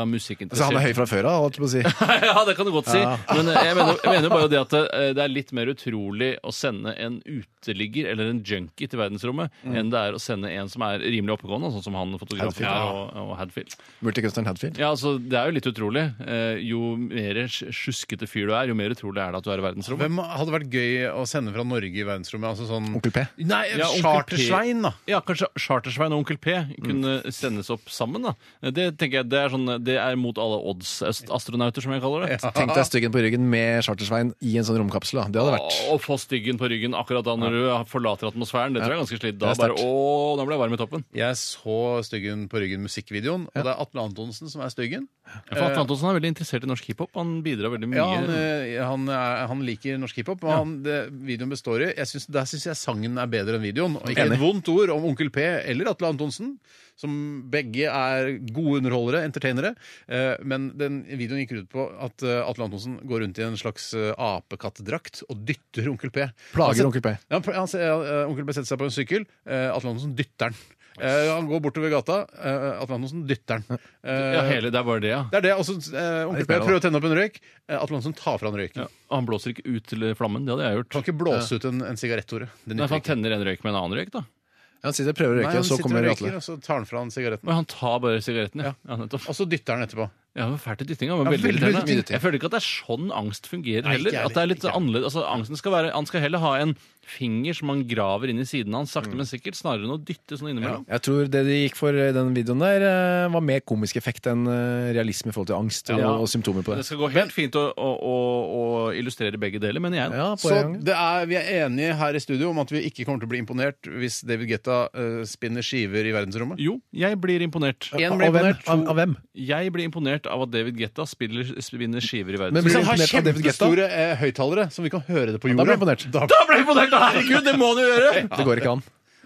Speaker 3: Så Altså, han er høy
Speaker 4: musikkinteressert
Speaker 3: fra før av, holdt jeg på å si.
Speaker 4: Ja, det kan du godt si. Men eh, jeg mener, jeg mener bare det at eh, det er litt mer utrolig å sende en uteligger eller en junkie til verdensrommet enn det er å sende en som er rimelig oppegående, sånn som han fotografen
Speaker 3: Hadfield,
Speaker 4: er,
Speaker 3: ja.
Speaker 4: og, og Hadfield.
Speaker 3: Multikunstneren Hadfield.
Speaker 4: Ja, altså, Det er jo litt utrolig. Eh, Jo mer sj- sjuskete fyr du er, jo mer utrolig er det at du er i verdensrommet.
Speaker 2: Hvem hadde vært gøy å sende fra Norge i verdensrommet? Altså sånn
Speaker 3: Onkel P.
Speaker 2: Nei,
Speaker 4: Ja, Onkel
Speaker 2: Charter-Svein, da.
Speaker 4: Ja, Kanskje Chartersvein og Onkel P kunne sendes opp sammen. da Det tenker jeg, det er, sånn, det er mot alle odds. ast- Astronauter, som jeg kaller det.
Speaker 3: Tenk deg styggen på ryggen med Chartersvein i en sånn romkapsel. Da. Det hadde vært
Speaker 4: Å få styggen på ryggen akkurat da når du forlater atmosfæren, det tror jeg er ganske slitt. Da
Speaker 3: Det er
Speaker 4: bare,
Speaker 3: sterkt.
Speaker 4: å, da ble jeg varm i toppen.
Speaker 2: Jeg så Styggen på ryggen musikkvideoen, og det er Atle Antonsen som er Styggen.
Speaker 4: For Atle Antonsen er veldig interessert i norsk hiphop. Han bidrar veldig mye.
Speaker 2: Ja, han, eh, han, er- han liker norsk hiphop, men han, det, videoen består i jeg synes, Der syns jeg sangen er bedre enn videoen. Og ikke et vondt ord om Onkel P eller Atle Antonsen, som begge er gode underholdere, entertainere. Eh, Men den videoen gikk ut på at eh, Atle Antonsen går rundt i en slags eh, apekattdrakt og dytter Onkel P. Han
Speaker 3: Plager
Speaker 2: set-
Speaker 3: Onkel P.
Speaker 2: Ja, han, han, ser- eh, onkel P setter seg på en sykkel. eh, Atle Antonsen dytter den. Eh, han går bortover gata. eh, Atle Antonsen dytter den. Eh,
Speaker 4: ja, hele, det er bare det, ja.
Speaker 2: det er det. Altså, eh, onkel P
Speaker 3: mer, da.
Speaker 2: prøver å tenne opp en røyk. Eh, Atle Antonsen tar fra han røyken.
Speaker 4: ja. Han blåser ikke ut til flammen. Det hadde jeg gjort.
Speaker 2: Kan ikke blåse ut en, en sigarett, Tore. Det
Speaker 4: Nei,
Speaker 2: nytter
Speaker 4: for han
Speaker 2: ikke.
Speaker 4: tenner en røyk med en annen røyk, da.
Speaker 3: Han sitter og prøver å
Speaker 2: Nei,
Speaker 3: røyke,
Speaker 2: han
Speaker 3: og så
Speaker 2: sitter og
Speaker 3: kommer
Speaker 2: røyker, altså.
Speaker 3: Atle.
Speaker 2: og så tar han fra han sigaretten.
Speaker 4: Men han tar bare sigaretten, ja. ja. nettopp.
Speaker 2: Og så dytter han etterpå.
Speaker 4: Ja, men Fælt i dyttinga. Men
Speaker 2: Ja,
Speaker 4: veldig
Speaker 2: veldig
Speaker 4: irriterende.
Speaker 2: mye dytting.
Speaker 4: Jeg føler ikke at det er sånn angst fungerer
Speaker 2: Nei, ikke
Speaker 4: heller.
Speaker 2: jeg
Speaker 4: At det er
Speaker 2: heller,
Speaker 4: litt
Speaker 2: ikke jeg.
Speaker 4: annerledes. Altså, angsten skal være, Han skal heller ha en finger som han graver inn i siden hans,
Speaker 2: Mm.
Speaker 4: sakte, men sikkert, snarere enn å dytte sånn innimellom.
Speaker 3: Jeg tror det de gikk for i den videoen der, eh, var mer komisk effekt enn eh, realisme i forhold til angst og,
Speaker 4: Ja.
Speaker 3: og symptomer på
Speaker 4: Det
Speaker 3: det.
Speaker 4: skal gå helt fint å, å, å, å illustrere begge deler, mener jeg.
Speaker 3: Ja,
Speaker 2: Så
Speaker 3: poeng.
Speaker 2: det er, vi er enige her i studio om at vi ikke kommer til å bli imponert hvis David Getta eh, spinner skiver i verdensrommet.
Speaker 4: Jo, jeg blir imponert.
Speaker 2: En
Speaker 3: Av
Speaker 2: ble
Speaker 3: hvem?
Speaker 2: imponert.
Speaker 3: Av, av hvem?
Speaker 4: Jeg blir imponert av at David Getta spiller, spinner skiver i verden.
Speaker 3: Men
Speaker 2: Hvis
Speaker 3: blir
Speaker 2: han
Speaker 3: du
Speaker 2: har
Speaker 3: imponert av David Guetta?
Speaker 2: kjempestore eh, høyttalere, som vi kan høre det på
Speaker 3: Da
Speaker 2: jorda
Speaker 3: blir jeg imponert.
Speaker 2: Da-
Speaker 4: Da ble jeg imponert! Herregud, det må du gjøre!
Speaker 3: Det går ikke an.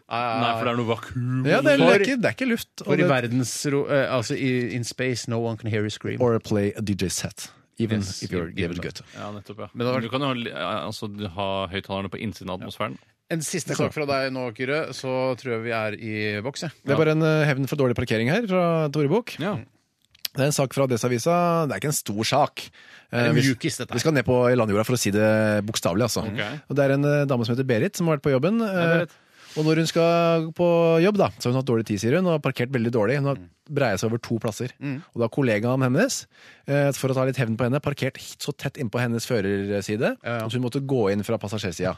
Speaker 4: Nei, for det er noe vakuum.
Speaker 3: Ja, det, er, det,
Speaker 2: For-
Speaker 3: er ikke, det er ikke luft. Og
Speaker 2: For i
Speaker 3: det,
Speaker 2: verdensro... eh, altså i, in space, no one can hear you scream.
Speaker 3: or play a DJ set. Even
Speaker 2: Yes,
Speaker 3: if you're David Guetta.
Speaker 4: Ja, nettopp, ja.
Speaker 2: Men det var-
Speaker 4: du kan jo ha, li- altså, ha høyttalerne på innsiden av atmosfæren.
Speaker 2: En siste sak fra deg nå, Kyrre, så tror jeg vi er i boks, jeg.
Speaker 3: Det er bare en eh, hevn for dårlig parkering her fra Tore Bukk.
Speaker 4: Ja.
Speaker 3: Det er en sak fra Adresseavisa. Det er ikke en stor sak.
Speaker 2: er en
Speaker 3: Eh, vi-
Speaker 2: mjukis, dette her.
Speaker 3: Vi skal ned på landjorda for å si det bokstavelig, altså.
Speaker 4: Ok.
Speaker 3: Og det er en eh, dame som heter Berit, som har vært på jobben. eh,
Speaker 4: Berit.
Speaker 3: Og når hun skal på jobb, da, så har hun hatt dårlig tid, sier hun, og har parkert veldig dårlig. Hun har
Speaker 2: Mm.
Speaker 3: breia seg over to plasser. Og da har kollegaen hennes, eh, for å ta litt hevn på henne, parkert hit- så tett innpå hennes førerside,
Speaker 2: ja.
Speaker 3: så hun måtte gå inn fra passasjersida.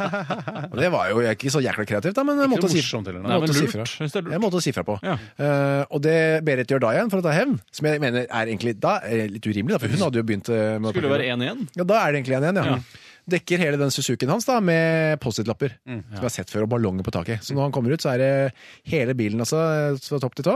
Speaker 3: og det var jo ikke så jækla kreativt, da, men jeg
Speaker 2: Ikke
Speaker 3: måtte
Speaker 2: noe
Speaker 3: si
Speaker 2: morsomt heller, nei.
Speaker 3: jeg
Speaker 4: men
Speaker 3: måtte si
Speaker 4: lurt.
Speaker 3: fra.
Speaker 4: Synes det er lurt.
Speaker 3: Jeg måtte si fra på.
Speaker 4: Ja.
Speaker 3: Eh, og det Berit gjør da igjen, for å ta hevn, som jeg mener er egentlig da er litt urimelig, da, for hun hadde jo begynt eh, med å
Speaker 4: Skulle det
Speaker 3: parkere.
Speaker 4: være 1-1?
Speaker 3: Ja, da er det egentlig en igjen, ja. Dekker hele den Suzuken hans da, med Post-It-lapper
Speaker 4: Mm,
Speaker 3: som vi har sett før, og ballonger på taket. Så når han kommer ut, så er det hele bilen altså, fra topp til tå,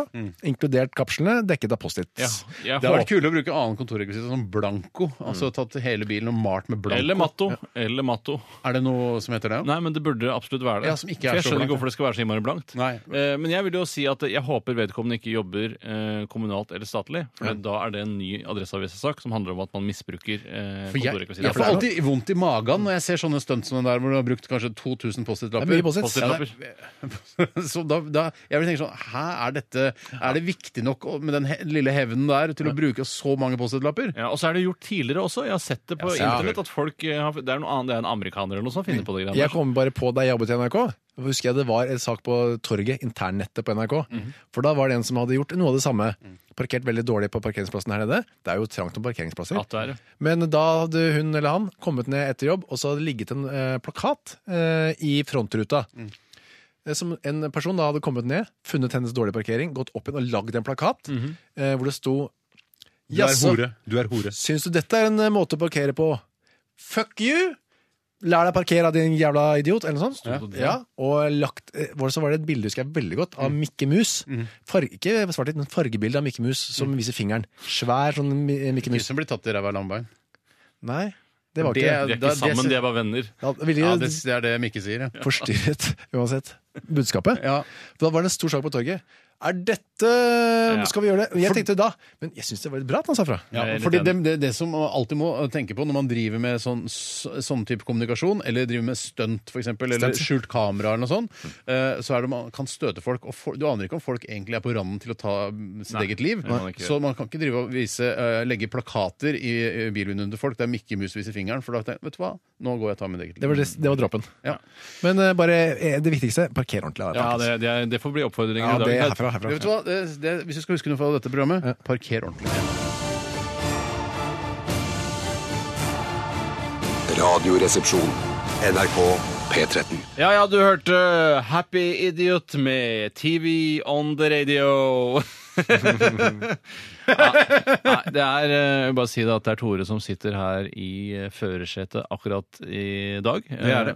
Speaker 3: inkludert kapslene, dekket av Post-It.
Speaker 4: Mm. Ja. Jeg
Speaker 2: Det hadde vært
Speaker 4: håper-
Speaker 2: kulere å bruke annen kontorrekvisitt som blanco. Altså tatt hele bilen og malt med blanco.
Speaker 4: Eller Matto. Eller Matto.
Speaker 2: Er det noe som heter det?
Speaker 4: Nei, men det burde absolutt være det.
Speaker 2: Ja, som ikke er
Speaker 4: For jeg
Speaker 2: så blankt,
Speaker 4: skjønner ikke hvorfor det skal være så innmari blankt.
Speaker 2: Nei.
Speaker 4: Eh, Men jeg vil jo si at jeg håper vedkommende ikke jobber eh, kommunalt eller statlig. For da er det en ny Adresseavisa-sak som handler om at man misbruker eh,
Speaker 2: For jeg, jeg får
Speaker 4: kontorrekvisitter.
Speaker 2: alltid vondt i magen når jeg ser sånne stunt som den der hvor du har brukt kanskje 2000 Post-It-lapper.
Speaker 3: Det er mye Post-It.
Speaker 2: Post-It-lapper. Så da, da, jeg vil tenke sånn Hæ, er dette Er det viktig nok å- med den he lille hevnen der til å bruke så mange Post-It-lapper?
Speaker 4: Ja, og så er det gjort tidligere også. Jeg har sett det på
Speaker 2: Jeg ser det.
Speaker 4: internett. at folk eh, har, Det er noe annet, det er en amerikaner eller noe som finner på det.
Speaker 3: Jeg
Speaker 4: greiene der.
Speaker 3: kom bare på da jeg jobbet i NRK. Da Husker jeg Det var en sak på torget, internnettet på NRK.
Speaker 4: Mm.
Speaker 3: For da var det en som hadde gjort noe av det samme. Parkert veldig dårlig på parkeringsplassen her nede. Det er jo trangt om parkeringsplasser.
Speaker 4: At det er det.
Speaker 3: Men da hadde hun eller han kommet ned etter jobb, og så hadde det ligget en eh, plakat eh, i frontruta. Eh, Som en person da hadde kommet ned, funnet hennes dårlige parkering, gått opp igjen og lagd en plakat eh, hvor det sto
Speaker 2: Mhm. Du er
Speaker 3: Jaså,
Speaker 2: hore. Du er hore.
Speaker 3: syns du dette er en eh, måte å parkere på? Fuck you! Lær deg parkere, din jævla idiot, eller noe sånt. Ja. Og lagt, eh, var det så var det et bilde husker jeg veldig godt av
Speaker 2: Mm.
Speaker 3: Mikke Mus. Farge, ikke svart, men fargebilde av Mikke Mus
Speaker 2: Mm.
Speaker 3: som viser fingeren. Svær sånn Mi-
Speaker 2: Ikke
Speaker 3: Mikke Mus.
Speaker 2: som blir tatt i ræva av landbein.
Speaker 3: Nei, det var
Speaker 2: Det-
Speaker 3: ikke det.
Speaker 4: De er
Speaker 2: Da-
Speaker 4: ikke sammen,
Speaker 2: det-
Speaker 4: de er bare venner.
Speaker 3: Ja, det ville
Speaker 2: Ja,
Speaker 3: jo
Speaker 2: det, det er det Mikke sier, ja.
Speaker 3: forstyrret uansett budskapet.
Speaker 2: Ja.
Speaker 3: For Da var det en stor sak på torget. Er dette
Speaker 4: ja.
Speaker 3: Skal vi gjøre det? Jeg tenkte da, men jeg syns det var litt bra at han sa fra.
Speaker 2: Ja,
Speaker 4: Jeg er litt
Speaker 2: fordi det,
Speaker 4: enig.
Speaker 2: det, det som man alltid må tenke på når man driver med sånn, så- sånn type kommunikasjon, eller driver med stunt f.eks., eller
Speaker 3: Stunt.
Speaker 2: skjult kamera eller noe sånt,
Speaker 4: Mm.
Speaker 2: eh, så er det man kan støte folk. Og for, du aner ikke om folk egentlig er på randen til å ta mm, sitt
Speaker 4: Nei,
Speaker 2: eget liv.
Speaker 4: det kan man ikke
Speaker 2: så man kan ikke drive og vise, eh, legge plakater i eh, bilvinduene til folk der Mikke Mus viser fingeren, for da tenker jeg vet du hva, nå går jeg og tar mitt eget
Speaker 3: Det var,
Speaker 2: liv.
Speaker 3: det, det var dråpen.
Speaker 2: Ja.
Speaker 3: Men eh, bare eh, det viktigste parker ordentlig. da.
Speaker 4: Ja, det, det, er, det får bli oppfordringen
Speaker 3: ja,
Speaker 4: i dag.
Speaker 3: det er herfra. herfra.
Speaker 2: Vet du hva? Det, det, hvis du skal huske noe fra dette programmet, parker ordentlig.
Speaker 5: Radioresepsjon. NRK P13.
Speaker 4: Ja, ja, du hørte Happy Idiot med TV on the radio. Nei, det er, eh, jeg vil bare si det at det er Tore som sitter her i eh, førersetet akkurat i dag. Det
Speaker 2: er det.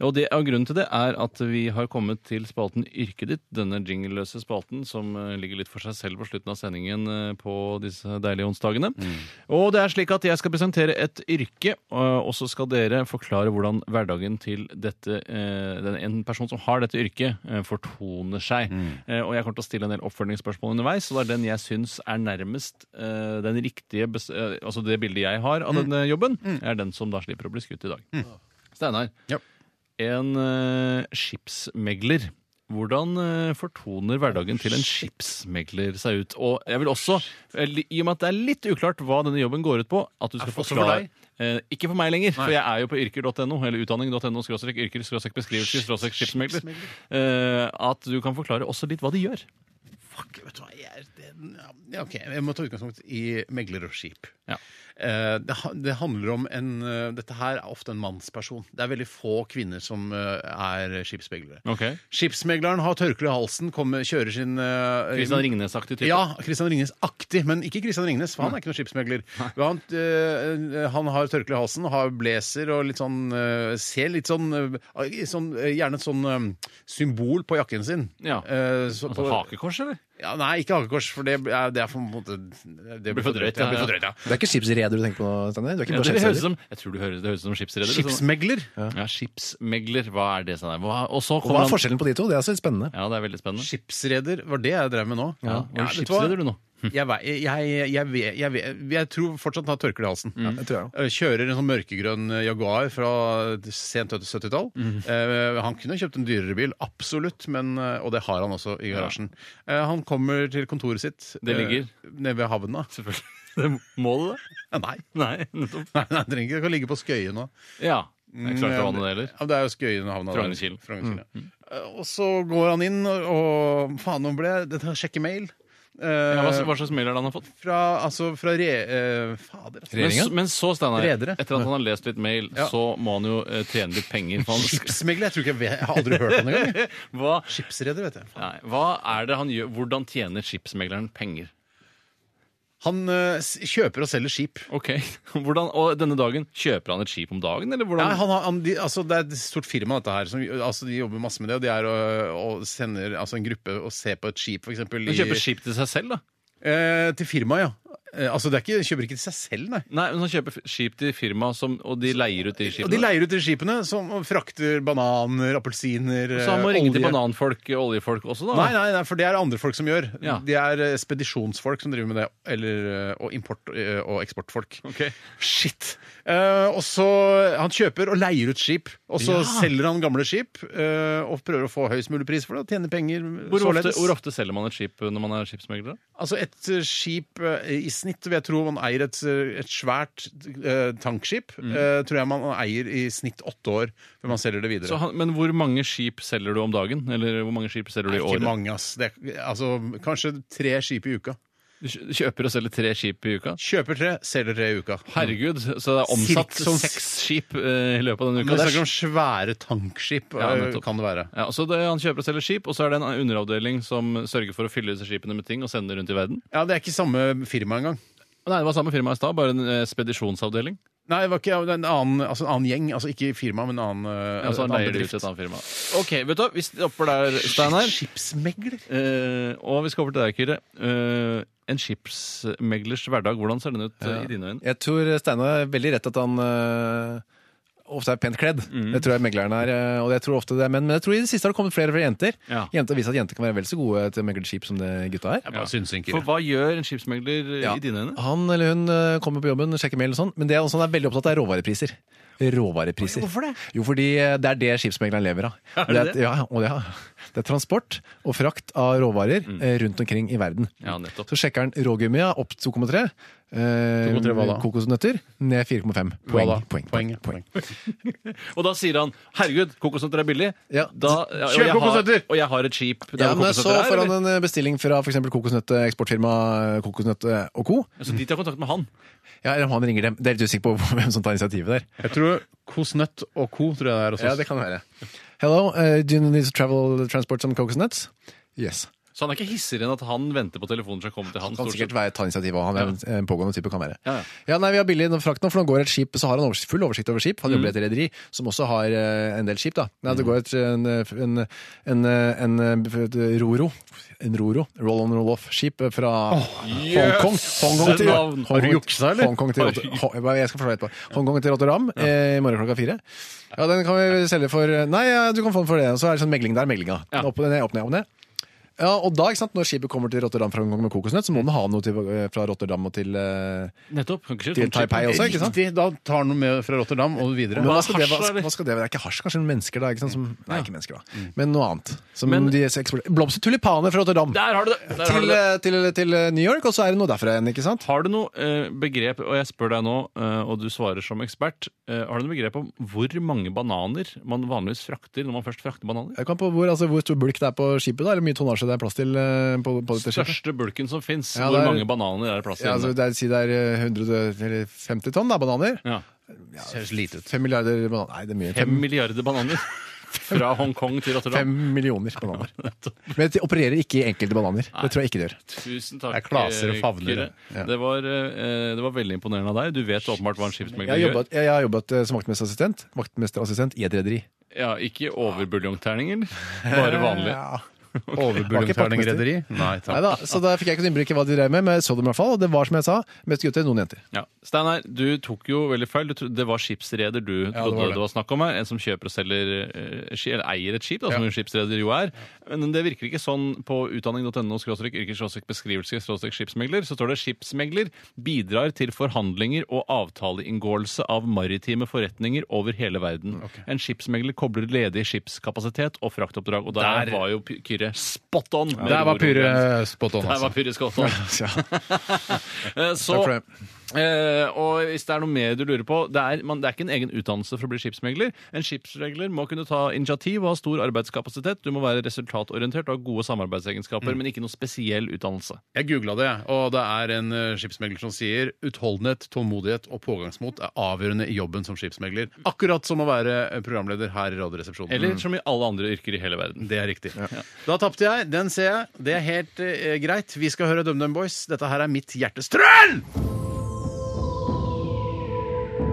Speaker 4: Og det, og grunnen til det er at vi har kommet til spalten Yrket ditt, denne jingleløse spalten som eh, ligger litt for seg selv på slutten av sendingen eh, på disse deilige onsdagene.
Speaker 2: Mm.
Speaker 4: Og det er slik at jeg skal presentere et yrke, eh, og så skal dere forklare hvordan hverdagen til dette, eh, den, en person som har dette yrket, eh, fortoner seg. Eh, Og jeg kommer til å stille en del oppfølgingsspørsmål underveis, og det er den jeg syns er nærmest eh, den riktige, bes- eh, altså det bildet jeg har av denne jobben, er den som da slipper å bli skutt i dag. Steinar,
Speaker 2: Ja.
Speaker 4: en eh, skipsmegler. Hvordan eh, fortoner hverdagen til en skipsmegler seg ut? Og jeg vil også, eh, li- I og med at det er litt uklart hva denne jobben går ut på at du skal
Speaker 2: Også for
Speaker 4: forklare
Speaker 2: deg?
Speaker 4: Eh, Ikke for meg lenger, for jeg er jo på yrker.no eller utdanning.no skråstrek yrker skråstrek beskrivelse skråstrek skipsmegler. Eh, At du kan forklare også litt hva de gjør.
Speaker 2: Fuck, vet du hva, jeg er den- ja, ok, Jeg må ta utgangspunkt i megler og skip.
Speaker 4: Ja.
Speaker 2: Eh, det, ha- det handler om en eh, Dette her er ofte en mannsperson. Det er veldig få kvinner som eh, er skipsmeglere.
Speaker 4: Ok.
Speaker 2: Skipsmegleren har tørkle i halsen, kommer, kjører sin eh,
Speaker 4: Kristian Ringnes-aktig type.
Speaker 2: ja, Christian Ringnes-aktig, men ikke Christian Ringnes, for han er ikke noen skipsmegler. Han, eh, han har tørkle i halsen, har blazer og litt sånn eh, Ser litt sånn, eh, sånn eh, Gjerne et sånn eh, symbol på jakken sin.
Speaker 4: Ja.
Speaker 2: Eh, så
Speaker 4: Altså
Speaker 2: på-
Speaker 4: hakekors, eller?
Speaker 2: ja, nei, ikke hakekors, for det er, det er for, på en måte, det blir for drøyt.
Speaker 4: ja.
Speaker 2: Ja, det blir for drøyt ja.
Speaker 3: Det er ikke skipsreder du tenker på, Steinar? Du er ikke
Speaker 4: Ja,
Speaker 3: bare
Speaker 4: det høres ut
Speaker 3: skipsreder?
Speaker 4: som, jeg tror du høres, det høres ut som skipsreder. sånn.
Speaker 2: Skipsmegler.
Speaker 4: Ja, skipsmegler. Hva er det? Sånn der? Hva, og så
Speaker 3: Og Hva
Speaker 4: kommer
Speaker 3: er
Speaker 4: han
Speaker 3: forskjellen på de to? Det er altså litt spennende.
Speaker 4: Ja, det er veldig spennende.
Speaker 2: Skipsreder var det jeg drev med nå.
Speaker 4: Ja, og
Speaker 2: vet du hva?
Speaker 4: skipsreder du nå?
Speaker 2: Jeg, vei- jeg, jeg, jeg, vet- jeg, vet- jeg tror fortsatt han har tørkle i halsen.
Speaker 4: Mm.
Speaker 3: Det tror jeg også.
Speaker 2: Eh, Kjører en sånn mørkegrønn Jaguar fra sent 70-tall.
Speaker 4: Mm.
Speaker 2: Eh, han kunne kjøpt en dyrere bil, absolutt, men, eh, og det har han også i garasjen. Eh, han kommer til kontoret sitt
Speaker 4: Det ligger?
Speaker 2: eh, nede ved havna.
Speaker 4: Selvfølgelig. Det må det det?
Speaker 2: Nei.
Speaker 4: Nei, nettopp.
Speaker 2: Nei, nei, det trenger ikke det kan ligge på Skøyen nå. Mm,
Speaker 4: Ja. Det er ikke så langt fra vannet, det heller.
Speaker 2: Ja, men det er jo Skøyenhavna. der.
Speaker 4: Frognerkilen. Mm.
Speaker 2: Frognerkilen, ja. Eh, Og så går han inn og, og Faen, nå ble jeg Sjekke mail. Eh,
Speaker 4: Ja, hva, hva slags mail er det han har fått?
Speaker 2: fra, altså, fra re... eh, fader, altså.
Speaker 4: Men, s- men så, Steinar, etter
Speaker 2: Redere.
Speaker 4: at han har lest litt mail,
Speaker 2: Ja.
Speaker 4: så må han jo eh, tjene litt penger. For han,
Speaker 2: Skipsmegler? Jeg tror ikke jeg, vet, jeg har aldri hørt om det engang. jeg.
Speaker 4: hva,
Speaker 2: Skipsreder, vet jeg.
Speaker 4: nei, hva er det han gjør? Hvordan tjener skipsmegleren penger?
Speaker 2: Han eh, s- kjøper og selger skip.
Speaker 4: Ok, hvordan, Og denne dagen, kjøper han et skip om dagen, eller hvordan?
Speaker 2: Nei, han, har- han, de, altså, det er et stort firma, dette her. Som, altså, de jobber masse med det. Og de er og, og sender altså, en gruppe og ser på et skip, f.eks.
Speaker 4: han kjøper skip til seg selv, da?
Speaker 2: Eh, til firmaet, ja. Eh, altså, det er ikke, kjøper ikke til seg selv, nei.
Speaker 4: Nei, men han kjøper f- skip til firma, som, og de leier ut de
Speaker 2: Og de
Speaker 4: skipene.
Speaker 2: leier ut de skipene som frakter bananer, appelsiner,
Speaker 4: Så han må
Speaker 2: eh,
Speaker 4: ringe til
Speaker 2: olje.
Speaker 4: bananfolk og oljefolk også, da?
Speaker 2: Nei, nei, nei, for det er det andre folk som gjør.
Speaker 4: Ja.
Speaker 2: De er eh, spedisjonsfolk som driver med det, eller, eh, og import- eh, og eksportfolk.
Speaker 4: Ok.
Speaker 2: Shit! Eh, og så Han kjøper og leier ut skip, og så selger han gamle skip eh, og prøver å få høyest mulig pris for det og tjene penger
Speaker 4: Hvor ofte,
Speaker 2: således.
Speaker 4: hvor ofte selger man et skip når man er skipsmegler? da?
Speaker 2: Altså Et eh, skip eh, i snitt vil jeg tro man eier et, eh, et svært eh, tankskip. eh, tror jeg man eier i snitt åtte år før man selger det videre.
Speaker 4: Så han, men hvor mange skip selger du om dagen? Eller hvor mange skip selger du i
Speaker 2: ikke
Speaker 4: året?
Speaker 2: mange, ass. Det er, altså, kanskje tre skip i uka.
Speaker 4: Du kjø- kjøper og selger tre skip i uka?
Speaker 2: Kjøper tre, selger tre i uka.
Speaker 4: Herregud, så det er omsatt
Speaker 2: Cirka sånn-
Speaker 4: seks skip eh, i løpet av denne
Speaker 2: Men
Speaker 4: uka.
Speaker 2: det snakker om svære tankskip,
Speaker 4: Ja,
Speaker 2: eh,
Speaker 4: nettopp.
Speaker 2: kan det være.
Speaker 4: Ja, så det, Han kjøper og selger skip, og så er det en underavdeling som sørger for å fylle disse skipene med ting og sende det rundt i verden.
Speaker 2: Ja, Det er ikke samme firma engang.
Speaker 4: Nei, Det var samme firma i stad, bare en eh, spedisjonsavdeling.
Speaker 2: Nei, det var ikke det er en annen, altså en annen gjeng. Altså ikke firma, men en annen, eh,
Speaker 4: Ja, så
Speaker 2: en
Speaker 4: Altså,
Speaker 2: annen
Speaker 4: leier de ut til
Speaker 2: bedrift.
Speaker 4: et annet firma. Ok, vet du hva, vi stopper der, Steinar.
Speaker 2: Skipsmegler?
Speaker 4: Eh, og vi skal over til deg, Kyrre. Eh, en skipsmeglers hverdag, hvordan ser den ut eh, i dine øyne?
Speaker 3: Jeg tror Steinar er veldig rett at han øh, ofte er pent kledd.
Speaker 4: Mm.
Speaker 3: Det tror jeg megleren er, øh, og jeg tror ofte det er menn. Men jeg tror i det siste har det kommet flere og flere jenter.
Speaker 4: Ja.
Speaker 3: Jenter viser at jenter kan være vel så gode til å megle skip som det gutta er.
Speaker 2: Bare synsinker.
Speaker 4: For hva gjør en skipsmegler eh,
Speaker 3: Ja.
Speaker 4: i dine øyne?
Speaker 3: Han eller hun øh, kommer på jobben, sjekker mail og sånn, men det er også han er veldig opptatt av råvarepriser. Råvarepriser. Hvorfor det? Jo, fordi øh, det er det skipsmegleren lever av.
Speaker 4: det
Speaker 3: er- Ja, og det, er- det er transport og frakt av råvarer eh, rundt omkring i verden.
Speaker 4: Mm. Ja, nettopp.
Speaker 3: Så sjekker han rågummia opp 2,3. Eh,
Speaker 2: 2,3 hva da?
Speaker 3: kokosnøtter ned 4,5.
Speaker 2: Hva
Speaker 3: Poeng,
Speaker 2: da?
Speaker 3: poeng,
Speaker 2: Poeng,
Speaker 3: poeng, poeng.
Speaker 4: Og da sier han 'herregud, kokosnøtter er billig'.
Speaker 3: Ja.
Speaker 4: Da, ja, og
Speaker 2: Kjøp
Speaker 4: jeg har-
Speaker 2: kokosnøtter!
Speaker 4: Og jeg har et skip der
Speaker 3: Ja,
Speaker 4: hvor
Speaker 3: men så
Speaker 4: kokosnøtter er.
Speaker 3: får
Speaker 4: eller?
Speaker 3: han en eh, bestilling fra f.eks. kokosnøtte, eksportfirma eh, Kokosnøtte og co.
Speaker 4: Så Altså, de tar kontakt med han.
Speaker 3: Ja, eller om han ringer dem. Det er litt usikker på hvem som tar initiativet der.
Speaker 2: Jeg tror Kosnøtt og Co. tror jeg det er altså. også.
Speaker 3: kan være. Hello, uh, do you need to travel transport some coconuts? Yes.
Speaker 4: Så han er ikke hissigere enn at han venter på telefonen som kommer til han.
Speaker 3: Han kan
Speaker 4: stort
Speaker 3: sikkert
Speaker 4: sett.
Speaker 3: være, ta initiativ, og han er en- en pågående type, kan være.
Speaker 4: Ja, ja.
Speaker 3: nei, Vi har billig noe frakt nå, for nå går et skip, så har han overs full oversikt over skip. Han jobber i et rederi som også har eh, en del skip. da. Nei, Det går et, en, en, en, en, et roro, en roro, roll on roll off-skip fra Hongkong. Hongkong til,
Speaker 4: navn.
Speaker 2: Har du juksa, eller?
Speaker 3: Hongkong til, Ho- jeg skal forklare etterpå. Hongkong til Rotterdam eh, i morgen klokka fire. Ja, den kan vi selge for Nei, ja, du kan få den for det. Og så er det sånn megling der, meglinga.
Speaker 4: Ja.
Speaker 3: Opp og ned, opp og ned, opp og ned. Ja, og da, ikke sant, Når skipet kommer til Rotterdam fra Hongkong med kokosnøtt, så må den ha noe til, fra Rotterdam og til, eh,
Speaker 4: Nettopp. Kan ikke kjøre
Speaker 3: til
Speaker 4: sånn skip.
Speaker 3: Taipei også. ikke sant?
Speaker 2: Riktig. Da tar han noe med fra Rotterdam og videre.
Speaker 3: Men hva
Speaker 4: Hva
Speaker 3: skal, det,
Speaker 4: hasj,
Speaker 3: hva,
Speaker 4: eller? Mm.
Speaker 3: hva skal det være? Det er ikke hasj, kanskje men mennesker, da? ikke sant? Som, nei, ikke mennesker, da. Men noe annet. Som
Speaker 4: Men-
Speaker 3: de eksporterer. Blomster, tulipaner fra Rotterdam
Speaker 4: Der har du det! Der har du
Speaker 3: til,
Speaker 4: det.
Speaker 3: eh, til, til eh, New York, og så er det noe derfra igjen, ikke sant?
Speaker 4: Har du noe eh, begrep, og jeg spør deg nå, eh, og du svarer som ekspert, eh, har du noe begrep om hvor mange bananer man vanligvis frakter når man først frakter bananer?
Speaker 3: Jeg kan på hvor, altså, hvor stor bulk det er på skipet, da, eller hvor mye tonnasje det er plass til eh, på, på dette skipet?
Speaker 4: Største bulken som fins.
Speaker 3: Ja,
Speaker 4: hvor
Speaker 3: det er-
Speaker 4: mange bananer er det plass til?
Speaker 3: Ja, altså, det er, si det er eh, 100, eller 50 tonn da, bananer.
Speaker 4: ja.
Speaker 2: Høres lite ut.
Speaker 3: 5 milliarder bananer. Nei, det er mye.
Speaker 4: Fem milliarder bananer fra Hongkong til Rotterdam.
Speaker 3: 5 millioner bananer. Men de opererer ikke i enkelte bananer. Det tror jeg ikke de gjør.
Speaker 4: Tusen takk.
Speaker 2: Jeg klaser og
Speaker 4: eh,
Speaker 2: favner,
Speaker 4: Kyrre.
Speaker 3: ja.
Speaker 4: Det, var, eh, det var veldig imponerende av deg. Du vet åpenbart hva en
Speaker 3: Jeg har
Speaker 4: skipsmegler gjør.
Speaker 3: jobbet, jeg har jobbet eh, som vaktmesterassistent vaktmesterassistent i et rederi.
Speaker 4: Ja, ikke overbuljongterninger, bare vanlig.
Speaker 3: Ja.
Speaker 2: Overbuljongterningrederi? Nei takk.
Speaker 3: Neida, så da fikk jeg ikke noe innblikk i hva de drev med, men jeg så dem i hvert fall. Og det var som jeg sa, mest gutter, noen jenter.
Speaker 4: Ja. Steinar, du tok jo veldig feil. Du tro- det var skipsreder du trodde det
Speaker 2: var
Speaker 4: var,
Speaker 2: det.
Speaker 4: snakk om her. En som kjøper og selger eh, ski- eller eier et skip, da, som en skipsreder jo er. Men det virker ikke sånn på utdanning.no yrkes-beskrivelse-skipsmegler. Så står det 'skipsmegler bidrar til forhandlinger og avtaleinngåelse av maritime forretninger over hele verden'. En skipsmegler kobler ledig skipskapasitet og fraktoppdrag. Og der,
Speaker 2: Der-
Speaker 4: var jo Py- Kyrre spot on! med
Speaker 2: Der var
Speaker 4: ord og grenser.
Speaker 2: Pyrre spot on,
Speaker 4: Der var
Speaker 2: altså.
Speaker 4: Pyrre spot on.
Speaker 3: Ja.
Speaker 4: Eh, Så
Speaker 3: Takk for det.
Speaker 4: Eh, og hvis det er noe mer du lurer på det er, man, det er ikke en egen utdannelse for å bli skipsmegler. En skipsregler må kunne ta initiativ og ha stor arbeidskapasitet. Du må være resultatorientert og ha gode samarbeidsegenskaper, men ikke noe spesiell utdannelse.
Speaker 2: Jeg googla det, og det er en eh, skipsmegler som sier utholdenhet, tålmodighet og pågangsmot er avgjørende i jobben som skipsmegler. Akkurat som å være programleder her i Radioresepsjonen.
Speaker 4: Eller som i alle andre yrker i hele verden.
Speaker 2: Det er riktig. Da tapte jeg. Den ser jeg. Det er helt eh, greit. Vi skal høre DumDum Boys. Dette her er mitt hjertestrøl!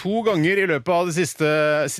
Speaker 2: To ganger i løpet av det siste,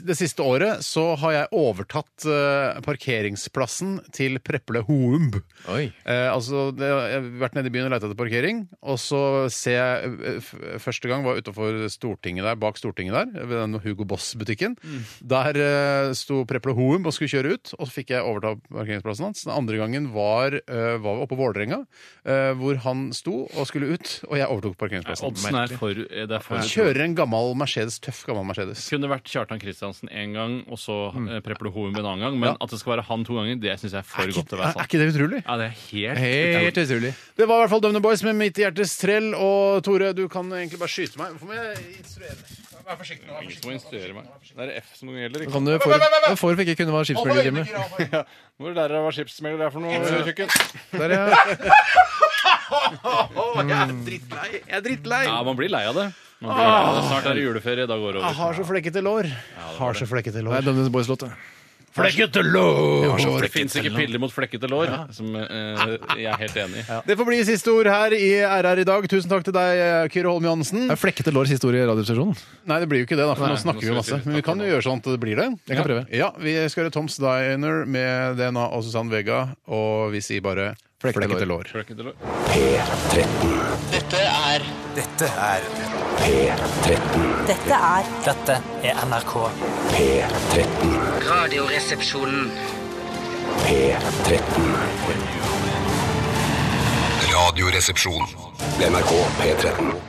Speaker 2: det siste året så har jeg overtatt eh, parkeringsplassen til Preple Houmb.
Speaker 3: Oi.
Speaker 2: Eh, altså, det, jeg har vært nede i byen og leita etter parkering, og så ser jeg eh, f Første gang var utafor Stortinget der, bak Stortinget der, ved den Hugo Boss-butikken.
Speaker 4: Mm.
Speaker 2: Der eh, sto Preple Houmb og skulle kjøre ut, og så fikk jeg overta parkeringsplassen hans. Den andre gangen var, eh, var vi oppe på Vålerenga, eh, hvor han sto og skulle ut, og jeg overtok parkeringsplassen.
Speaker 4: Oddsen er for, eh, det er for
Speaker 2: Han kjører en gammel Mercedes, tøff gammel Mercedes.
Speaker 4: kunne vært Kjartan Kristiansen én gang, og så eh, Preplo Hoven en annen gang. Men at det skal være han to ganger, det syns jeg er for godt til å være sant.
Speaker 2: det utrolig?
Speaker 4: Ja, det er helt,
Speaker 3: Helt utrolig.
Speaker 2: Det var i hvert fall Dumne Boys med Mitt hjertes trell. Og Tore, du kan egentlig bare skyte meg. Hvorfor må jeg instruere? Vær forsiktig nå.
Speaker 4: Ingen som må instruere meg. Det er F som gjelder,
Speaker 3: Kan
Speaker 4: ikke
Speaker 3: du for, jeg får ikke kunne være skipsmegler, Jimmy.
Speaker 4: Ja. Hvor lærer jeg hva skipsmegler er for noe? eh, Kjøkken?
Speaker 3: Der, ja.
Speaker 4: Mm.
Speaker 2: Jeg er drittlei.
Speaker 4: Ja, man blir lei av det. Man blir lei av det. Snart er det juleferie, da går det
Speaker 2: Jeg
Speaker 4: over.
Speaker 2: har så flekkete lår. Har så flekkete
Speaker 3: Det er
Speaker 2: lår.
Speaker 3: Dumnes Boys-låta.
Speaker 2: Flekkete lår!
Speaker 4: Det fins ikke piller mot flekkete lår, som eh, jeg er helt enig i.
Speaker 2: Det får bli siste ord her i RR i dag. Tusen takk til deg, eh, Kyrre Holm Johansen.
Speaker 3: Det er flekkete lår siste ord i Radioresepsjonen.
Speaker 2: Nei, det blir jo ikke det, da, for
Speaker 4: Nei,
Speaker 2: nå snakker vi
Speaker 4: nå
Speaker 2: masse.
Speaker 4: skal vi si
Speaker 2: Men vi kan jo gjøre sånn at det blir det. Jeg
Speaker 3: kan prøve.
Speaker 2: Ja, Vi skal gjøre Tom's Diner med DNA og Susann Vega, og vi sier bare
Speaker 3: Flekkete
Speaker 2: flekkete
Speaker 3: lår.
Speaker 2: lår.
Speaker 4: Flekkete lår.
Speaker 1: P13.
Speaker 10: Dette er
Speaker 6: Dette er
Speaker 1: P13.
Speaker 11: Dette er
Speaker 6: Dette er NRK.
Speaker 1: P13.
Speaker 10: Radioresepsjonen.
Speaker 1: P13.
Speaker 5: Radioresepsjon.
Speaker 1: NRK P13.